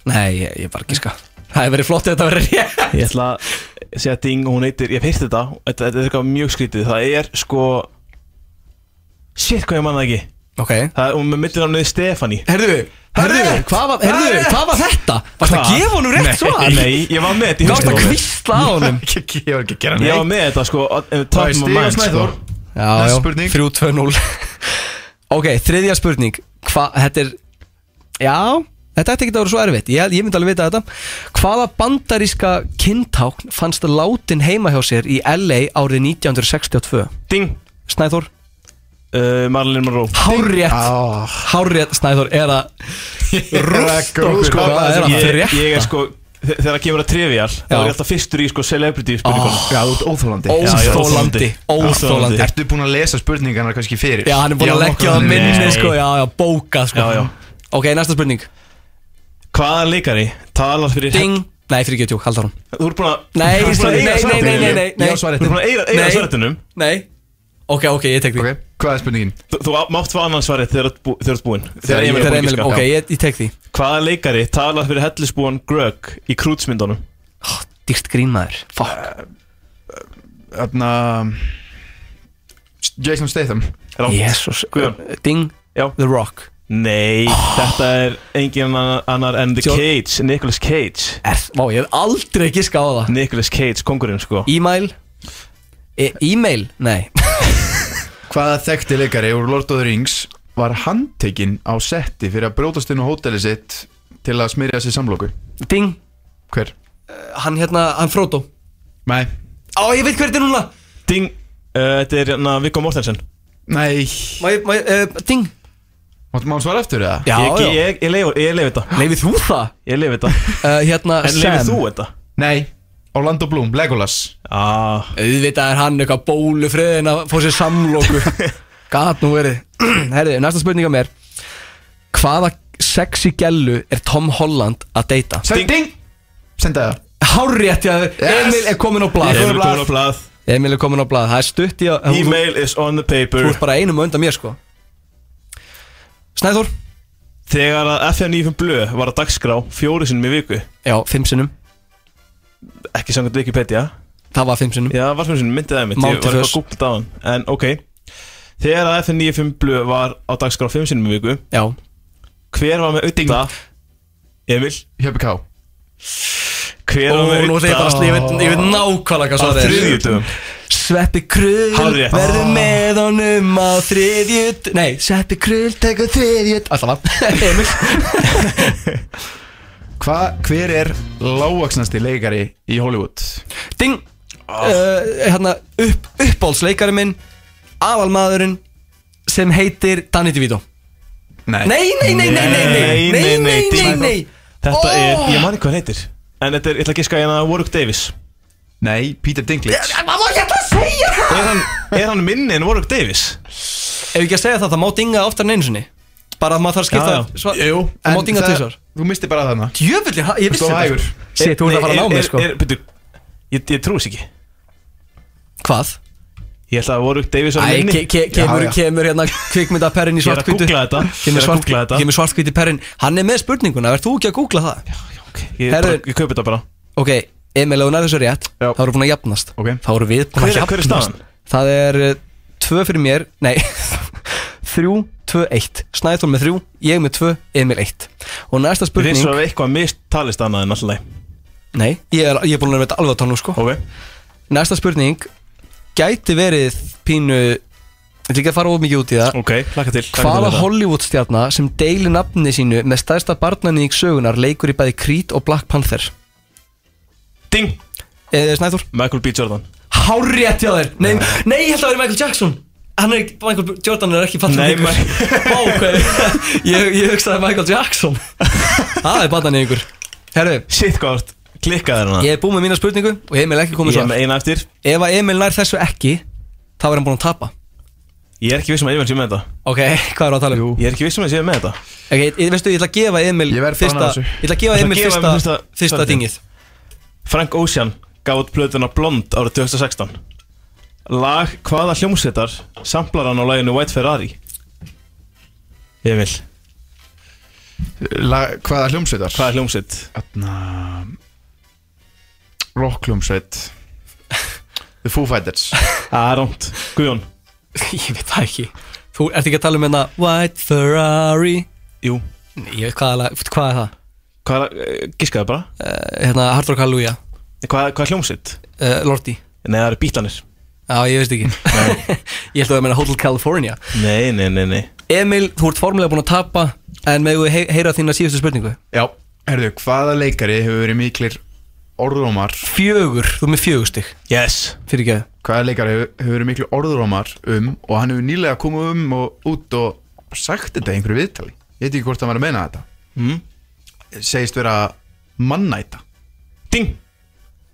[SPEAKER 3] Nei, ég, ég bara giska Það hefur verið flott ef þetta verið rétt
[SPEAKER 4] Ég ætla að segja ding og hún heitir, ég hef heyrt þetta Þetta, þetta er eitthvað mjög skrítið, það er sko Shit hvað ég manna ekki
[SPEAKER 3] Ok
[SPEAKER 4] Það er, hún með millinafnið Stefani
[SPEAKER 3] Herðu, herðu,
[SPEAKER 4] rétt.
[SPEAKER 3] hvað var, herðu, hvað var þetta? Varst að
[SPEAKER 4] Hvað?
[SPEAKER 3] gefa honum rétt svar?
[SPEAKER 4] Nei, ég var með þetta í
[SPEAKER 3] Gást að
[SPEAKER 4] hausnum á mér.
[SPEAKER 3] kvistla á honum
[SPEAKER 11] Ég var ekki að gera
[SPEAKER 4] Ég var
[SPEAKER 11] neitt
[SPEAKER 4] með þetta sko
[SPEAKER 11] Það er
[SPEAKER 4] Topum
[SPEAKER 11] stíð
[SPEAKER 4] of
[SPEAKER 11] og
[SPEAKER 4] mind sko
[SPEAKER 11] snæður
[SPEAKER 3] Já,
[SPEAKER 11] Næsta
[SPEAKER 3] já,
[SPEAKER 11] spurning.
[SPEAKER 3] 3-2-0 Ok, þriðja spurning Hvað, þetta er Já, þetta ætti ekki að vera svo erfitt Ég, ég myndi alveg vita þetta Hvaða bandaríska kynntákn fannst látin heima hjá sér í LA árið 1962?
[SPEAKER 4] Ding
[SPEAKER 3] Snæþór,
[SPEAKER 4] uh, Marlin Monroe
[SPEAKER 3] hárrétt
[SPEAKER 11] Ah,
[SPEAKER 3] Hárrétt, Snæþór, er að
[SPEAKER 11] rúst
[SPEAKER 3] okkur, sko, hvað er að
[SPEAKER 4] ég,
[SPEAKER 3] frétta?
[SPEAKER 4] ég er sko þe- Þegar það kemur að trivial þá er ég alltaf fyrstur í sko celebrity
[SPEAKER 3] Ah.
[SPEAKER 4] spurningunum
[SPEAKER 11] Já, þú ert óþólandi
[SPEAKER 4] já, já,
[SPEAKER 3] Óþólandi,
[SPEAKER 4] óþolandi.
[SPEAKER 3] óþólandi
[SPEAKER 11] Ertu búin að lesa spurningarna kannski fyrir?
[SPEAKER 3] Já, hann er
[SPEAKER 11] Já,
[SPEAKER 3] búin að leggja á
[SPEAKER 11] nokkuð þannig.
[SPEAKER 3] minni
[SPEAKER 4] Nei.
[SPEAKER 3] sko, já, já, bókað sko
[SPEAKER 4] Já, já.
[SPEAKER 3] Ok, næsta spurning
[SPEAKER 4] Hvaða leikari talar fyrir
[SPEAKER 3] Ding, nei, fyrir ekki tjók, haldar hún
[SPEAKER 4] Þú ert búin að
[SPEAKER 3] Nei,
[SPEAKER 4] þú ert búin að eiga
[SPEAKER 3] nei, nei,
[SPEAKER 4] svarið.
[SPEAKER 3] nei, nei, nei, nei.
[SPEAKER 4] Ég á svarið. Þú ert búin að eiga, eiga
[SPEAKER 3] Nei.
[SPEAKER 4] svaretinum
[SPEAKER 3] Nei Ok, ok, ég tek því
[SPEAKER 11] Ok, hvað er spurningin?
[SPEAKER 4] Þú, þú á- mátt fá annan svarið þegar þú ert bú- þegar þú ert búinn Þegar Emil er
[SPEAKER 3] Þegar
[SPEAKER 4] búinn
[SPEAKER 3] Emil, ok, ég, ég tek því
[SPEAKER 4] Hvaða leikari talar fyrir hellisbúan Grögg í krútsmyndunum?
[SPEAKER 3] Dýrt grínmaður, fuck
[SPEAKER 11] Þarna Jason Statham
[SPEAKER 4] Rangt.
[SPEAKER 3] Jesus
[SPEAKER 4] Guðjón.
[SPEAKER 3] uh, Ding,
[SPEAKER 4] Já.
[SPEAKER 3] The Rock
[SPEAKER 4] Nei,
[SPEAKER 3] Ah.
[SPEAKER 4] þetta er engin annar- annar en The
[SPEAKER 3] Sjón-
[SPEAKER 4] Cage, Nicolas Cage
[SPEAKER 3] er, Má, ég hef aldrei ekki skáða það
[SPEAKER 4] Nicolas Cage, kongurinn sko
[SPEAKER 3] E-mail E- E-mail, nei
[SPEAKER 11] Hvaða þekkti leikari úr Lord of the Rings var handtekinn á setti fyrir að brjótast inn á hóteli sitt til að smyrja sér samlóku?
[SPEAKER 3] Ding,
[SPEAKER 11] Hver?
[SPEAKER 3] hann hérna, hann Frodo
[SPEAKER 11] Nei
[SPEAKER 3] Á, ég veit hver þetta er núna
[SPEAKER 4] Ding, uh, þetta er hérna Viggo Mortensen
[SPEAKER 11] Nei
[SPEAKER 3] Má, ég- má, ég- eh, Ding
[SPEAKER 11] Máttu maður svara eftir það?
[SPEAKER 3] Já,
[SPEAKER 4] Ég,
[SPEAKER 3] já
[SPEAKER 4] ég, ég, leif, ég leif þetta
[SPEAKER 3] Leifir þú það?
[SPEAKER 4] Ég leif þetta
[SPEAKER 3] Uh, hérna,
[SPEAKER 4] En leifir þú
[SPEAKER 3] Sam
[SPEAKER 4] þetta?
[SPEAKER 11] Nei Orlando Bloom, Legolas
[SPEAKER 4] Ah,
[SPEAKER 3] Auðvitað er hann eitthvað bólufriðin að fá sér samlóku Gat nú verið Herði, næsta spurning að mér Hvaða sexy gellu er Tom Holland að deyta?
[SPEAKER 11] Ding, ding. Senda það
[SPEAKER 3] Hárrétt, já, Emil er komin á blað
[SPEAKER 4] Emil komin á blað
[SPEAKER 3] Emil er komin á blað, það er stutt í að þú-
[SPEAKER 4] Email is on the
[SPEAKER 3] Þú
[SPEAKER 4] paper
[SPEAKER 3] ert bara einum á undan mér sko Snæður?
[SPEAKER 4] Þegar að FM95 Blöð var að dagskrá fjóri sinnum í viku
[SPEAKER 3] Já, fimm sinnum
[SPEAKER 4] Ekki samkvæmt Wikipedia
[SPEAKER 3] Það var fimm sinnum
[SPEAKER 4] Já, var svona sinnum, myndið það mitt Ég
[SPEAKER 3] Máltíð
[SPEAKER 4] var eitthvað
[SPEAKER 3] föst.
[SPEAKER 4] að googla það á hann En ok Þegar að FM95 Blöð var á dagskrá fimm sinnum í viku
[SPEAKER 3] Já,
[SPEAKER 4] Hver var með auðvita? Emil
[SPEAKER 11] Hjöpi K
[SPEAKER 4] Hver
[SPEAKER 3] og
[SPEAKER 4] var með
[SPEAKER 3] nú ætla ég bara að slífa
[SPEAKER 4] auðvita?
[SPEAKER 3] Ég veit nákvæmlega hvað
[SPEAKER 4] Á
[SPEAKER 3] svarið er
[SPEAKER 4] þriðjutum
[SPEAKER 3] Sveppi Krull
[SPEAKER 4] Hárrétt. Ah.
[SPEAKER 3] verður með honum á þriðjut Nei, Sveppi Krull tekur þriðjut Alltaf var Emil
[SPEAKER 11] Hva, Hver er lágvaksnasti leikari í Hollywood?
[SPEAKER 3] Ding
[SPEAKER 4] Ah.
[SPEAKER 3] uh, hérna, upp, Uppbólsleikari minn Avalmaðurinn sem heitir Danny DeVito
[SPEAKER 11] Nei
[SPEAKER 3] Nei, nei, nei, nei, nei, nei, nei, nei, nei, nei.
[SPEAKER 4] Þetta er,
[SPEAKER 3] Ó.
[SPEAKER 4] ég man ekki hvað hann heitir En þetta er, ég ætla að giska hérna Warwick Davis
[SPEAKER 11] Nei, Peter Dinklage
[SPEAKER 3] Hvað var ég ætla að segja það?
[SPEAKER 4] Er hann, er hann minni en Warwick Davis?
[SPEAKER 3] Ef ég ekki að segja það, það má dinga oftar en einu sinni Bara að maður þarf
[SPEAKER 4] Já,
[SPEAKER 3] að
[SPEAKER 4] já.
[SPEAKER 3] skipta
[SPEAKER 11] Jú
[SPEAKER 3] Það má dinga tísar
[SPEAKER 11] Þú misti bara þarna
[SPEAKER 3] Djöfulli, ha- ég vissi
[SPEAKER 11] Stóð
[SPEAKER 3] þetta
[SPEAKER 11] hægur.
[SPEAKER 3] Sitt, þú ert að fara að ná sko.
[SPEAKER 4] Er-
[SPEAKER 3] mig
[SPEAKER 4] er-
[SPEAKER 3] sko
[SPEAKER 4] er- byrju, Ég, ég trúi þess ekki
[SPEAKER 3] Hvað?
[SPEAKER 4] Ég held að það voru Davis var
[SPEAKER 3] Æ,
[SPEAKER 4] minni
[SPEAKER 3] ke ke kemur, kemur hérna kvikmyndaperrin í
[SPEAKER 4] Ég er að
[SPEAKER 3] svartkvítu
[SPEAKER 4] googla þetta. Ég
[SPEAKER 3] Kemur,
[SPEAKER 4] er að
[SPEAKER 3] svart,
[SPEAKER 4] googla þetta.
[SPEAKER 3] kemur svartkvíti perrin Hann er með spurninguna, verð þú ekki að googla það? Já, já, ok
[SPEAKER 4] Ég, bara, ég kaupi þetta bara
[SPEAKER 3] Ok, Emil, ef hún er þessu rétt já. Þá eru búin að jafnast okay. Þá eru við búin að
[SPEAKER 4] Hver er-
[SPEAKER 3] jafnast
[SPEAKER 4] hver er staðan?
[SPEAKER 3] Það er eh, tvö fyrir mér Nei, þrjú, tvö, eitt Snæðtól með þrjú, ég með tvö, Emil eitt Og næsta spurning
[SPEAKER 4] Þið svo að eitthvað mistalist annað en alltaf
[SPEAKER 3] Nei, ég er, ég er búin að vera með þetta alveg að tala nú sko okay. Næsta spurning Gæti verið pínu Þetta er ekki að fara of mikið út í það
[SPEAKER 4] Ok, laka til
[SPEAKER 3] Hvaða
[SPEAKER 4] Laka til
[SPEAKER 3] Hollywoodstjarna sem deili nafni sínu með stærsta barnaník sögunar leikur í bæði Creed og Black Panther?
[SPEAKER 4] Ding
[SPEAKER 3] Eða Snæður
[SPEAKER 4] Michael B. Jordan
[SPEAKER 3] Hárétt hjá þér Eh, Nei, nei ég held að það væri Michael Jackson Hann er, Michael Jordan er ekki
[SPEAKER 4] Nei,
[SPEAKER 3] barnaníkur Vá, hvað ég, ég hugsaði um Michael Jackson Það er barnaníkur Herðu
[SPEAKER 4] Sitt hvort, klikkaði hérna
[SPEAKER 3] Ég er búinn með mína spurningu og Emil er ekki komið
[SPEAKER 4] Ég er
[SPEAKER 3] svar
[SPEAKER 4] með eina eftir
[SPEAKER 3] Ef að Emil nær þessu ekki þá verður hann búinn að tapa
[SPEAKER 4] Ég er ekki vissum að Emil sé með þetta
[SPEAKER 3] Ok, hvað er að tala um?
[SPEAKER 4] Ég er ekki vissum að sé með þetta
[SPEAKER 3] Ok, ég- veistu, ég ætla að gefa Emil fyrsta, Ég ætla að gefa
[SPEAKER 4] Ég
[SPEAKER 3] Emil fyrsta, fyrsta,
[SPEAKER 4] fyrsta
[SPEAKER 3] dingið
[SPEAKER 4] Frank Ocean gaf út plötuna Blond árið 2016 Lag hvaða hljómsveitar samplar hann á laginu White Ferrari Emil
[SPEAKER 11] La, Hvaða hljómsveitar?
[SPEAKER 4] Hvaða hljómsveit?
[SPEAKER 11] Þarna Rock hljómsveit The Foo Fighters
[SPEAKER 4] Það er rámt Guðjón
[SPEAKER 3] Ég veit það ekki Þú ert ekki að tala um hérna White Ferrari
[SPEAKER 4] Jú
[SPEAKER 3] Nei, ég veit hvað, lag- veitu hvað er það?
[SPEAKER 4] Hvað, gískaðu eh, bara
[SPEAKER 3] uh, Hérna, Hard Rock Hallelujah
[SPEAKER 4] Hvað, hvað hljómsveit?
[SPEAKER 3] uh, Lordi
[SPEAKER 4] Nei, það eru bítlanir
[SPEAKER 3] Já, ég veist ekki Ég held að það meina Hotel California
[SPEAKER 4] Nei, nei, nei, nei
[SPEAKER 3] Emil, þú ert formulega búinn að tapa En með við heyra þína síðustu spurningu
[SPEAKER 11] Já, herðu, hvaða leikari hefur verið miklir orðrómar
[SPEAKER 3] Fjögur, þú er með fjögur stygg
[SPEAKER 4] Yes
[SPEAKER 3] Fyrir ekki
[SPEAKER 11] Hvaða leikari hefur, hefur verið miklir orðrómar um og hann hefur nýlega komið um og út og sagt þetta í einhverju viðtali Ég veit ekki hvort hann var að meina þetta
[SPEAKER 4] mm.
[SPEAKER 11] Segist vera mannæta
[SPEAKER 4] Ding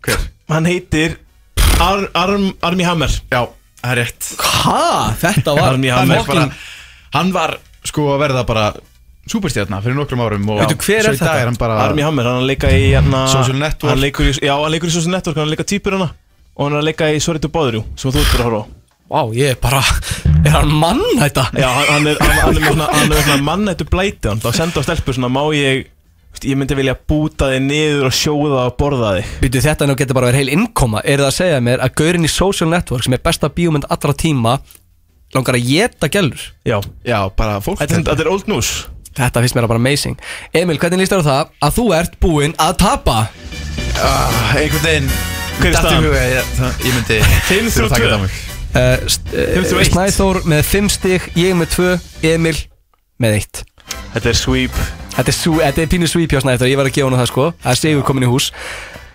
[SPEAKER 11] Hver?
[SPEAKER 4] Hann heitir Ar, Arm, Armi Hammer
[SPEAKER 11] Já, það er rétt
[SPEAKER 3] Hæ? Þetta var
[SPEAKER 11] Armie Hammer
[SPEAKER 3] fucking-
[SPEAKER 11] bara, Hann var sko að verða bara Súperstjarnar fyrir nokkrum árum og
[SPEAKER 4] Veitu, hver
[SPEAKER 11] svo í
[SPEAKER 4] er
[SPEAKER 11] dag
[SPEAKER 4] þetta?
[SPEAKER 11] hann bara
[SPEAKER 4] Armie Hammer, hann er að leika í hérna,
[SPEAKER 11] Social Network.
[SPEAKER 4] hann leikur í, Já, hann leikur í Social Network, hann er að leika týpur hana Og hann er að leika í Sorry to Bother You Sem þú ert bara að horfa á
[SPEAKER 3] Vá, ég er bara Er hann mann þetta?
[SPEAKER 4] Já, hann, hann er, hann, hann er með svona, hann er með svona mannættu blæti Hann þá senda á stelpur svona Má ég, veist, ég myndi vilja búta þig niður og sjóða og borða þig
[SPEAKER 3] Býtu þetta nú getur bara verið heil innkoma Er það að segja mér að gaurinn í Social Network Sem er besta bíómynd allra tíma Langar að geta gælur
[SPEAKER 4] Já,
[SPEAKER 11] já bara fólk
[SPEAKER 4] Þetta er- þetta er old news
[SPEAKER 3] Þetta finnst mér bara amazing Emil, hvernig líst þér á það að þú ert búinn að tapa?
[SPEAKER 11] Ah, einhvern veginn
[SPEAKER 3] Hver er
[SPEAKER 11] datt í
[SPEAKER 3] staðan?
[SPEAKER 11] hug að ég, það- ég myndi
[SPEAKER 4] Fimm
[SPEAKER 11] þurfa að
[SPEAKER 4] þrjú
[SPEAKER 11] taka
[SPEAKER 4] tvö.
[SPEAKER 11] þetta á mig.
[SPEAKER 3] Uh, st-
[SPEAKER 4] Fimm, þrjú,
[SPEAKER 3] uh,
[SPEAKER 4] eitt.
[SPEAKER 3] Snæþór með 5 stig, ég með 2, Emil með 1
[SPEAKER 4] Þetta er sweep
[SPEAKER 3] Þetta er, sú, þetta er pínu sweep hjá Snæþór, ég var að gefa hann það sko Það er sigur komin í hús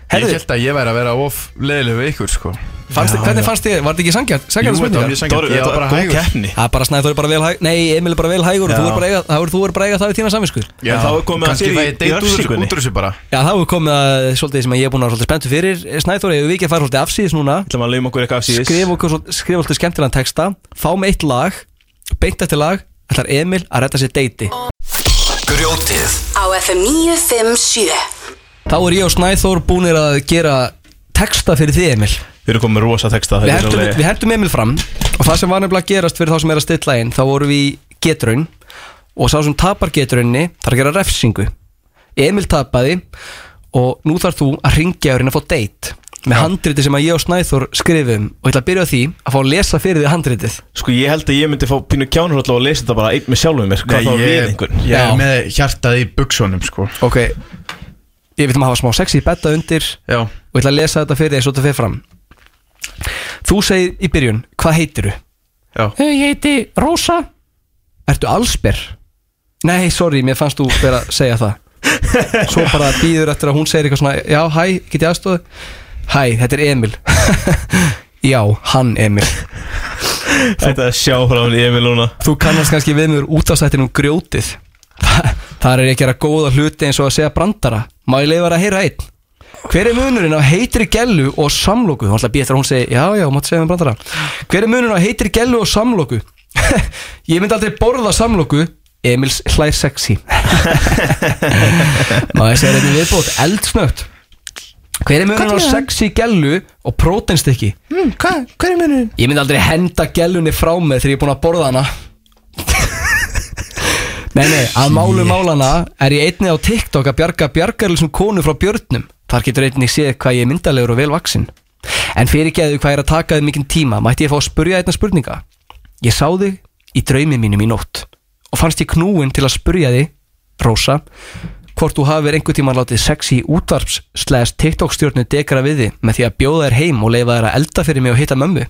[SPEAKER 11] Ég
[SPEAKER 3] Herðu,
[SPEAKER 11] held að ég væri að vera of leðileg við ykkur sko
[SPEAKER 3] fannst, hvernig fannst þér, var þetta ekki sangjart? Sangjart
[SPEAKER 11] Jú, þetta var mjög sanngjarnt. Ég var bara hægur.
[SPEAKER 3] Það er bara Snæþór er bara vel hægur Nei, Emil er bara vel hægur og
[SPEAKER 11] Já.
[SPEAKER 3] þú er bara að eiga- þá er- þú er bara að eiga það við tína saminsku
[SPEAKER 11] Já,
[SPEAKER 4] þá er komið að
[SPEAKER 11] kannski
[SPEAKER 4] þér í-
[SPEAKER 11] fæ ég
[SPEAKER 4] í
[SPEAKER 11] deitt út úr þessu-
[SPEAKER 4] refsingunni.
[SPEAKER 11] út úr þessu bara
[SPEAKER 3] Já, þá er komið að svolítið sem að ég er búin að vera svolítið spenntu fyrir eh, Snæþór, ef við ekki að fara svolítið afsíðis núna
[SPEAKER 4] Það maður laum okkur eitthvað af síðis
[SPEAKER 3] Skrif okkur svol- skrifa svolítið skemmtilegan texta Fá með eitt lag, beint eftir lag Ætlar Emil að redda sér deiti
[SPEAKER 5] Grjótið
[SPEAKER 2] Á FM 957
[SPEAKER 3] Þá er ég og Snæþór búinir að gera texta fyrir því Emil
[SPEAKER 4] Við erum komið með rosa texta
[SPEAKER 3] Við
[SPEAKER 4] þetta er
[SPEAKER 3] hentum,
[SPEAKER 4] alveg-
[SPEAKER 3] við hentum Emil fram og það sem var nefnilega að gerast fyrir þá sem er að stilla inn þá vorum við í getraun og sá sem tapar getraunni þarf að gera refsingu Emil tapaði og nú þarf þú að ringja og reyna að fá date með handriti sem að ég og Snæþór skrifum og ég ætla að byrja á því að fá að lesa fyrir því handritið
[SPEAKER 4] Sko ég held að ég myndi fá pínu kjánurhóll og lesa þetta bara einn með sjálfum mér Hvað þá við einhvern
[SPEAKER 11] Ég er með hjartað í buksonum sko
[SPEAKER 3] Ok Ég veit maður að hafa smá sexi í betta undir
[SPEAKER 11] Já.
[SPEAKER 3] og ég ætla að lesa þetta fyrir því eins og þetta fyrir fram Þú segir í byrjun hvað heitiru?
[SPEAKER 11] Já
[SPEAKER 3] Ég heiti Rósa Ertu allsber? Nei, sorry, mér fannst þú vera að segja það Svo bara býður eftir að hún segir eitthvað svona Já, hæ, get ég aðstóð? Hæ, þetta er Emil Já, hann Emil
[SPEAKER 4] Þetta er sjá frá hann Emil núna
[SPEAKER 3] Þú kannast kannski við mjög útastættin um grjótið Það er ekki að gera góða hluti eins og að segja brandara Má ég leifa þér að heyra einn Hver er munurinn á heitri gellu og samloku? Hún ætla að býja eftir að hún segi, já, já, máttu segja um brandara Hver er munurinn á heitri gellu og samloku? ég myndi aldrei borða samloku Emils hlær sexy Má ég segja þetta viðbót, eldsnögt Hver er munurinn á
[SPEAKER 12] Hvað er það?
[SPEAKER 3] sexy gellu og próteinstykki?
[SPEAKER 12] Hmm, hvað, hver er munurinn?
[SPEAKER 3] Ég myndi aldrei henda gellunni frá mig þegar ég er búinn að borða hana Nei, nei, að málu málana er ég einnig á TikTok að bjarga bjargarlisum konu frá björnum Þar getur einnig séð hvað ég er myndalegur og velvaksinn En fyrirgeðu hvað er að taka þið mikinn tíma Mætti ég fá að spurja einna spurninga Ég sá þig í draumi mínum í nótt Og fannst ég knúin til að spurja þig, Rósa Hvort þú hafir einhvern tímann látið sexy útvarps slæðast TikTok stjórnu dekra við þið með því að bjóða þér heim og leifa þér að elda fyrir mig og hitta mömmu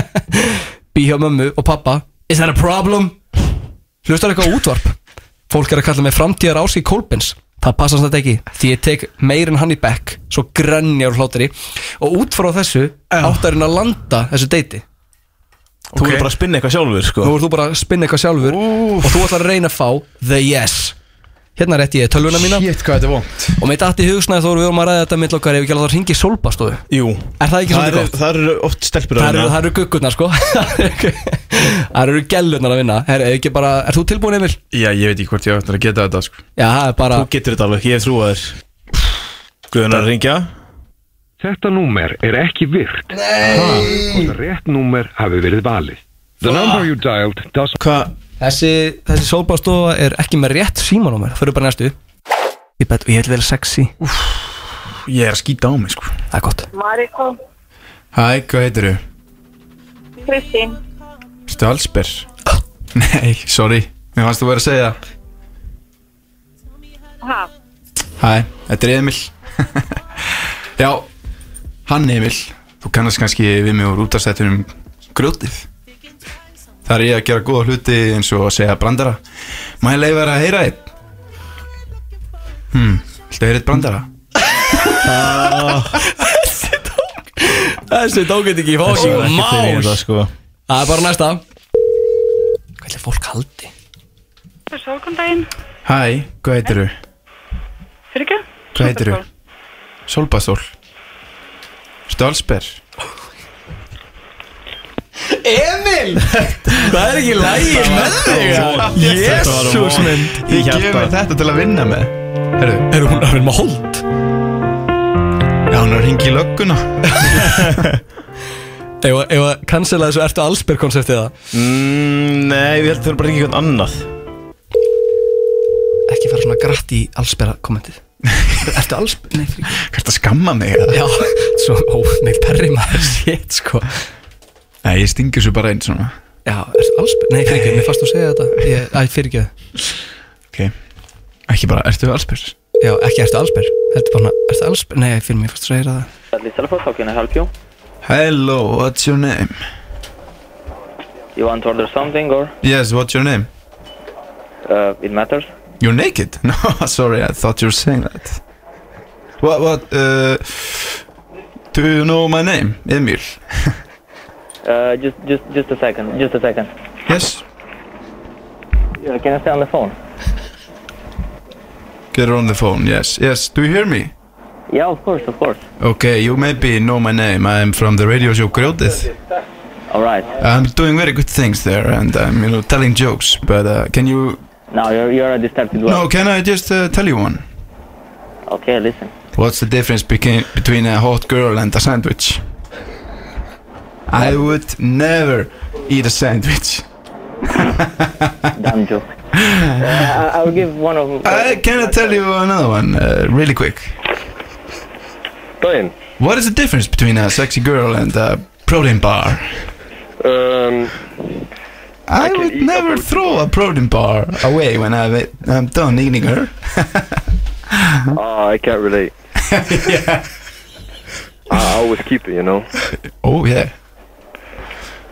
[SPEAKER 3] Bí hjá mömmu og pappa Is that a problem? Hlustar eitthvað á útvarp Fólk er að kalla mig framtíðar áski Kolbens Það passast þetta ekki Því ég tek meir en hann í bekk Svo grænjar hlátari Og út frá þessu áttarinn að landa þessu deiti
[SPEAKER 4] Þú okay. er bara að spinna eitthvað sjálfur sko
[SPEAKER 3] Nú ert þú bara að spinna eitthvað sjálfur Og þú ætlar að reyna að fá the yes Hérna rétti ég tölvuna mína
[SPEAKER 1] Shit, hvað þetta er vond
[SPEAKER 3] Og með datt í hugsnaði þó erum við um að ræða þetta mill okkar Ef ekki alveg það ringi sólbastofu
[SPEAKER 4] Jú
[SPEAKER 3] Er það ekki
[SPEAKER 4] Það
[SPEAKER 3] svolítið
[SPEAKER 4] eru-
[SPEAKER 3] gott?
[SPEAKER 4] Það eru oft stelpur hérna.
[SPEAKER 3] Það eru, það eru guggurnar sko Það eru gellurnar að vinna Herra, er, bara, er þú tilbúin Emil?
[SPEAKER 1] Já, ég veit ekki hvort ég ætlar að geta þetta sko.
[SPEAKER 3] Já, það er bara
[SPEAKER 4] Þú getur þetta alveg, ég hef trúað þér Guðunar að ringja
[SPEAKER 13] Þetta númer er ekki virkt Nei Rétt númer hafi verið valið The number you dialed does
[SPEAKER 4] Hva?
[SPEAKER 3] Þessi, þessi sólbáðstofa er ekki með rétt símanúmer Fyrir bara næstu Ég bet, ég vil vera sexy Úf,
[SPEAKER 1] Ég er að skýta á mig sko
[SPEAKER 3] Það er gott
[SPEAKER 14] Mariko,
[SPEAKER 1] Hæ, hvað heitir þú?
[SPEAKER 14] Kristín,
[SPEAKER 1] Ertu allsber? Nei, sorry Mér fannst þú verið að segja það.
[SPEAKER 14] ha,
[SPEAKER 1] Hæ, þetta er Emil Já, hann Emil Þú kannast kannski við mig úr útastættunum grjótið Þar er ég að gera góða hluti eins og að segja brandara Má ég leifa þér að heyra þitt? Hmm, viltu að heyra þitt brandara?
[SPEAKER 3] Þessi tókið ekki í fósi
[SPEAKER 4] Þessi var ekki til í þetta, sko.
[SPEAKER 3] Það er bara næsta Hvað er fólk haldi?
[SPEAKER 7] Sólkondaginn,
[SPEAKER 1] Hæ, hvað heitir þú?
[SPEAKER 7] fyrir ekki?
[SPEAKER 1] Hvað heitir þú? Solbastól Ertu allsber?
[SPEAKER 3] Emil! Það er ekki lægi með
[SPEAKER 1] Ah,
[SPEAKER 3] þig Jésús minn
[SPEAKER 1] Ég gef mér þetta til að vinna með Herru,
[SPEAKER 3] er hún að vera með hold?
[SPEAKER 1] Já, hún er að ringa í lögguna
[SPEAKER 3] Ef að- ef að cancela þessu ertu allsberg konceptið það
[SPEAKER 4] mm, Nei, við heldum bara ekki eitthvað annað
[SPEAKER 3] Ekki fara svona grætt í allsberga kommentið Ertu allsberg? Nei, fyrir
[SPEAKER 1] Hvað ert að skamma mig? eða?
[SPEAKER 3] Já, svo ómið perri maður Shit, sko
[SPEAKER 1] Nei, ég stingi þessu bara einn svona
[SPEAKER 3] Já, ertu allsberg? Nei, fyrir ekki, mér fannst þú segja þetta Ég- Æ, fyrir ekki
[SPEAKER 1] Ok Ekki bara, ertu allsber?
[SPEAKER 3] Já, ekki ertu allsberg Ertu bara, ertu allsberg? Nei, fyrir mér fannst þú segja þetta
[SPEAKER 15] Sadly telephone, how can I help you?
[SPEAKER 1] Hello, what's your name?
[SPEAKER 15] You want to order something or
[SPEAKER 1] Yes, what's your name?
[SPEAKER 15] uh, it matters?
[SPEAKER 1] You're naked? No, sorry, I thought you were saying that What, what, uh Do you know my name? Emil
[SPEAKER 15] Uh, just, just, just a second, just a second.
[SPEAKER 1] Yes
[SPEAKER 15] Uh, can I stay on the phone?
[SPEAKER 1] Get her on the phone, yes, yes, do you hear me?
[SPEAKER 15] Yeah, of course, of course.
[SPEAKER 1] Okay, you maybe know my name, I'm from the radio show Grjótið
[SPEAKER 15] All right.
[SPEAKER 1] I'm doing very good things there and I'm, you know, telling jokes But uh, can you...
[SPEAKER 15] Now you're, you're a distracted one.
[SPEAKER 1] No, can I just uh, tell you one?
[SPEAKER 15] Okay, listen.
[SPEAKER 1] What's the difference between, between a hot girl and a sandwich? I would never eat a sandwich.
[SPEAKER 15] Damn joke. Uh, I- I'll give one of.
[SPEAKER 1] I, Uh, can I tell you another one, uh, really quick?
[SPEAKER 8] Go ahead.
[SPEAKER 1] What is the difference between a sexy girl and a protein bar?
[SPEAKER 8] Um,
[SPEAKER 1] I would never throw a protein bar away when I've it- I'm done eating her.
[SPEAKER 8] oh, I can't relate. yeah. I I always keep it, you know.
[SPEAKER 1] Oh yeah.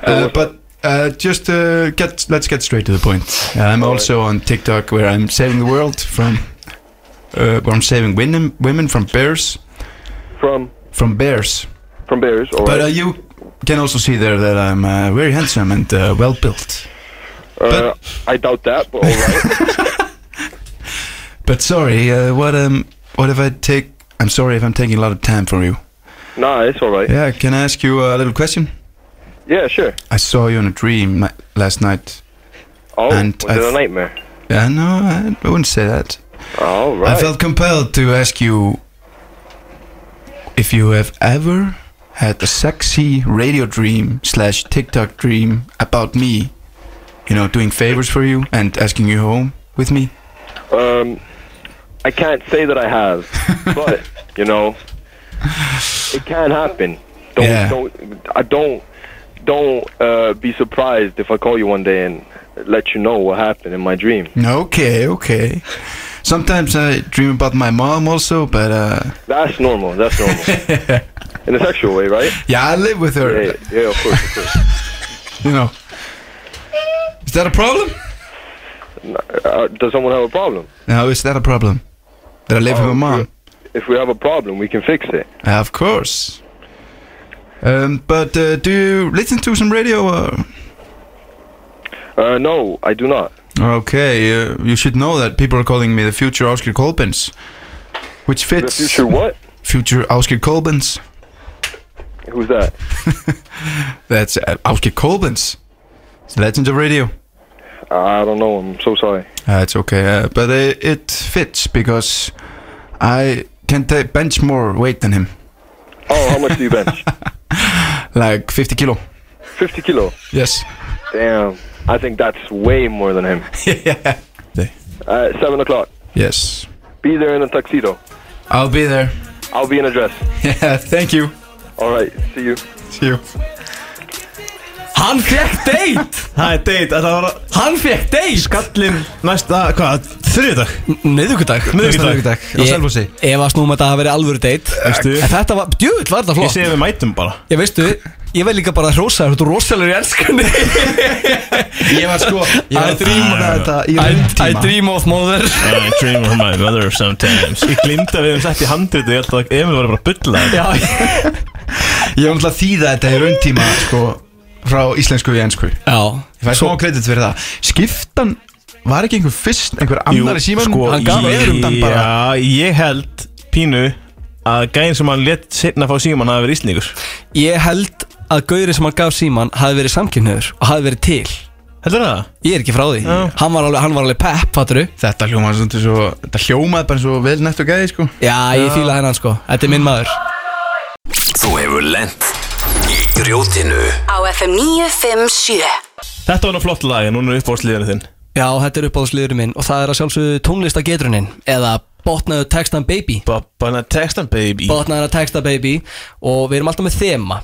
[SPEAKER 1] Uh, but uh, just uh, get let's get straight to the point. Uh, I'm also on TikTok where I'm saving the world from, uh, where I'm saving women women from bears.
[SPEAKER 8] From
[SPEAKER 1] From bears.
[SPEAKER 8] from bears, or
[SPEAKER 1] But uh, you can also see there that I'm uh, very handsome and uh, well built.
[SPEAKER 8] uh, I doubt that, but all right.
[SPEAKER 1] But sorry, uh, what um, what if I take? I'm sorry if I'm taking a lot of time from you.
[SPEAKER 8] nah, it's all right.
[SPEAKER 1] Yeah, can I ask you a little question?
[SPEAKER 8] Yeah, sure.
[SPEAKER 1] I saw you in a dream ni- last night.
[SPEAKER 8] Oh,
[SPEAKER 1] And
[SPEAKER 8] was
[SPEAKER 1] I
[SPEAKER 8] it a
[SPEAKER 1] th-
[SPEAKER 8] nightmare?
[SPEAKER 1] Yeah, no, I I wouldn't say that.
[SPEAKER 8] All right.
[SPEAKER 1] I felt compelled to ask you If you have ever had a sexy radio dream slash TikTok dream about me, you know, doing favors for you and asking you home with me,
[SPEAKER 15] Um, I can't say that I have, but you know, it can happen. Don't
[SPEAKER 1] Yeah.
[SPEAKER 15] don't I don't don't uh, be surprised if I call you one day and let you know what happened in my dream.
[SPEAKER 1] Okay, okay. Sometimes I dream about my mom also, but uh,
[SPEAKER 15] That's normal. That's normal. in a sexual way, right?
[SPEAKER 1] yeah, I live with her.
[SPEAKER 15] Yeah, yeah, of course, of course.
[SPEAKER 1] You know, is that a problem?
[SPEAKER 15] Uh, does someone have a problem?
[SPEAKER 1] No, is that a problem? That I live with my mom?
[SPEAKER 15] If we have a problem, we can fix it.
[SPEAKER 1] Uh, of course. Um, but uh, do you listen to some radio? Or?
[SPEAKER 15] Uh, no, I do not.
[SPEAKER 1] Okay, uh, you should know that people are calling me the future Oscar Colbins, which fits.
[SPEAKER 15] future what?
[SPEAKER 1] Future Oscar Colbins.
[SPEAKER 15] Who's that?
[SPEAKER 1] That's uh, Oscar Colbins. It's the legend of radio.
[SPEAKER 15] I don't know. I'm so sorry.
[SPEAKER 1] Uh, it's okay, uh, but uh, it fits because I can ta bench more weight than him,
[SPEAKER 15] Oh, how much do you bench?
[SPEAKER 1] like 50 kilo.
[SPEAKER 15] 50 kilo.
[SPEAKER 1] Yes.
[SPEAKER 15] Damn. I think that's way more than him.
[SPEAKER 1] yeah.
[SPEAKER 15] Uh, 7 o'clock.
[SPEAKER 1] Yes.
[SPEAKER 15] Be there in a tuxedo.
[SPEAKER 1] I'll be there.
[SPEAKER 15] I'll be in a dress.
[SPEAKER 1] Yeah, thank you.
[SPEAKER 15] All right. See you.
[SPEAKER 1] See you.
[SPEAKER 3] Hann fekk deit
[SPEAKER 4] Það er date, þetta var
[SPEAKER 3] Hann fekk deit
[SPEAKER 4] Skallin næsta, hvað, þriðdag?
[SPEAKER 3] Miðvíkudag
[SPEAKER 4] Miðvikudag.
[SPEAKER 3] Á Selfossi Ég var snúm að það hafi verið alvöru deit
[SPEAKER 4] Veistu?
[SPEAKER 3] En þetta var, djúvill var þetta
[SPEAKER 4] Ég
[SPEAKER 3] flott
[SPEAKER 4] segi við mætum bara
[SPEAKER 3] Ég veistu, ég veit líka bara að hrósa þér Þú rosalur í elskunni
[SPEAKER 1] Ég var sko
[SPEAKER 4] ég var-
[SPEAKER 3] I dream of þetta í
[SPEAKER 4] I-
[SPEAKER 3] rauntíma.
[SPEAKER 4] I dream
[SPEAKER 3] of mother
[SPEAKER 4] I dream of my mother sometimes Ég glimta við um sett í handrit og ég held að Emil var bara að bylla
[SPEAKER 3] Já,
[SPEAKER 1] Ég var náttúrulega að þýða þetta í rauntíma sko, frá íslensku í ennsku
[SPEAKER 3] Já
[SPEAKER 1] Ég fæði smá kredit fyrir það Skiptan var ekki einhver fyrst einhver annar í símanum
[SPEAKER 4] sko,
[SPEAKER 1] Hann gaf
[SPEAKER 4] ég-
[SPEAKER 1] öðrum þann bara
[SPEAKER 4] Já, ég held pínu að gæðin sem hann létt setna að fá síman hafi verið íslendingur
[SPEAKER 3] Ég held að gaurið sem hann gaf síman hafi verið samkynniður og hafi verið til
[SPEAKER 4] Heldur það?
[SPEAKER 3] Ég er ekki frá því hann var, alveg, hann var alveg pepp, fatturu
[SPEAKER 1] Þetta hljómaði svona svo Þetta hljómaði bara svo vel nættu gæði sko
[SPEAKER 3] Já, ég fíla hennan sko, þetta er minn maður
[SPEAKER 16] Þú hefur lent í grjótinu
[SPEAKER 2] Á FM 957
[SPEAKER 4] Þetta var nú flott lag en núna er uppbóðsliðinu þinn
[SPEAKER 3] Já, þetta er uppáðsliðurinn minn og það er að sjálfsögðu tónlistagetruninn eða botnaðu textan baby
[SPEAKER 4] Botnaðu textan baby
[SPEAKER 3] Botnaðu textan baby og við erum alltaf með þema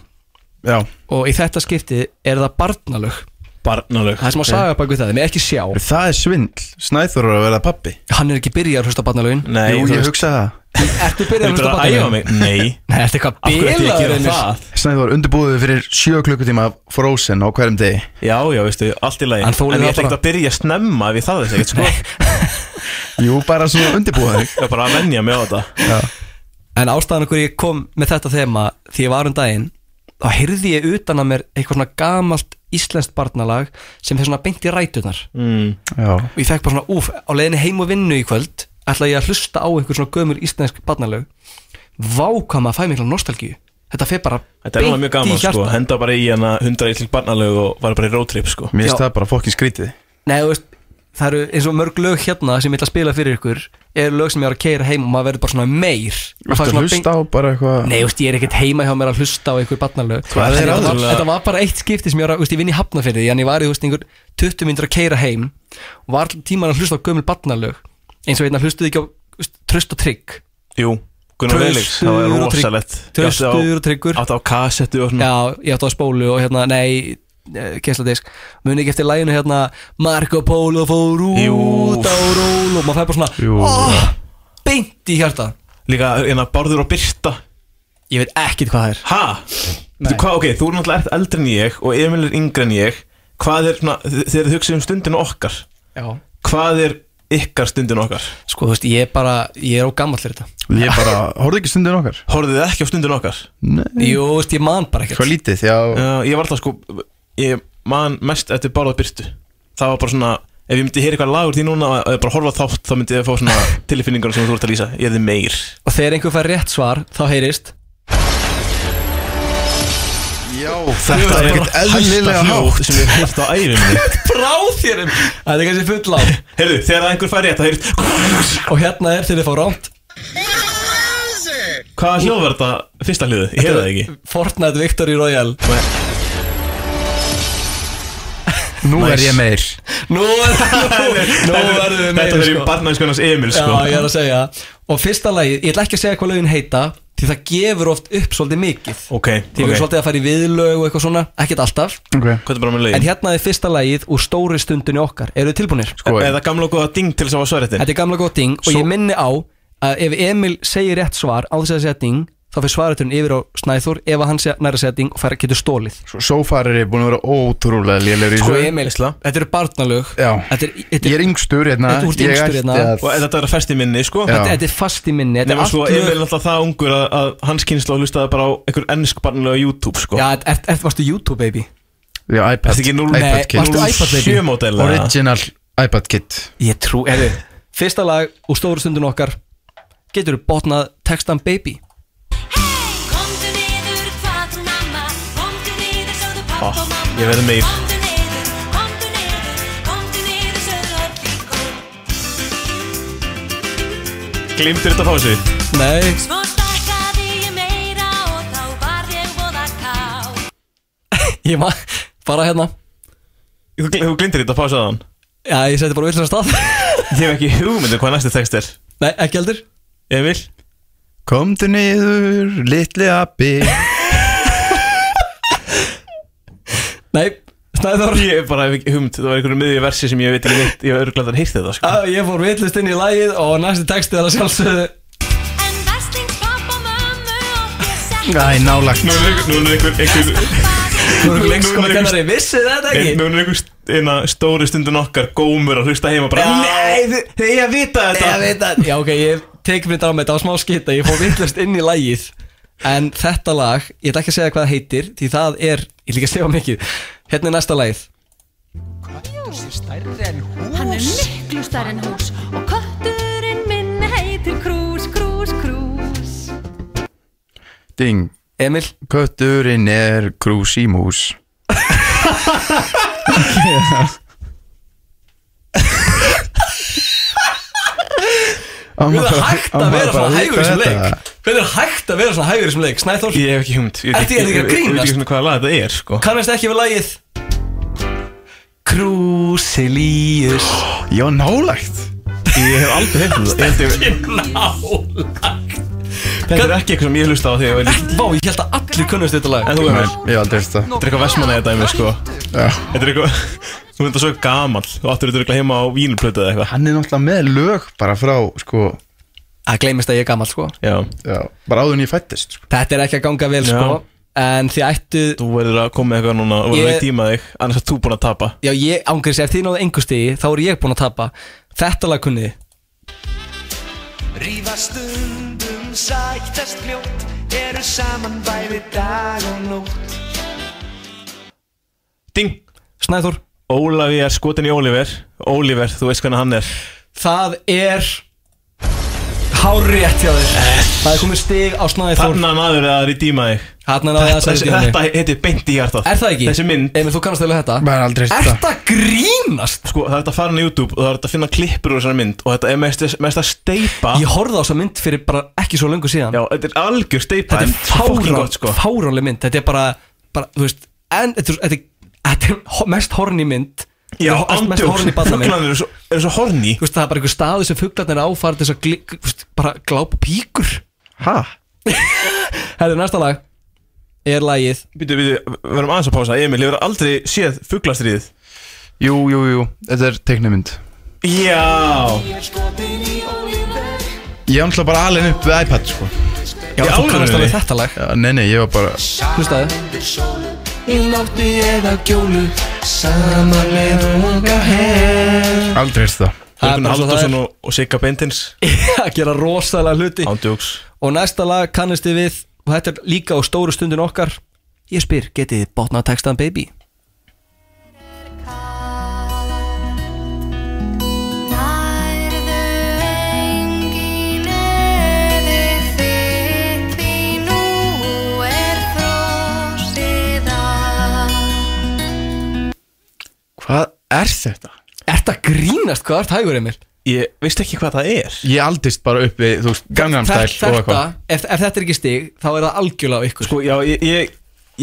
[SPEAKER 1] Já
[SPEAKER 3] og í þetta skipti er það barnalög
[SPEAKER 4] Barnalög
[SPEAKER 3] Það er smá saga bak við það, þeim er ekki sjá
[SPEAKER 1] Það er svindl, Snæþór er að vera pappi
[SPEAKER 3] Hann er ekki byrjað að hlusta á barnalögin
[SPEAKER 4] Nei,
[SPEAKER 1] Jú,
[SPEAKER 4] þú
[SPEAKER 1] ég
[SPEAKER 4] veist-
[SPEAKER 1] hugsa það
[SPEAKER 3] Ertu byrjað að hlusta
[SPEAKER 4] Þú er
[SPEAKER 3] á
[SPEAKER 4] bara að æfa mig.
[SPEAKER 3] barnalögin?
[SPEAKER 4] Nei.
[SPEAKER 3] Nei, ertu eitthvað
[SPEAKER 4] Af hverju ætti ég að gera
[SPEAKER 3] bilaður Einar?
[SPEAKER 4] það?
[SPEAKER 1] Snæþór undirbúðu fyrir 7 klukkutíma af Frozen á hverjum degi
[SPEAKER 4] Já, já, veistu, allt í lagi
[SPEAKER 1] Hann þolir
[SPEAKER 4] En ég
[SPEAKER 1] það
[SPEAKER 4] ætla ekki
[SPEAKER 1] bara.
[SPEAKER 4] að byrja að snemma við það þess ekkert sko
[SPEAKER 1] Jú, bara svona undirbúða þig
[SPEAKER 4] Ég er bara að venja mig á þetta
[SPEAKER 3] En ástæðan okkur ég kom með þetta þema því ég var um daginn þá heyrði ég utan að mér eitthvað svona gamalt íslenskt barnalag sem fyrir svona beint í rætunar
[SPEAKER 4] mm.
[SPEAKER 1] Já
[SPEAKER 3] og ég fekk bara svona úf á leiðinni heim og vinnu í kvöld ætla ég að hlusta á einhver svona gömur íslensk barnalög Vá hvað maður fæ mikla nostalgíu þetta fer bara
[SPEAKER 4] Þetta er alveg mjög gaman sko Henda bara í hana 100 íslik barnalög og var bara í roadtrip sko
[SPEAKER 1] Mér finnst það bara fokkin skrítið
[SPEAKER 3] Nei, þú veist, það eru eins og mörg lög hérna sem ég ætla að spila fyrir ykkur eru lög sem ég var að keira heim og maður verður bara svona meir Maður fær
[SPEAKER 1] Þú
[SPEAKER 3] svona beint-
[SPEAKER 1] hlusta á bara eitthvað
[SPEAKER 3] Nei, þú veist, ég er ekkert heima hjá mér að hlusta á einhver barnalög
[SPEAKER 1] Hvað er
[SPEAKER 3] Þetta var-
[SPEAKER 1] aðallega?
[SPEAKER 3] Þetta var bara eitt skipti sem ég var að, þú veist, ég vinn í hafnafyrði Þannig ég var í, þú veist, einhver 20 myndir að keira heim Og var tíman að hlusta á gömul barnalög Eins og einna hlustuði ekki á, þú veist, tröst og trygg
[SPEAKER 4] Jú, Gunnar Velix, það var
[SPEAKER 3] Traustur og trygg-
[SPEAKER 4] rosalett
[SPEAKER 3] Traustur og tryggur
[SPEAKER 4] Átt á kassettu og svona
[SPEAKER 3] Já, ég átti á spólu og hérna, nei kessladeisk, muni ekki eftir læginu hérna Marco Polo fór út á ról og maður fær bara svona oh, beint í hjarta
[SPEAKER 4] Líka hérna Bárður og Birta
[SPEAKER 3] Ég veit ekkit hvað það er
[SPEAKER 4] Ha? Veitu hvað, ok, þú er náttúrulega ert eldri en ég og Emil er yngri en ég Hvað er svona, þegar þið hugsið um stundinu okkar
[SPEAKER 3] Já.
[SPEAKER 4] Hvað er ykkar stundinu okkar?
[SPEAKER 3] Sko, þú veist, ég er bara, ég er á gammal fyrir þetta
[SPEAKER 1] Ég bara, horfðu ekki stundin okkar
[SPEAKER 4] Horfið þið ekki á stundinu okkar?
[SPEAKER 1] Nei
[SPEAKER 4] Mm.
[SPEAKER 3] Jú, þú veist, ég man bara ekkert
[SPEAKER 1] Hvað lítið, já
[SPEAKER 4] Já, ég var alltaf sko Ég man mest eftir Bárða Byrtu Það var bara svona Ef ég myndi heyra eitthvað lagur því núna og bara horfa á þátt þá myndi ég fá svona tilfinningar sem þú ert að lýsa Ég er þið meir
[SPEAKER 3] Og þegar einhver fær rétt svar, þá heyrist
[SPEAKER 1] Já, þetta er ekkert eðlilega hátt
[SPEAKER 4] sem ég hef hægt á æfinni
[SPEAKER 3] Brá þér um Það er kannski full á
[SPEAKER 4] Heyrðu, þegar einhver fær rétt það heyrist
[SPEAKER 3] Og hérna er þegar þið fá rámt
[SPEAKER 4] Hvaða hljóð var þetta fyrsta hljóðu? Ég hefði það ekki
[SPEAKER 3] Fortnite Victory Royale
[SPEAKER 1] Nú er ég meir
[SPEAKER 3] Nú er Nú verðum við meira,
[SPEAKER 4] Þetta verður í
[SPEAKER 3] sko.
[SPEAKER 4] barnaðskonans Emil sko.
[SPEAKER 3] Já, ég er að segja Og fyrsta lagi, ég ætla ekki að segja hvað lögin heita Því það gefur oft upp svolítið mikið
[SPEAKER 4] Ok,
[SPEAKER 3] Því við
[SPEAKER 4] ok.
[SPEAKER 3] erum svolítið að fara í viðlög og eitthvað svona Ekkert alltaf
[SPEAKER 1] okay.
[SPEAKER 4] Hvað er bara með lögin?
[SPEAKER 3] En hérna er fyrsta lagið úr stóri stundinni okkar Eru þið tilbúinir?
[SPEAKER 1] Sko,
[SPEAKER 4] Eða Sko, gamla og góða ding til þess að var svaretin
[SPEAKER 3] Þetta er gamla góð ding og
[SPEAKER 4] Svo-
[SPEAKER 3] ég minni á að ef Emil segir rétt svar á þess að segja ding þá fyrir svareturinn yfir á Snæþór ef að hann sé- nær að segja ding og fær, getur stólið
[SPEAKER 1] Svo so far er ég búin að vera ótrúlega lélegur í
[SPEAKER 3] Sko
[SPEAKER 1] þessu.
[SPEAKER 3] Emil, þetta eru barnalög
[SPEAKER 1] Já
[SPEAKER 3] Þetta er,
[SPEAKER 1] Ég
[SPEAKER 3] þetta
[SPEAKER 1] er yngstur hérna
[SPEAKER 3] Þetta- þú ert
[SPEAKER 1] Ég
[SPEAKER 3] yngstur
[SPEAKER 1] ætti
[SPEAKER 3] hérna.
[SPEAKER 1] að-
[SPEAKER 4] Og þetta verður fest í minni sko
[SPEAKER 1] Já.
[SPEAKER 3] þetta, þetta er fast í minni Þetta er
[SPEAKER 4] Nefnum
[SPEAKER 3] allt
[SPEAKER 4] sko, Emil er
[SPEAKER 3] lög
[SPEAKER 4] alltaf það ungur að, að hans kynsla hlustaði bara á einhver ennsk barnilega YouTube sko
[SPEAKER 3] Já, ert- ert- ert- varstu YouTube baby?
[SPEAKER 1] Já, iPad
[SPEAKER 4] Ertu ekki 0
[SPEAKER 3] Nei, varstu iPad baby?
[SPEAKER 4] 7 mótel
[SPEAKER 1] Original iPad kit
[SPEAKER 3] Ég trú, eða Fyrsta lag úr stóru stundin okkar Getur þú botnað textan baby
[SPEAKER 4] Ég verði meir Glimtir þetta að fá sig
[SPEAKER 3] Nei Ég var bara hérna
[SPEAKER 4] Þú gl- þú glimtir þetta að fá sig aðan
[SPEAKER 3] Já, ég seti bara vilsar stað
[SPEAKER 4] Ég hef ekki hugmyndu hvað næstu text er
[SPEAKER 3] Nei, ekki heldur
[SPEAKER 4] Emil
[SPEAKER 1] Komdu niður, litli abbi
[SPEAKER 3] Nei, Snæður
[SPEAKER 4] Ég hef bara hef ekki hugmynd Það var einhverjum miðjum versi sem ég veit ekki neitt Ég hef örgulega að heyrta þetta sko
[SPEAKER 3] Á, Ég fór villist inn í lagið og næsti texti er að sjálfsögðu
[SPEAKER 1] Æ, nálagt
[SPEAKER 4] Nú er nú er einhver einhver-
[SPEAKER 3] Nú er einhver
[SPEAKER 4] nú
[SPEAKER 3] leikskóla kennari, vissi þetta ekki?
[SPEAKER 4] Nú er einhver st- hérna, stóri stundin okkar Gómur að hlusta heima bara
[SPEAKER 3] Nei,
[SPEAKER 4] þið þið eiga að vita þetta
[SPEAKER 3] Ég veit að, já ok, ég tek mér dráma þetta á smá skita Ég fór villist inn í lagið En þetta lag, ég ætla ekki að segja hvað það heitir Því það er, ég líka að segja mikið Hérna er næsta lagið
[SPEAKER 17] Hann er miklu stærri en hús og kötturinn minn heitir Krús, Krús, Krús.
[SPEAKER 1] Ding
[SPEAKER 3] Emil
[SPEAKER 1] Kötturinn er krúsímús
[SPEAKER 3] Hvernig er
[SPEAKER 1] bara-
[SPEAKER 3] hægt
[SPEAKER 1] á
[SPEAKER 3] að
[SPEAKER 1] maður bara
[SPEAKER 3] vera svona
[SPEAKER 1] að
[SPEAKER 3] hægur í
[SPEAKER 1] vita
[SPEAKER 3] þessum
[SPEAKER 1] þetta?
[SPEAKER 3] leik? Hvernig er hægt að vera svona hægur í þessum leik? Snæþór?
[SPEAKER 4] Ég hef ekki hugmynd Ég
[SPEAKER 3] Ertu- er þetta ekki að grínast?
[SPEAKER 4] Ég veit ekki hvaða lag þetta er sko
[SPEAKER 3] Kannast ekki við lagið? Krúsilíus
[SPEAKER 1] Já, nálægt
[SPEAKER 4] Ég hef aldrei um hefði það Ég held ég- Þetta er ekki eitthvað sem ég hlusta á þegar ég var lítill
[SPEAKER 3] Vá, ég held að allir kunnast þetta lag
[SPEAKER 4] En þú Emil
[SPEAKER 1] Ég hef aldrei hérst það
[SPEAKER 4] Þetta er eitthvað vestmannaðið dæmi sko Þetta er eitthvað Þú myndir svo gamal Þú áttur þetta heima á vínplötu eða eitthvað
[SPEAKER 1] Hann er náttúrulega með lög bara frá, sko
[SPEAKER 3] Það gleymist að ég er gammal sko
[SPEAKER 4] Já
[SPEAKER 1] Já, bara áður en ég fættist sko.
[SPEAKER 3] Þetta er ekki að ganga vel sko En þið ættu
[SPEAKER 4] Þú verður að koma með eitthvað núna Þú verður
[SPEAKER 3] Ég-
[SPEAKER 4] að tíma þig Annars er þú búin að tapa
[SPEAKER 3] Já, ég ángrið sér, ef þið náðu engu stigi Þá er ég búinn að tapa Þetta lag kunniði
[SPEAKER 18] Rífa stundum sættast fljótt Eru saman bæði dag og nótt
[SPEAKER 4] Ding
[SPEAKER 3] Snæður
[SPEAKER 4] Ólafi er skotin í Oliver Oliver, þú veist hvernig hann er
[SPEAKER 3] Það er Hárétt hjá þér Það er komið stig á Snæður
[SPEAKER 4] Þarna náður það er í tíma þig
[SPEAKER 3] Þarna náði það að
[SPEAKER 4] Þessi-
[SPEAKER 3] segja
[SPEAKER 4] Þetta heitir beint í hjartað
[SPEAKER 3] Er það ekki?
[SPEAKER 4] Þessi mynd
[SPEAKER 3] Emil, þú kannast alveg þetta
[SPEAKER 1] Bara aldrei
[SPEAKER 3] Er þetta grínast?
[SPEAKER 4] Sko, það er þetta að fara inn á YouTube og það er þetta að finna klippur úr þessari mynd og þetta er mest, mest að steipa
[SPEAKER 3] Ég horfði á þessa mynd fyrir bara ekki svo löngu síðan
[SPEAKER 4] Já, þetta er algjör steipa
[SPEAKER 3] Þetta er
[SPEAKER 4] en svo fucking
[SPEAKER 3] fárán,
[SPEAKER 4] gott, sko.
[SPEAKER 3] fáránleg mynd Þetta er bara, bara þú veist en, þetta, er- þetta, er- þetta er ho- mest horni mynd
[SPEAKER 4] Já,
[SPEAKER 3] Þetta er mest
[SPEAKER 4] ándjóks.
[SPEAKER 3] horni barnamynd
[SPEAKER 4] Fuglarnir eru svo- eru svo horni
[SPEAKER 3] Þú veist, það er bara einhver staði sem fuglarnir áfæra til þess að gli, gl- þú veist, bara glápa píkur
[SPEAKER 1] Hæ?
[SPEAKER 3] Herðu, næsta lag er lagið
[SPEAKER 4] Býtu, býtu, við verðum aðeins að pása Emil, hefur aldrei séð fugglastriðið
[SPEAKER 1] Jú, jú, jú, þetta er teiknumynd
[SPEAKER 4] Já
[SPEAKER 1] Ég ámsla bara alveg upp við iPad, sko
[SPEAKER 3] Já,
[SPEAKER 1] Í
[SPEAKER 3] þú kannast
[SPEAKER 1] alvörunni?
[SPEAKER 3] alveg þetta lag
[SPEAKER 1] Já, nei, nei, ég var bara
[SPEAKER 3] Hlustaðu
[SPEAKER 18] Í nótti eða gjólu Saman með unga her
[SPEAKER 1] Aldrei hérst það
[SPEAKER 4] Björgun
[SPEAKER 3] bara svo það
[SPEAKER 4] Halldórsson og, og Sigga Bentins
[SPEAKER 3] að gera rosalega hluti
[SPEAKER 4] Ándjóks
[SPEAKER 3] Og næsta lag kannast þið við og þetta er líka á stóru stundin okkar Ég spyr, getið þið botnað textaðan baby?
[SPEAKER 1] Hvað er þetta?
[SPEAKER 3] Er þetta grínast? Hvað ert hægur, Emil?
[SPEAKER 4] ég veist ekki hvað það er
[SPEAKER 1] Ég aldist bara upp við, þú veist, Gangnam Style
[SPEAKER 3] Þe-
[SPEAKER 1] og
[SPEAKER 3] Þetta,
[SPEAKER 1] eitthvað
[SPEAKER 3] ef, ef þetta er ekki stig, þá er það algjörlega á ykkur
[SPEAKER 4] Sko, já, ég, ég,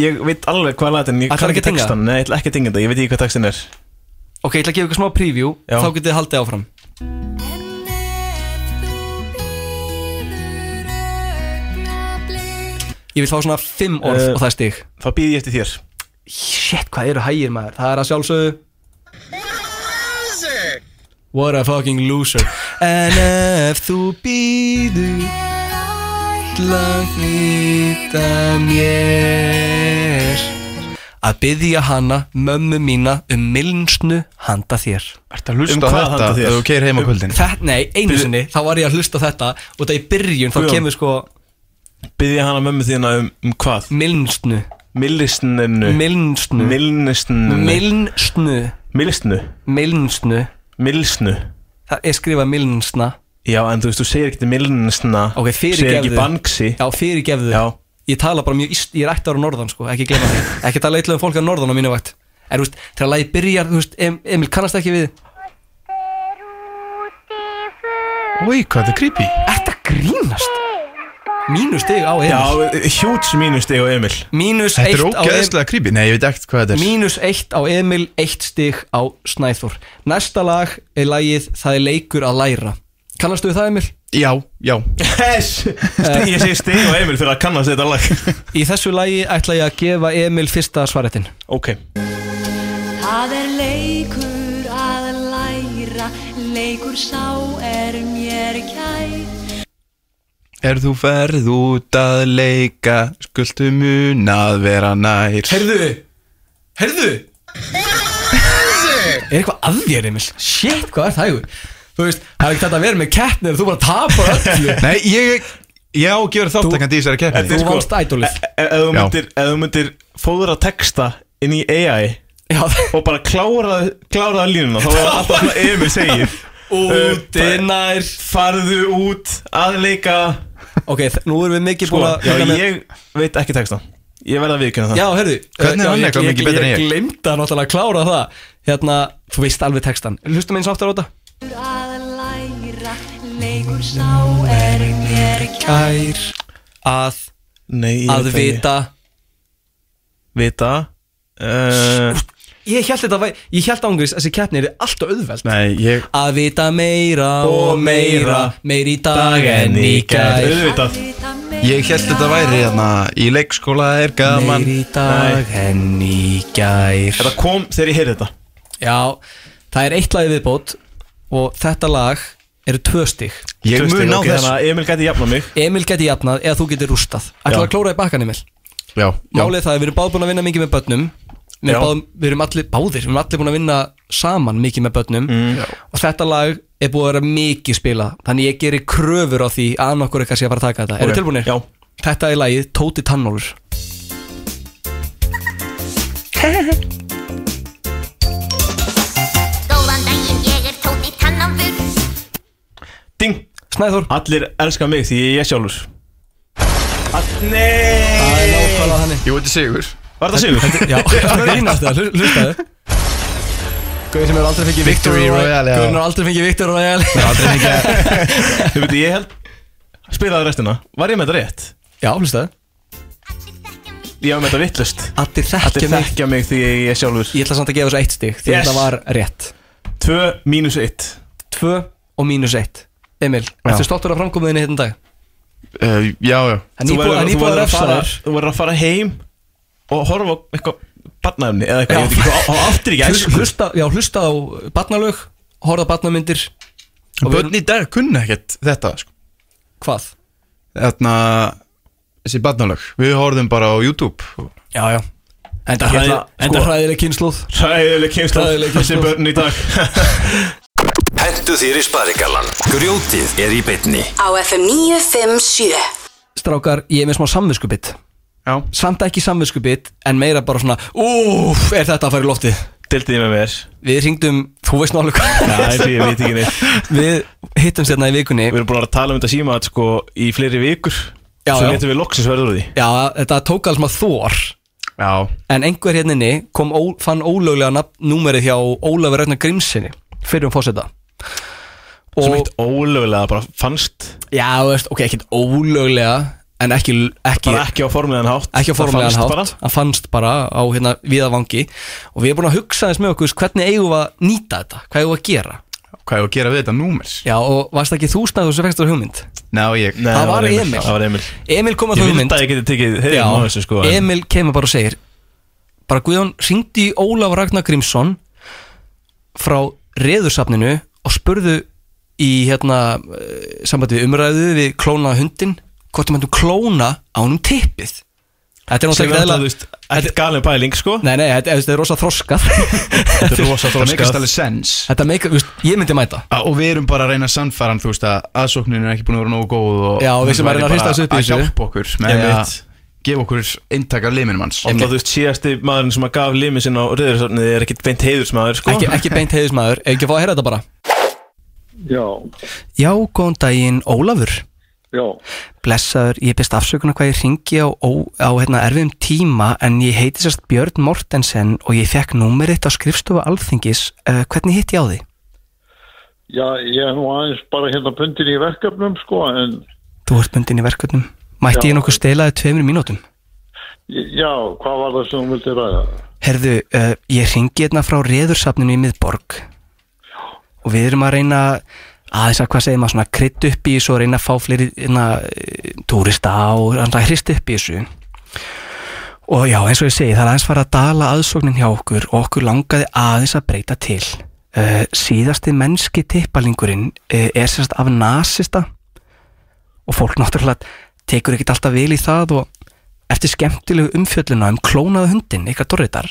[SPEAKER 4] ég veit alveg hvað latin Ég
[SPEAKER 3] Ætlarðu
[SPEAKER 4] kann
[SPEAKER 3] ekki
[SPEAKER 4] ekki
[SPEAKER 3] að tinga?
[SPEAKER 4] textan, nei, ég ætla ekki að tinga þetta Ég veit ekki hvað textin er
[SPEAKER 3] Ok, ég ætla að gefa ykkur smá preview,
[SPEAKER 4] Já.
[SPEAKER 3] þá getið þið haldið áfram Ég vil fá svona fimm orð
[SPEAKER 4] Eh,
[SPEAKER 3] og það er stig
[SPEAKER 4] Þá býð ég eftir þér
[SPEAKER 3] Shit, hvað eru hægir maður? Það er að sjálfsögðu What a fucking loser En ef þú býður Lagnýta mér Að byðja hana, mömmu mína Um milnsnu handa þér
[SPEAKER 1] Ertu að hlusta á þetta þegar þú keyrir heim á kvöldin?
[SPEAKER 3] Þetta, nei, einu sinni, þá var ég að hlusta á þetta Og það í byrjun, þá
[SPEAKER 4] Guðjón.
[SPEAKER 3] kemur sko
[SPEAKER 4] Byðja hana mömmu þína um, um hvað?
[SPEAKER 3] Milnsnu
[SPEAKER 4] Millisninu
[SPEAKER 3] Milnsnu
[SPEAKER 4] Milnisninu
[SPEAKER 3] Milnsnu
[SPEAKER 4] Milsnu
[SPEAKER 3] Milnsnu
[SPEAKER 4] Milsnu
[SPEAKER 3] Það er skrifað milnsna
[SPEAKER 4] Já, en þú veist, þú segir ekki milnisna
[SPEAKER 3] Ok,
[SPEAKER 4] Segir
[SPEAKER 3] fyrirgefðu
[SPEAKER 4] ekki banksi
[SPEAKER 3] Já, fyrirgefðu Já Ég tala bara mjög, íst, ég er ættar á norðan sko, ekki glemma því Ekki tala eitthvað um fólk á norðan á mínu vakt En þú veist, þegar lagi byrjar, þú veist, em, Emil kannast ekki við
[SPEAKER 1] Úi, hvað þetta er creepy
[SPEAKER 3] Þetta grínast Mínustig á Emil
[SPEAKER 4] Já, hjúts mínustig á Emil
[SPEAKER 3] Mínus
[SPEAKER 1] Þetta er
[SPEAKER 3] eitt á Emil
[SPEAKER 1] ógeðslega creepy, nei, ég veit ekkert hvað þetta er
[SPEAKER 3] Mínus eitt á Emil, eitt stig á Snæþór Næsta lag er lagið Það er leikur að læra Kannastu við það Emil?
[SPEAKER 1] Já, já
[SPEAKER 4] Yes Stig- Ég segi stig á Emil fyrir að kannast þetta lag
[SPEAKER 3] Í þessu lagi ætla ég að gefa Emil fyrsta svaretin
[SPEAKER 4] Ok
[SPEAKER 17] Það er leikur að læra, leikur sá er mér kær.
[SPEAKER 1] Er þú ferð út að leika Skuldu mun að vera nær
[SPEAKER 3] Heyrðu, heyrðu Er eitthvað að þér Emil? Shit, hvað er það ykkur? Þú veist, það er ekki þetta að vera með keppni ef þú bara tapar öllu
[SPEAKER 1] Nei, ég, ég á að gera þáttakandi í þessari keppni
[SPEAKER 4] Þetta er sko-
[SPEAKER 3] ædólið
[SPEAKER 4] E- Ef þú
[SPEAKER 1] Já.
[SPEAKER 4] myndir, ef þú myndir fóðra texta inn í AI
[SPEAKER 3] Já.
[SPEAKER 4] og bara klára, klára línuna þá er alltaf svona Emil segir
[SPEAKER 3] Úti
[SPEAKER 4] Uh,
[SPEAKER 3] nær
[SPEAKER 4] Farðu út að leika
[SPEAKER 3] Ok, þ- nú erum við mikið
[SPEAKER 4] Sko,
[SPEAKER 3] búin að
[SPEAKER 4] já,
[SPEAKER 3] vinna með-
[SPEAKER 4] ég veit ekki texta Ég verð að viðkynna það
[SPEAKER 3] Já, heyrðu
[SPEAKER 1] Hvernig
[SPEAKER 3] eh,
[SPEAKER 1] er hann
[SPEAKER 3] já,
[SPEAKER 1] eitthvað mikið betri en
[SPEAKER 3] Ég
[SPEAKER 1] ég?
[SPEAKER 3] glemdi að náttúrulega klára það Hérna, þú veist alveg textan Hlustum eins og aftur á þetta
[SPEAKER 17] Að læra, leikur sá er mér kær.
[SPEAKER 3] Kær Að
[SPEAKER 4] Nei, ég
[SPEAKER 3] Að
[SPEAKER 4] veit ekki.
[SPEAKER 3] vita
[SPEAKER 4] Vita uh,
[SPEAKER 3] Ég held þetta væri, ég held ángriðs þessi keppni er alltaf auðveld
[SPEAKER 1] Nei, ég
[SPEAKER 3] Að vita meira og
[SPEAKER 4] Og meira.
[SPEAKER 3] meira Meir í dag en í gær
[SPEAKER 4] Auðvitað
[SPEAKER 1] Ég held þetta væri hérna Í leikskóla er gaman
[SPEAKER 3] Meir í dag en í gær
[SPEAKER 4] Þetta kom þegar ég heyrði þetta
[SPEAKER 3] Já, það er eitt lagi viðbót Og þetta lag eru tvö stig
[SPEAKER 1] Ég
[SPEAKER 4] Tvö stig,
[SPEAKER 1] mun á
[SPEAKER 4] ok,
[SPEAKER 1] þessu
[SPEAKER 4] Þannig að Emil gæti jafna mig
[SPEAKER 3] Emil geti jafnað eða þú geti rústað
[SPEAKER 4] Já.
[SPEAKER 3] Ætlar að klóra í bakkan Emil
[SPEAKER 1] Já, já
[SPEAKER 3] Málið er það, að við erum báð búin að vinna mikið með börnum Við
[SPEAKER 4] Já.
[SPEAKER 3] erum, báð, við erum allir, báðir, við erum allir búin að vinna saman mikið með börnum Og þetta lag er búið að vera mikið spila Þannig ég geri kröfur á því að annað okkur eitthvað sé að fara að taka þetta Eru
[SPEAKER 4] Ok,
[SPEAKER 3] tilbúinir?
[SPEAKER 4] Já
[SPEAKER 3] Þetta er lagið Tóti Tannólfur
[SPEAKER 19] Góðan daginn, ég er Tóti Tannanfur
[SPEAKER 4] Ding
[SPEAKER 3] Snæður
[SPEAKER 4] Allir elska mig því ég er sjálfur All-
[SPEAKER 3] Það er
[SPEAKER 4] Nei
[SPEAKER 3] nákvæmlega þannig
[SPEAKER 1] Jú, þetta er sigur
[SPEAKER 4] Var þetta sigur?
[SPEAKER 3] Já, það er grínast það, hlu- hlustaðu Guðin sem hefur aldrei fengið
[SPEAKER 1] Victory Royale, já.
[SPEAKER 3] Guðin hefur aldrei fengið Victor Royale
[SPEAKER 1] Aldrei mikið
[SPEAKER 4] Þú veit, ég held Spilaði restina Var ég með þetta rétt?
[SPEAKER 3] Já, hlustaðu
[SPEAKER 4] Ég var með þetta vittlust
[SPEAKER 3] Allir þekkja
[SPEAKER 4] Allir
[SPEAKER 3] mig
[SPEAKER 4] þekkja mig því ég er sjálfur
[SPEAKER 3] Ég ætla samt að gefa þessu eitt stig Því
[SPEAKER 4] Yes.
[SPEAKER 3] þetta var rétt
[SPEAKER 4] 2 mínus 1
[SPEAKER 3] Tvö og mínus eitt Emil, ertu stoltur af framkomiðinni hérna dag?
[SPEAKER 1] uh, Já, já
[SPEAKER 3] Það er
[SPEAKER 4] Þú
[SPEAKER 3] nýbúið- það er
[SPEAKER 4] verður- þú
[SPEAKER 3] nýbúið að
[SPEAKER 4] verður að
[SPEAKER 3] refsa
[SPEAKER 4] fara-
[SPEAKER 3] þér
[SPEAKER 4] Þú verður að fara heim Og horfa á eitthvað Barnaefni eða
[SPEAKER 3] Já.
[SPEAKER 4] eitthvað Ég veit ekki hvað Áttir ekki
[SPEAKER 3] Hlu-
[SPEAKER 4] æsku.
[SPEAKER 3] Hlusta, já, hlusta á barnalög Horða barnamyndir og við-
[SPEAKER 1] Bönn í dag kunna ekkert þetta sko.
[SPEAKER 3] Hvað?
[SPEAKER 1] Þarna Þessi barnalög Við horfðum bara á YouTube
[SPEAKER 3] Já, já Enda
[SPEAKER 4] Hræði-
[SPEAKER 3] hérna- enda
[SPEAKER 4] sko-
[SPEAKER 3] hræðileg kynnslóð
[SPEAKER 4] Hræðileg
[SPEAKER 3] Hræðileg
[SPEAKER 4] kynnslóð Þessi
[SPEAKER 3] kynslóð.
[SPEAKER 4] börn í dag
[SPEAKER 5] Hentu þér í sparigallan Grjótið er í bytni
[SPEAKER 2] Á FM 957
[SPEAKER 3] Strákar, ég er með smá samviskubitt
[SPEAKER 1] Já.
[SPEAKER 3] Samt ekki samviskubitt En meira bara svona Úf, er þetta að fara í loftið?
[SPEAKER 4] Dildið með mér
[SPEAKER 3] Við hringdum, þú veist nálega hvað
[SPEAKER 4] Já, þessi ég veit ekki neitt
[SPEAKER 3] Við hittum sérna í vikunni
[SPEAKER 4] Við erum búin að tala um þetta síma sko, Í fleiri vikur
[SPEAKER 3] Já,
[SPEAKER 4] Svo
[SPEAKER 3] já.
[SPEAKER 4] letum við loksins verður úr því
[SPEAKER 3] Já, þetta tók alls maður þór
[SPEAKER 1] Já
[SPEAKER 3] En einhver hérna inni kom ó, fann ólöglega nafn- númerið hjá Ólafur Ragnar Grímsinni Fyrir um fósetta
[SPEAKER 4] Sem eitt ólögulega bara fannst
[SPEAKER 3] Já, þú veist, ok, ekkert ólöglega En ekki Ekki,
[SPEAKER 4] Bara ekki á formlegan hátt
[SPEAKER 3] ekki á
[SPEAKER 4] Það
[SPEAKER 3] formulegan
[SPEAKER 4] fannst
[SPEAKER 3] hátt
[SPEAKER 4] bara.
[SPEAKER 3] hann fannst bara á hérna viðavangi og við erum búin að hugsa þess með okkur sko, hvernig eigum við að nýta þetta, hvað eigum við að gera
[SPEAKER 1] Hvað hefur að gera við þetta númers?
[SPEAKER 3] já og varst ekki þú snæður sem fengst þér hugmynd
[SPEAKER 1] Ná, ég
[SPEAKER 3] Nei, það var Emil
[SPEAKER 4] Það var Emil
[SPEAKER 3] Emil kom að
[SPEAKER 4] Ég
[SPEAKER 3] þú
[SPEAKER 4] vildi
[SPEAKER 3] hugmynd
[SPEAKER 4] að ég geti tekið heiðin
[SPEAKER 3] Já,
[SPEAKER 4] á þessu, sko, en-
[SPEAKER 3] Emil kemur bara og segir bara Guðjón ringdi í Ólaf Ragnar Grímsson frá reðursafninu og spurðu í hérna eh, sambandi við umræðu við klóna hundin hvort þú mættum klóna ánum tippið Þetta
[SPEAKER 4] Sem er
[SPEAKER 3] er náttúrulega
[SPEAKER 4] alltaf, þú veist, ekkert galin pæling sko
[SPEAKER 3] Nei, nei, þetta, þetta er rosa þroskað
[SPEAKER 1] Þetta er rosa
[SPEAKER 3] þroskað.
[SPEAKER 1] Þetta meikast alveg sens
[SPEAKER 3] Þetta meika, þú veist, ég myndi mæta
[SPEAKER 1] Og við erum bara að reyna að sannfæra hann, þú veist að aðsóknin er ekki búin að vera nógu góð og
[SPEAKER 3] Já, við
[SPEAKER 1] hann
[SPEAKER 3] sem að
[SPEAKER 1] væri
[SPEAKER 3] reyna að hrista
[SPEAKER 1] bara
[SPEAKER 3] þessu upp í þessu.
[SPEAKER 1] Að hjálpa okkur með
[SPEAKER 4] Einmitt.
[SPEAKER 1] að gefa okkur inntak af liminum hans
[SPEAKER 4] Og þá þú veist síðasti maðurinn sem að gaf limi sinna á reyðursafnið er ekkert beint heiðursmaður sko
[SPEAKER 3] Ekki, ekki beint heiðismæður, ekki að fá að heyra þetta bara
[SPEAKER 20] Já,
[SPEAKER 3] Já, góðan daginn, Ólafur
[SPEAKER 20] já,
[SPEAKER 3] Blessaður, ég best afsökunar hvað ég ringi á, á, á hérna, erfiðum tíma en ég heiti sérst Björn Mortensen og ég fekk númeritt á skrifstofu alþingis uh, Hvernig hitt ég á því?
[SPEAKER 20] já, ég er nú aðeins bara hérna pundin í verkefnum sko en
[SPEAKER 3] Þú ert bundin í verkefnum Mætti
[SPEAKER 20] Já.
[SPEAKER 3] ég nokkuð stelaði tveimur mínútum?
[SPEAKER 20] já, hvað var það sem þú vildi ræða?
[SPEAKER 3] Herðu, uh, ég ringi hérna frá reðursafninu í miðborg og við erum að reyna aðeins að hvað segir maður svona krydd upp í þessu og reyna að fá fleiri hérna, eh, túrista og hann að hrist upp í þessu og já, eins og ég segi, það er aðeins fara að dala aðsóknin hjá okkur og okkur langaði aðeins að breyta til uh, síðasti mennski tippalingurinn uh, er sérst af nasista og fólk náttúrulega tekur ekkert alltaf vel í það og eftir skemmtilegu umfjölluna um klónaða hundin, ykkar dorritar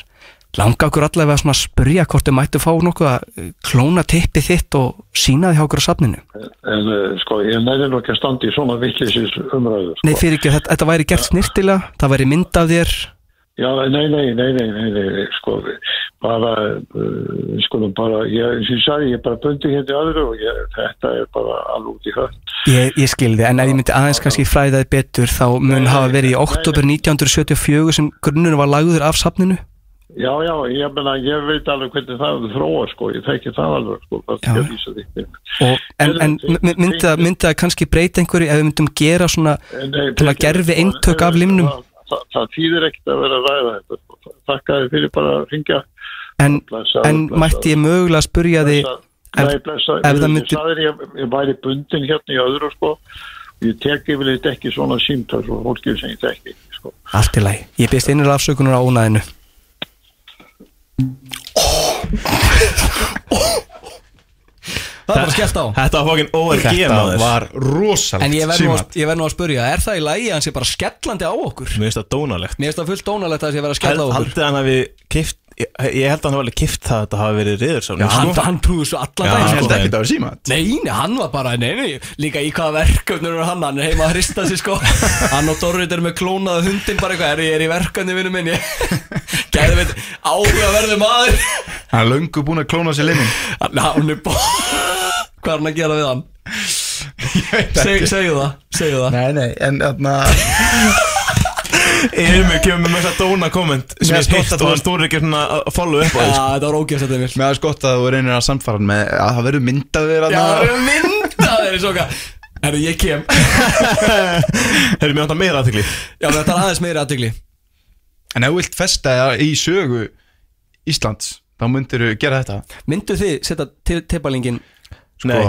[SPEAKER 3] langa okkur allavega svona að spurja hvort þau mættu fá nokkuð að eh, klóna tippi þitt og sína því hjá okkur á safninu
[SPEAKER 20] En eh, sko, ég nefnir nú ekki að standa í svona sko. vittlisins umræður.
[SPEAKER 3] Nei, fyrir ekki, þetta, þetta væri gert snirtilega það væri mynd af þér
[SPEAKER 20] Já, nei, nei, nei, nei, nei, nei, nei sko, bara, uh, sko, bara, ég, sem ég sagði, ég er bara bundið hérna í öðru og ég, þetta er bara alveg út í hött.
[SPEAKER 3] ég, ég skilði, en ef ég myndi aðeins kannski fræðaði betur þá mun hafa verið í oktober 1974 sem grunnur var lagður af safninu
[SPEAKER 20] Já, já, ég meina, ég veit alveg hvernig það er þróa, sko, ég þekki það alveg, sko, það skal ég lýsa því.
[SPEAKER 3] og, en, en my- myndi það- myndi það kannski breyta einhverju ef við myndum gera svona
[SPEAKER 20] Nei, sko.
[SPEAKER 3] til að gerfi eintök af limnum
[SPEAKER 20] Það, það þýðir ekkert að vera að ræða þetta, sko, þakka þið fyrir bara að ringja.
[SPEAKER 3] En,
[SPEAKER 20] Blessaður,
[SPEAKER 3] en
[SPEAKER 20] blessaður.
[SPEAKER 3] mætti ég mögulega að spurja því ef,
[SPEAKER 20] Nei, blessa,
[SPEAKER 3] ef það myndi
[SPEAKER 20] Ég sagði þér, ég, ég væri bundin hérna í öðru, sko, og ég tek yfirleitt ekki svona símtöl og fólkið sem ég þekki, sko.
[SPEAKER 3] Allt í lagi, ég byrst innir afsökunar á ónaðinu Það var bara skellt á
[SPEAKER 4] Þetta var fokkin ORG
[SPEAKER 3] Þetta
[SPEAKER 4] maður
[SPEAKER 3] var
[SPEAKER 1] rosalegt
[SPEAKER 3] En ég verð nú að- ég verð nú að spurja, er það í lagi að hann sé bara skellandi á okkur?
[SPEAKER 4] Mér finnst það dónalegt
[SPEAKER 3] Mér finnst það fullt dónalegt að það sé verið að
[SPEAKER 4] Held-
[SPEAKER 3] skella á okkur
[SPEAKER 4] Haldið hann hafi kift Ég ég held að hann hafi alveg kift það að þetta hafi verið reyðursafnið
[SPEAKER 3] Já, hann, hann trúið svo allan
[SPEAKER 4] Já,
[SPEAKER 3] daginn,
[SPEAKER 4] hann
[SPEAKER 3] sko.
[SPEAKER 4] held ekki þetta var símat.
[SPEAKER 3] Nei, nei, hann var bara, nei, nei, líka í hvaða verkefnur er hann, hann er heima að hrista sig sko Hann og Dorrit er með klónaða hundin bara eitthvað, er ég er í verkefni vinnu minni Gæði við áhugaverðu maður
[SPEAKER 1] Hann er löngu búin að klóna sér limin
[SPEAKER 3] Hann hann er bara, hvað er hann að gera við hann? Seg, segju það, segju það
[SPEAKER 1] Nei, nei, en þarna
[SPEAKER 4] Emil kemur með mesta dóna komment sem
[SPEAKER 1] Mér
[SPEAKER 4] ég
[SPEAKER 1] finnst gott
[SPEAKER 4] heilt
[SPEAKER 1] að
[SPEAKER 4] og
[SPEAKER 1] þú-
[SPEAKER 4] hann stóri ekki svona að follow upp á því sko.
[SPEAKER 3] var ógjöfst þetta mér
[SPEAKER 1] Mér finnst gott að þú reynir að samfara hann með að það verður myndað þér
[SPEAKER 3] Já, það
[SPEAKER 1] þarna.
[SPEAKER 3] er mynda þeir svo hvað Herru, ég kem
[SPEAKER 4] Hefur mér átt að meira aðtegli
[SPEAKER 3] Já, þetta er aðeins meira aðtegli
[SPEAKER 1] En ef þú vilt festa það í sögu Íslands, þá myndir þú gera þetta
[SPEAKER 3] Myndu þið setja til teipalingin
[SPEAKER 1] Sko,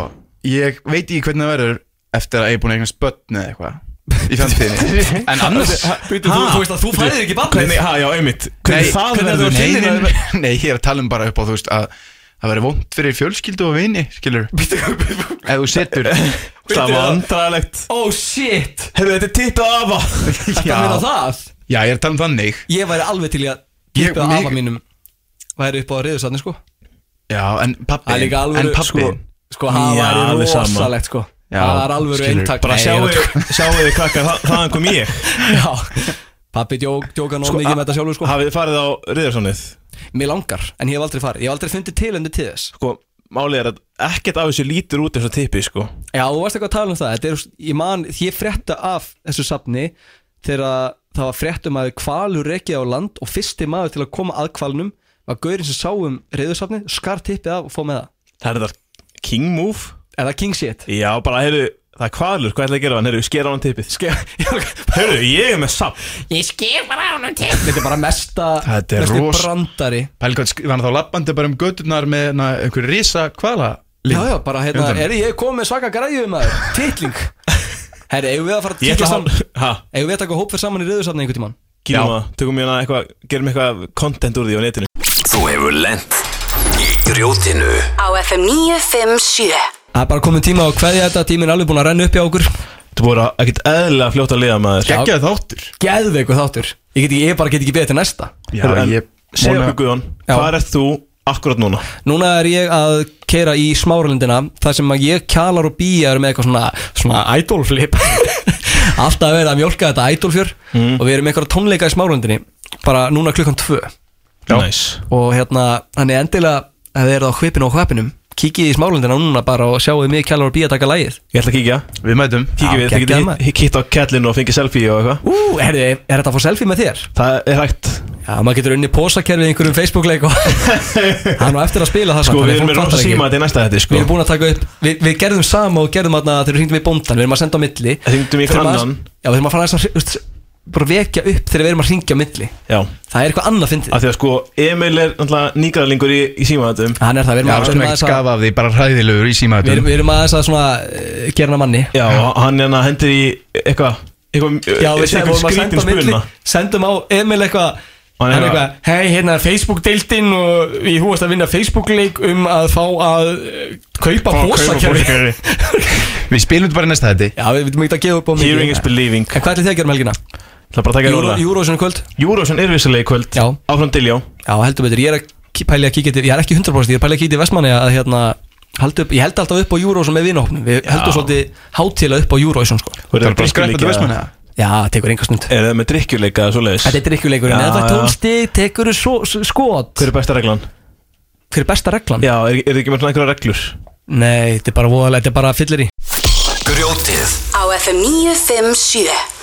[SPEAKER 1] ég veit ekki hvernig það verður eftir að ég er búin að eignast börn eða eitthvað í framtíðinni En annars
[SPEAKER 3] Býtu, þú, þú veist að þú fæðir ekki barnið
[SPEAKER 4] Hvernig, ha, já, einmitt
[SPEAKER 1] Nei,
[SPEAKER 4] Hvernig það
[SPEAKER 1] hvernig
[SPEAKER 4] verður
[SPEAKER 1] þú- nei, nei,
[SPEAKER 4] reyðursafnið
[SPEAKER 1] nei, nei, ég er að tala um bara upp á þú veist að það verður vond fyrir fjölskyldu og vini, skilur Ef þú setur
[SPEAKER 4] Það var andralegt
[SPEAKER 3] Oh shit
[SPEAKER 4] Hefur þetta er tipp að afa
[SPEAKER 3] Þetta meina það
[SPEAKER 1] Já, ég er að tala um þannig
[SPEAKER 3] Ég væri alveg til í að
[SPEAKER 1] Ég-
[SPEAKER 3] Tippa
[SPEAKER 1] mig-
[SPEAKER 3] afa mínum væri upp á reyðursatni sko
[SPEAKER 1] Já, en pappi
[SPEAKER 3] Það er líka alvöru,
[SPEAKER 1] En pappi
[SPEAKER 3] sko- sko, það
[SPEAKER 1] Já,
[SPEAKER 3] væri
[SPEAKER 1] alveg sama.
[SPEAKER 3] rosalegt, sko.
[SPEAKER 1] Já,
[SPEAKER 3] Það er alvöru
[SPEAKER 1] skilur.
[SPEAKER 3] eintak.
[SPEAKER 4] Bara
[SPEAKER 3] Nei,
[SPEAKER 4] sjáu
[SPEAKER 3] ég-
[SPEAKER 4] sjáu þið krakkar þa- þaðan kom ég
[SPEAKER 3] Já Pappi djók, djóka nóg mikið með þetta sjálfur sko
[SPEAKER 4] Hafið þið farið á reyðursafnið
[SPEAKER 3] Mér langar, en ég hef aldrei farið Ég hef aldrei fundið tilundi til þess
[SPEAKER 4] Sko, málið er að ekkert af þessu lítur út eins og tippi sko
[SPEAKER 3] Já, þú varst eitthvað að tala um það Þetta er, ég man, ég frétta af þessu safni Þegar að það var fréttum að kvalur rekið á land Og fyrsti maður til að koma að kvalnum Var gaurinn sem sá um reyðursafni Skar tippið af og fóð með það
[SPEAKER 4] Það er þetta king move
[SPEAKER 3] Er það king shit?
[SPEAKER 4] Já, bara, heyrðu, það er kvalur, hvað ætlaði að gera hann? Heyrðu, skera á hann tippið Skera, heyrðu, ég er með samt
[SPEAKER 3] Ég skip bara ánum til Þetta er bara mesta
[SPEAKER 1] Þetta er
[SPEAKER 3] mesti
[SPEAKER 1] ros
[SPEAKER 3] brandari
[SPEAKER 1] Pælgótt, hann þá lappandi bara um göturnar með hana, einhver risa kvala
[SPEAKER 3] Já, já, bara hérna, er ég komið með svaka græðið maður? Titling Herri, eigum við að fara að
[SPEAKER 4] Ég ætla
[SPEAKER 3] titla
[SPEAKER 4] að
[SPEAKER 3] saman
[SPEAKER 4] Ha?
[SPEAKER 3] Eigum við að taka hóp fyrir saman í reyðursafni einhvern tímann?
[SPEAKER 4] Gýrum að, tökum ég hana eitthvað, gerum eitthvað content úr því á netinu
[SPEAKER 5] Þú hefur lent í grjótinu
[SPEAKER 2] Á FM 957
[SPEAKER 3] Það er bara komin tíma á hverja þetta tíminn er alveg búin að renna upp hjá okkur
[SPEAKER 4] Þú voru ekkert eðlilega fljótt að liða maður
[SPEAKER 1] Geggjaður þáttur
[SPEAKER 3] Geðveikur þáttur Ég, get, ekki- ég bara get ekki beðið til næsta
[SPEAKER 4] Já, En ég- segðu okkur, Guðjón, hvar
[SPEAKER 3] ert þú akkurat núna? Núna er ég að keira í smáralindina þar sem að ég kjalar og býja er með eitthvað svona, svona idolflip Alltaf verið að mjólka þetta idolfjör
[SPEAKER 4] Mm.
[SPEAKER 3] og við erum með eitthvað tónleika í smáralindinni bara núna klukkan tvö
[SPEAKER 4] Nice.
[SPEAKER 3] og hérna, hann er endilega ef þið eruð á hvipinu og hvapinum kikið í smáralindina núna bara og sjáuð mig kjalar og býja taka lægið
[SPEAKER 4] Ég ætla að kíkja
[SPEAKER 1] Við mætum
[SPEAKER 4] Kíkjum við,
[SPEAKER 3] Já, geggjað,
[SPEAKER 4] þið
[SPEAKER 3] maður.
[SPEAKER 4] getið kitt á kettlinu og fengið selfie og eitthvað
[SPEAKER 3] Ú, herri, er þetta að fá selfie með þér?
[SPEAKER 4] Það er hægt
[SPEAKER 3] Já, maður getur unni pósakerfið í einhverjum Facebook-leik og hann á eftir að spila það
[SPEAKER 4] Sko,
[SPEAKER 3] samt,
[SPEAKER 4] við erum
[SPEAKER 3] þannig fólk
[SPEAKER 4] með
[SPEAKER 3] fattar
[SPEAKER 4] rosa
[SPEAKER 3] ekki.
[SPEAKER 4] síma þetta í næsta þetta,
[SPEAKER 3] Við
[SPEAKER 4] sko
[SPEAKER 3] erum búin að taka upp, við, við gerðum sama og gerðum aðna þegar við hringdum í bóndan, við erum að senda á milli
[SPEAKER 4] Hringdum í
[SPEAKER 3] Þurfum
[SPEAKER 4] einhvern
[SPEAKER 3] að-
[SPEAKER 4] annan.
[SPEAKER 3] Já, við erum að fara þess að, þú veist, bara vekja upp þegar við erum að hringja á milli
[SPEAKER 4] Já
[SPEAKER 3] Það er eitthvað annað fyndið
[SPEAKER 4] Af því að sko, Emil er náttúrulega nýgræðlingur í, í síma þetta
[SPEAKER 3] Hann er það, við erum
[SPEAKER 1] Já,
[SPEAKER 3] að- við
[SPEAKER 1] sem
[SPEAKER 3] erum að
[SPEAKER 1] ekki
[SPEAKER 3] þess að-
[SPEAKER 1] skafa af því bara hræðilegur í
[SPEAKER 3] Við erum,
[SPEAKER 1] símaðutum
[SPEAKER 3] við erum aðeins að svona uh, gera hann að manni
[SPEAKER 4] Já, og hann hérna hendir í eitthvað eitthvað-
[SPEAKER 3] Já, við
[SPEAKER 4] eitthvað
[SPEAKER 3] vorum að senda á
[SPEAKER 4] skrítin
[SPEAKER 3] milli
[SPEAKER 4] spuna
[SPEAKER 3] Sendum á Emil eitthvað
[SPEAKER 4] Og hann
[SPEAKER 3] Hann
[SPEAKER 4] er
[SPEAKER 3] er eitthvað, hei, hérna er Facebook-deildin og ég húast að vinna Facebook-leik um að fá að uh, kaupa pósakerfi
[SPEAKER 1] Við spilum þetta bara í næsta þetta
[SPEAKER 3] Já, við veitum ekki að gefa upp á mikið
[SPEAKER 4] Hearing is believing
[SPEAKER 3] En hvað ætlir þið að gera um helgina?
[SPEAKER 4] Það er bara að taka
[SPEAKER 3] Euro-
[SPEAKER 4] róla
[SPEAKER 3] Eurovision í kvöld
[SPEAKER 4] Eurovision er vissulega í kvöld
[SPEAKER 3] Já
[SPEAKER 4] Áfram til, já
[SPEAKER 3] Já, heldur betur, ég er að kí- pæli að kíkja til Ég er ekki 100% ég er að pæli að kíkja til Vestmanni að hérna haldi upp, Ég held alltaf upp á Eurovision með vinahopnum Við heldum svolítið hátíla upp á Eurovision sko
[SPEAKER 4] Og eru Það er bara að skræpa til drykkjuleikja? Vestmannaeyja?
[SPEAKER 3] Já, það tekur einhver stund
[SPEAKER 4] Er það með drikkjuleika eða svoleiðis?
[SPEAKER 3] Þetta er drikkjuleikurinn, ef það er tólstig, tekur þú skot
[SPEAKER 4] Hver er besta reglan?
[SPEAKER 3] Hver er besta reglan?
[SPEAKER 4] Já, er, er ekki með svona einhverja reglur?
[SPEAKER 3] Nei, þetta er bara voðalega, þetta er bara fyllir í
[SPEAKER 5] Grjótið
[SPEAKER 2] Á FM 957